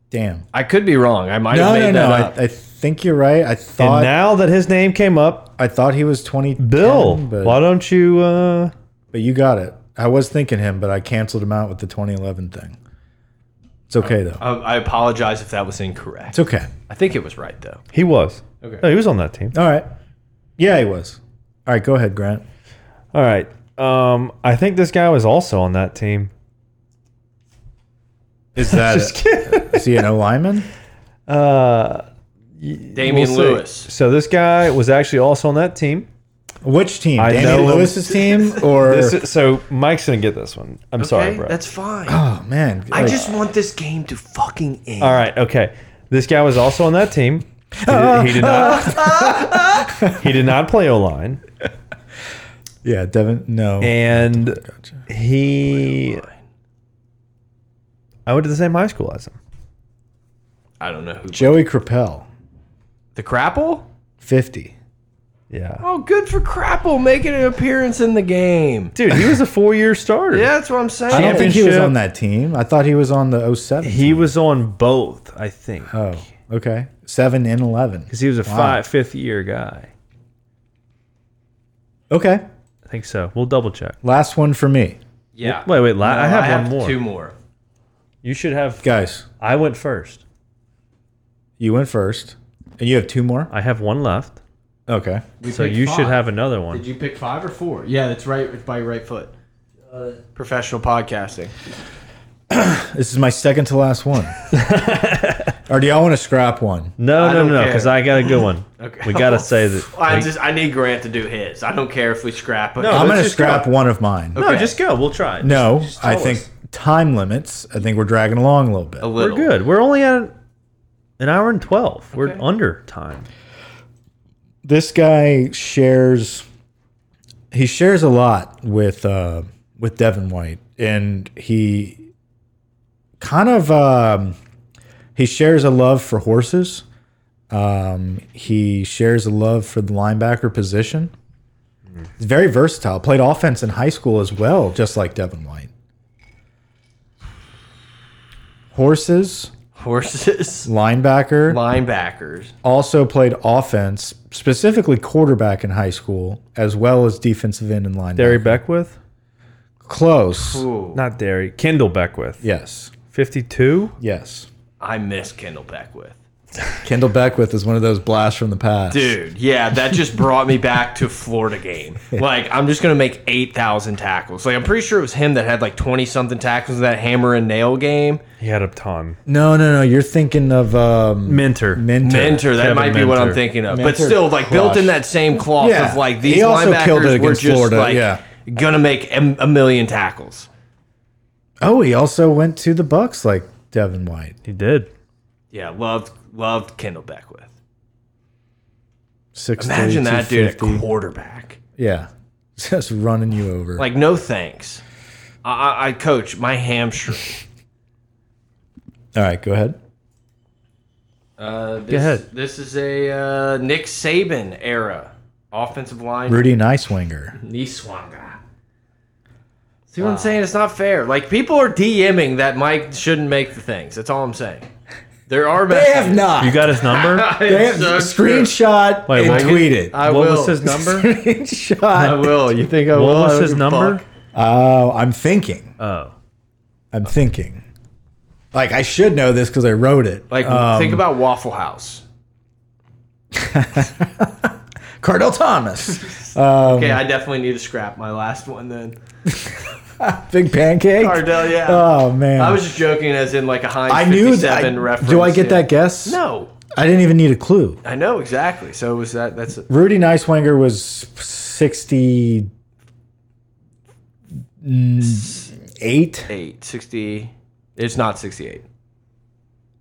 Speaker 3: Damn.
Speaker 2: I could be wrong. I might have
Speaker 3: No,
Speaker 2: made
Speaker 3: no,
Speaker 2: that
Speaker 3: no.
Speaker 2: up.
Speaker 3: I, I think you're right. I
Speaker 1: And
Speaker 3: thought
Speaker 1: now that his name came up,
Speaker 3: I thought he was twenty.
Speaker 1: Bill,
Speaker 3: but,
Speaker 1: why don't you uh
Speaker 3: but you got it. I was thinking him, but I canceled him out with the 2011 thing. It's okay though.
Speaker 2: I, I apologize if that was incorrect.
Speaker 3: It's okay.
Speaker 2: I think it was right though.
Speaker 1: he was.
Speaker 2: Okay.
Speaker 1: No, he was on that team.
Speaker 3: All right. Yeah, he was. All right, go ahead, Grant.
Speaker 1: All right. Um I think this guy was also on that team.
Speaker 3: Is that is he an O lineman?
Speaker 1: Uh
Speaker 2: Damian
Speaker 1: we'll see.
Speaker 2: Lewis.
Speaker 1: So this guy was actually also on that team.
Speaker 3: Which team?
Speaker 1: I
Speaker 3: Damian
Speaker 1: know him.
Speaker 3: Lewis's team or
Speaker 1: This is- so Mike's gonna get this one. I'm sorry, bro.
Speaker 2: that's fine.
Speaker 3: Oh man.
Speaker 2: I
Speaker 3: Like-
Speaker 2: just want this game to fucking end.
Speaker 1: All right, okay. This guy was also on that team. He did, he did not. he did not play O line,
Speaker 3: Yeah, Devin no.
Speaker 1: and he. I went to the same high school as him.
Speaker 2: I don't know who.
Speaker 3: Joey Crapel,
Speaker 2: The Crapple?
Speaker 3: fifty.
Speaker 1: Yeah,
Speaker 2: Oh, good for Crapple making an appearance in the game.
Speaker 1: dude, he was a four-year starter.
Speaker 2: Yeah, that's what I'm saying.
Speaker 3: I don't think he was
Speaker 1: Championship.
Speaker 3: on that team. I thought he was on the 07.
Speaker 1: he was on both, I think, because
Speaker 3: oh, okay. Seven and eleven.
Speaker 1: he was a five, fifth-year guy.
Speaker 3: Okay.
Speaker 1: I think so. We'll double check.
Speaker 3: Last one for me.
Speaker 2: yeah.
Speaker 1: Wait, wait. La-
Speaker 2: No,
Speaker 1: I have one more.
Speaker 2: Two more.
Speaker 1: You should have.
Speaker 3: Guys,
Speaker 1: I went first.
Speaker 3: you went first. And you have two more?
Speaker 1: I have one left,
Speaker 3: Okay.
Speaker 1: so you should have another one.
Speaker 2: Did you pick five or four? Yeah, that's right. It's by your right foot. Professional podcasting.
Speaker 3: This is my second to last one. or do y'all want to scrap one?
Speaker 1: No,
Speaker 2: I
Speaker 1: no,
Speaker 2: don't
Speaker 1: no,
Speaker 2: care.
Speaker 1: because I got a good one.
Speaker 2: Okay.
Speaker 1: We gotta say that.
Speaker 2: I
Speaker 1: we-
Speaker 2: just I need Grant to do his. I don't care if we scrap it.
Speaker 1: No,
Speaker 3: I'm
Speaker 1: let's
Speaker 3: going to
Speaker 1: just
Speaker 3: scrap one of mine.
Speaker 1: no,
Speaker 2: okay.
Speaker 1: just go. We'll try. it.
Speaker 3: No,
Speaker 1: Just tell
Speaker 3: I think
Speaker 1: us.
Speaker 3: time limits. I think we're dragging along a little bit.
Speaker 2: a
Speaker 1: we're
Speaker 2: little.
Speaker 1: good. We're only at an hour and twelve. We're
Speaker 2: Okay.
Speaker 1: under time.
Speaker 3: this guy shares he shares a lot with uh with Devin White and he kind of um he shares a love for horses. Um he shares a love for the linebacker position. He's very versatile. Played offense in high school as well, just like Devin White. Horses,
Speaker 2: Horses.
Speaker 3: linebacker,
Speaker 2: linebackers.
Speaker 3: also played offense, specifically quarterback in high school, as well as defensive end and linebacker.
Speaker 1: Derry Beckwith,
Speaker 3: Close.
Speaker 2: Ooh,
Speaker 1: not Derry. Kendall Beckwith,
Speaker 3: Yes.
Speaker 1: fifty-two.
Speaker 3: Yes.
Speaker 2: I miss Kendall Beckwith.
Speaker 3: Kendall Beckwith is one of those blasts from the past.
Speaker 2: Dude, yeah, that just brought me back to Florida game. Like, I'm just gonna make eight thousand tackles. Like, I'm pretty sure it was him that had like twenty something tackles in that hammer and nail game.
Speaker 1: He had a ton.
Speaker 3: No, no, no. You're thinking of um,
Speaker 1: Mentor.
Speaker 3: Mentor.
Speaker 2: Mentor, that
Speaker 1: Kevin
Speaker 2: might be what I'm
Speaker 1: Mentor.
Speaker 2: thinking of. but
Speaker 3: Mentor
Speaker 2: still, like built in
Speaker 3: crushed.
Speaker 2: that same cloth
Speaker 3: Yeah,
Speaker 2: of like
Speaker 3: he
Speaker 2: these
Speaker 3: also
Speaker 2: linebackers
Speaker 3: killed it
Speaker 2: were
Speaker 3: against
Speaker 2: just
Speaker 3: Florida,
Speaker 2: like
Speaker 3: yeah.
Speaker 2: gonna make a, a million tackles.
Speaker 3: Oh, he also went to the Bucks like Devin White.
Speaker 1: He did.
Speaker 2: Yeah, loved loved Kendall Beckwith.
Speaker 3: Six.
Speaker 2: Imagine that dude at quarterback.
Speaker 3: Yeah. Just running you over.
Speaker 2: Like, no thanks. I, I, I coach my hamstring.
Speaker 3: All right, go ahead.
Speaker 2: Uh, this,
Speaker 1: ahead.
Speaker 2: This is a uh, Nick Saban era offensive line.
Speaker 3: Rudy Nicewinger.
Speaker 2: Niswanga. See what I'm saying? It's not fair. Like people are DMing that Mike shouldn't make the things. That's all I'm saying. There are
Speaker 3: They have not.
Speaker 1: You got his number?
Speaker 3: They have screenshot
Speaker 1: Wait,
Speaker 3: and
Speaker 1: what?
Speaker 3: tweet it.
Speaker 2: I
Speaker 1: what
Speaker 2: will.
Speaker 1: was his number?
Speaker 2: I
Speaker 3: Screenshot.
Speaker 2: will. You think I
Speaker 1: What
Speaker 2: will?
Speaker 1: was
Speaker 2: I
Speaker 1: his
Speaker 2: don't
Speaker 1: number?
Speaker 2: give
Speaker 3: Oh, I'm thinking.
Speaker 1: Oh.
Speaker 3: I'm thinking. Like I should know this because I wrote
Speaker 2: a
Speaker 3: it.
Speaker 2: fuck. Like think about Waffle House.
Speaker 3: Cardell Thomas, um,
Speaker 2: Okay, I definitely need to scrap my last one then.
Speaker 3: Big Pancake.
Speaker 2: Cardell, yeah.
Speaker 3: Oh man,
Speaker 2: I was just joking, as in like a Heinz
Speaker 3: I knew
Speaker 2: 57
Speaker 3: that.
Speaker 2: reference.
Speaker 3: do I get
Speaker 2: yeah.
Speaker 3: that guess?
Speaker 2: No,
Speaker 3: I didn't even need a clue.
Speaker 2: I know exactly. So was that? That's
Speaker 3: Rudy Nicewinger was 68.
Speaker 2: eight sixty. It's not sixty-eight.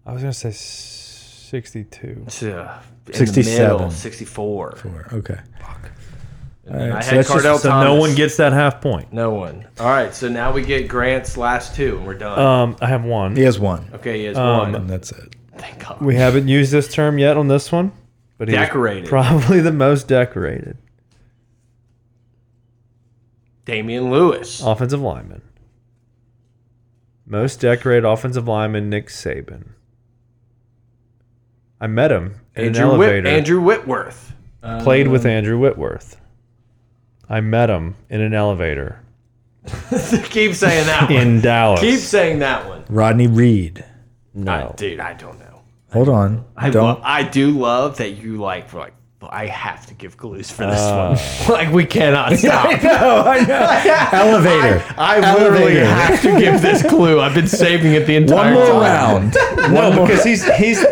Speaker 1: I was going to say 62.
Speaker 2: It's, uh, in the
Speaker 3: 67.
Speaker 2: middle, Sixty-four.
Speaker 3: Okay.
Speaker 2: I
Speaker 3: Alright, so
Speaker 2: had
Speaker 3: that's just-
Speaker 2: Cardell
Speaker 1: So
Speaker 2: Thomas.
Speaker 1: no one gets that half point.
Speaker 2: No one. All right, so now we get Grant's last two, and we're done.
Speaker 1: Um, I have one.
Speaker 3: He has one.
Speaker 2: okay, he has one.
Speaker 3: And that's it.
Speaker 2: Thank God.
Speaker 1: We haven't used this term yet on this one, but he's
Speaker 2: Decorated.
Speaker 1: probably the most decorated
Speaker 2: Damian Lewis.
Speaker 3: Uh,
Speaker 1: offensive lineman. Most decorated offensive lineman Nick Saban. I met him in
Speaker 2: Andrew,
Speaker 1: an
Speaker 2: Whit-
Speaker 1: elevator.
Speaker 2: Andrew Whitworth.
Speaker 1: played with Andrew Whitworth. I met him in an elevator
Speaker 2: Keep saying that one.
Speaker 1: in Dallas.
Speaker 2: Keep saying that one.
Speaker 3: Rodney Reed.
Speaker 2: I,
Speaker 1: no.
Speaker 2: dude, I don't know.
Speaker 3: Hold on.
Speaker 2: I
Speaker 3: Don't.
Speaker 2: lo- I do love that you like were like. I have to give clues for this
Speaker 1: Uh.
Speaker 2: one. like we cannot stop.
Speaker 3: no, I know. Elevator.
Speaker 2: I literally
Speaker 3: Elevator.
Speaker 2: have to give this clue. I've been saving it the entire
Speaker 3: One more
Speaker 2: time.
Speaker 3: round.
Speaker 1: No, because he's he's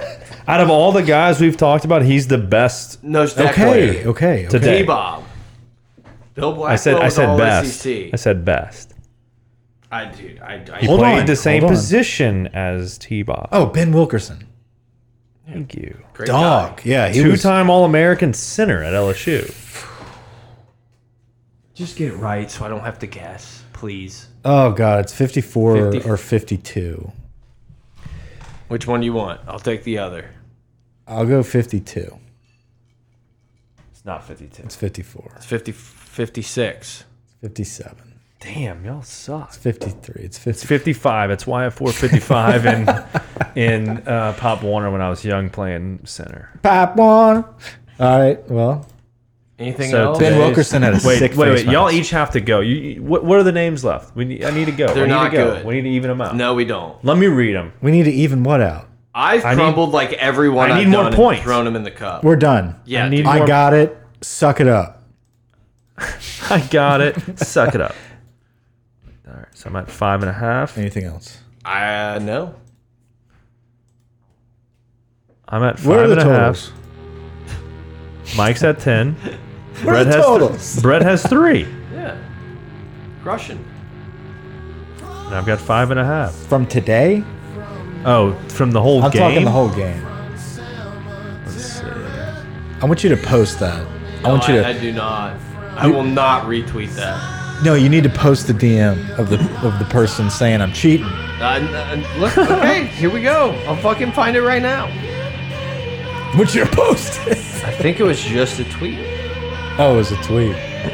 Speaker 1: out of all the guys we've talked about, he's the best.
Speaker 2: No, it's
Speaker 3: Okay.
Speaker 2: okay.
Speaker 3: Okay. okay.
Speaker 1: Today.
Speaker 2: Bob. Bill Blackwell
Speaker 1: I said I
Speaker 2: was
Speaker 1: said
Speaker 2: all
Speaker 1: best.
Speaker 2: SEC.
Speaker 1: I said best.
Speaker 2: E I dude, I, I
Speaker 3: Hold
Speaker 1: Played
Speaker 3: on,
Speaker 1: the same
Speaker 3: hold on.
Speaker 1: position as T Bob.
Speaker 3: Oh, Ben Wilkerson.
Speaker 1: Thank you.
Speaker 2: great guy.
Speaker 3: Dog. Yeah. He
Speaker 1: Two
Speaker 3: was-
Speaker 1: time All American center at LSU.
Speaker 2: Just get it right so I don't have to guess, please.
Speaker 3: Oh, God. It's 54
Speaker 2: 50.
Speaker 3: or 52.
Speaker 2: Which one you want? I'll take the other.
Speaker 3: I'll go 52.
Speaker 4: It's not 52.
Speaker 3: It's 54.
Speaker 2: It's 50, 56.
Speaker 3: It's 57.
Speaker 4: Damn, y'all suck.
Speaker 3: It's 53. It's 50.
Speaker 1: 55. That's why I 455 in in uh, Pop Warner when I was young playing center.
Speaker 3: Pop one. All right. Well,
Speaker 2: Anything
Speaker 1: So
Speaker 2: else?
Speaker 1: Ben
Speaker 3: Ben Wilkerson had a
Speaker 1: Wait,
Speaker 3: sick
Speaker 1: wait,
Speaker 3: face
Speaker 1: wait. Y'all
Speaker 3: mask.
Speaker 1: each have to go. You, you- what, what are the names left? We need, I need to go.
Speaker 2: They're
Speaker 1: we need
Speaker 2: not
Speaker 1: to go.
Speaker 2: good.
Speaker 1: We need to even them out.
Speaker 2: No, we don't.
Speaker 1: Let me read them.
Speaker 3: We need to even what out?
Speaker 2: I've
Speaker 1: need-
Speaker 2: crumbled like everyone.
Speaker 1: I
Speaker 2: I've
Speaker 1: need more
Speaker 2: done and
Speaker 1: points.
Speaker 2: Thrown them in the cup.
Speaker 3: We're done.
Speaker 2: yeah,
Speaker 1: I need-
Speaker 2: dude.
Speaker 3: I
Speaker 1: More-
Speaker 3: got it. Suck it up.
Speaker 1: I got it. Suck it up. All right. So I'm at five and a half.
Speaker 3: Anything else?
Speaker 2: I uh, no.
Speaker 1: I'm at
Speaker 3: Where
Speaker 1: five
Speaker 3: are
Speaker 1: and
Speaker 3: the
Speaker 1: a
Speaker 3: totals?
Speaker 1: half. Mike's at 10.
Speaker 3: What are the
Speaker 1: Brett has, th-
Speaker 3: totals?
Speaker 1: Brett has three.
Speaker 2: Yeah, crushing.
Speaker 1: And I've got five and a half.
Speaker 3: From today?
Speaker 1: Oh, from the whole
Speaker 3: I'm
Speaker 1: game?
Speaker 3: talking the whole game. I want you to post that. I want you
Speaker 2: I,
Speaker 3: to.
Speaker 2: Oh, I do not. I will not retweet that.
Speaker 3: no, you need to post the DM of the of the person saying I'm cheating.
Speaker 2: Uh, n- n- look, okay, here we go. I'll fucking find it right now.
Speaker 3: I want you to post it.
Speaker 2: I think it was just a tweet.
Speaker 3: Oh, it was a tweet. Oh,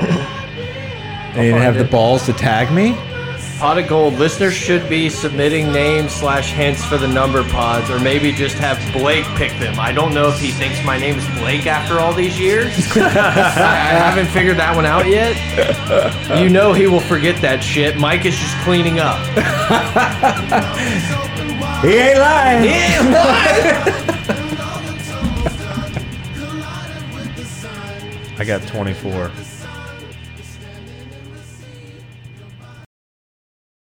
Speaker 3: they didn't have
Speaker 2: find
Speaker 3: the
Speaker 2: it.
Speaker 3: balls to tag me?
Speaker 2: Pot of Gold listeners should be submitting names slash hints for the number pods, or maybe just have Blake pick them. I don't know if he thinks my name is Blake after all these years. I, I haven't figured that one out yet. You know he will forget that shit. Mike is just cleaning up.
Speaker 3: He ain't lying.
Speaker 1: I got 24.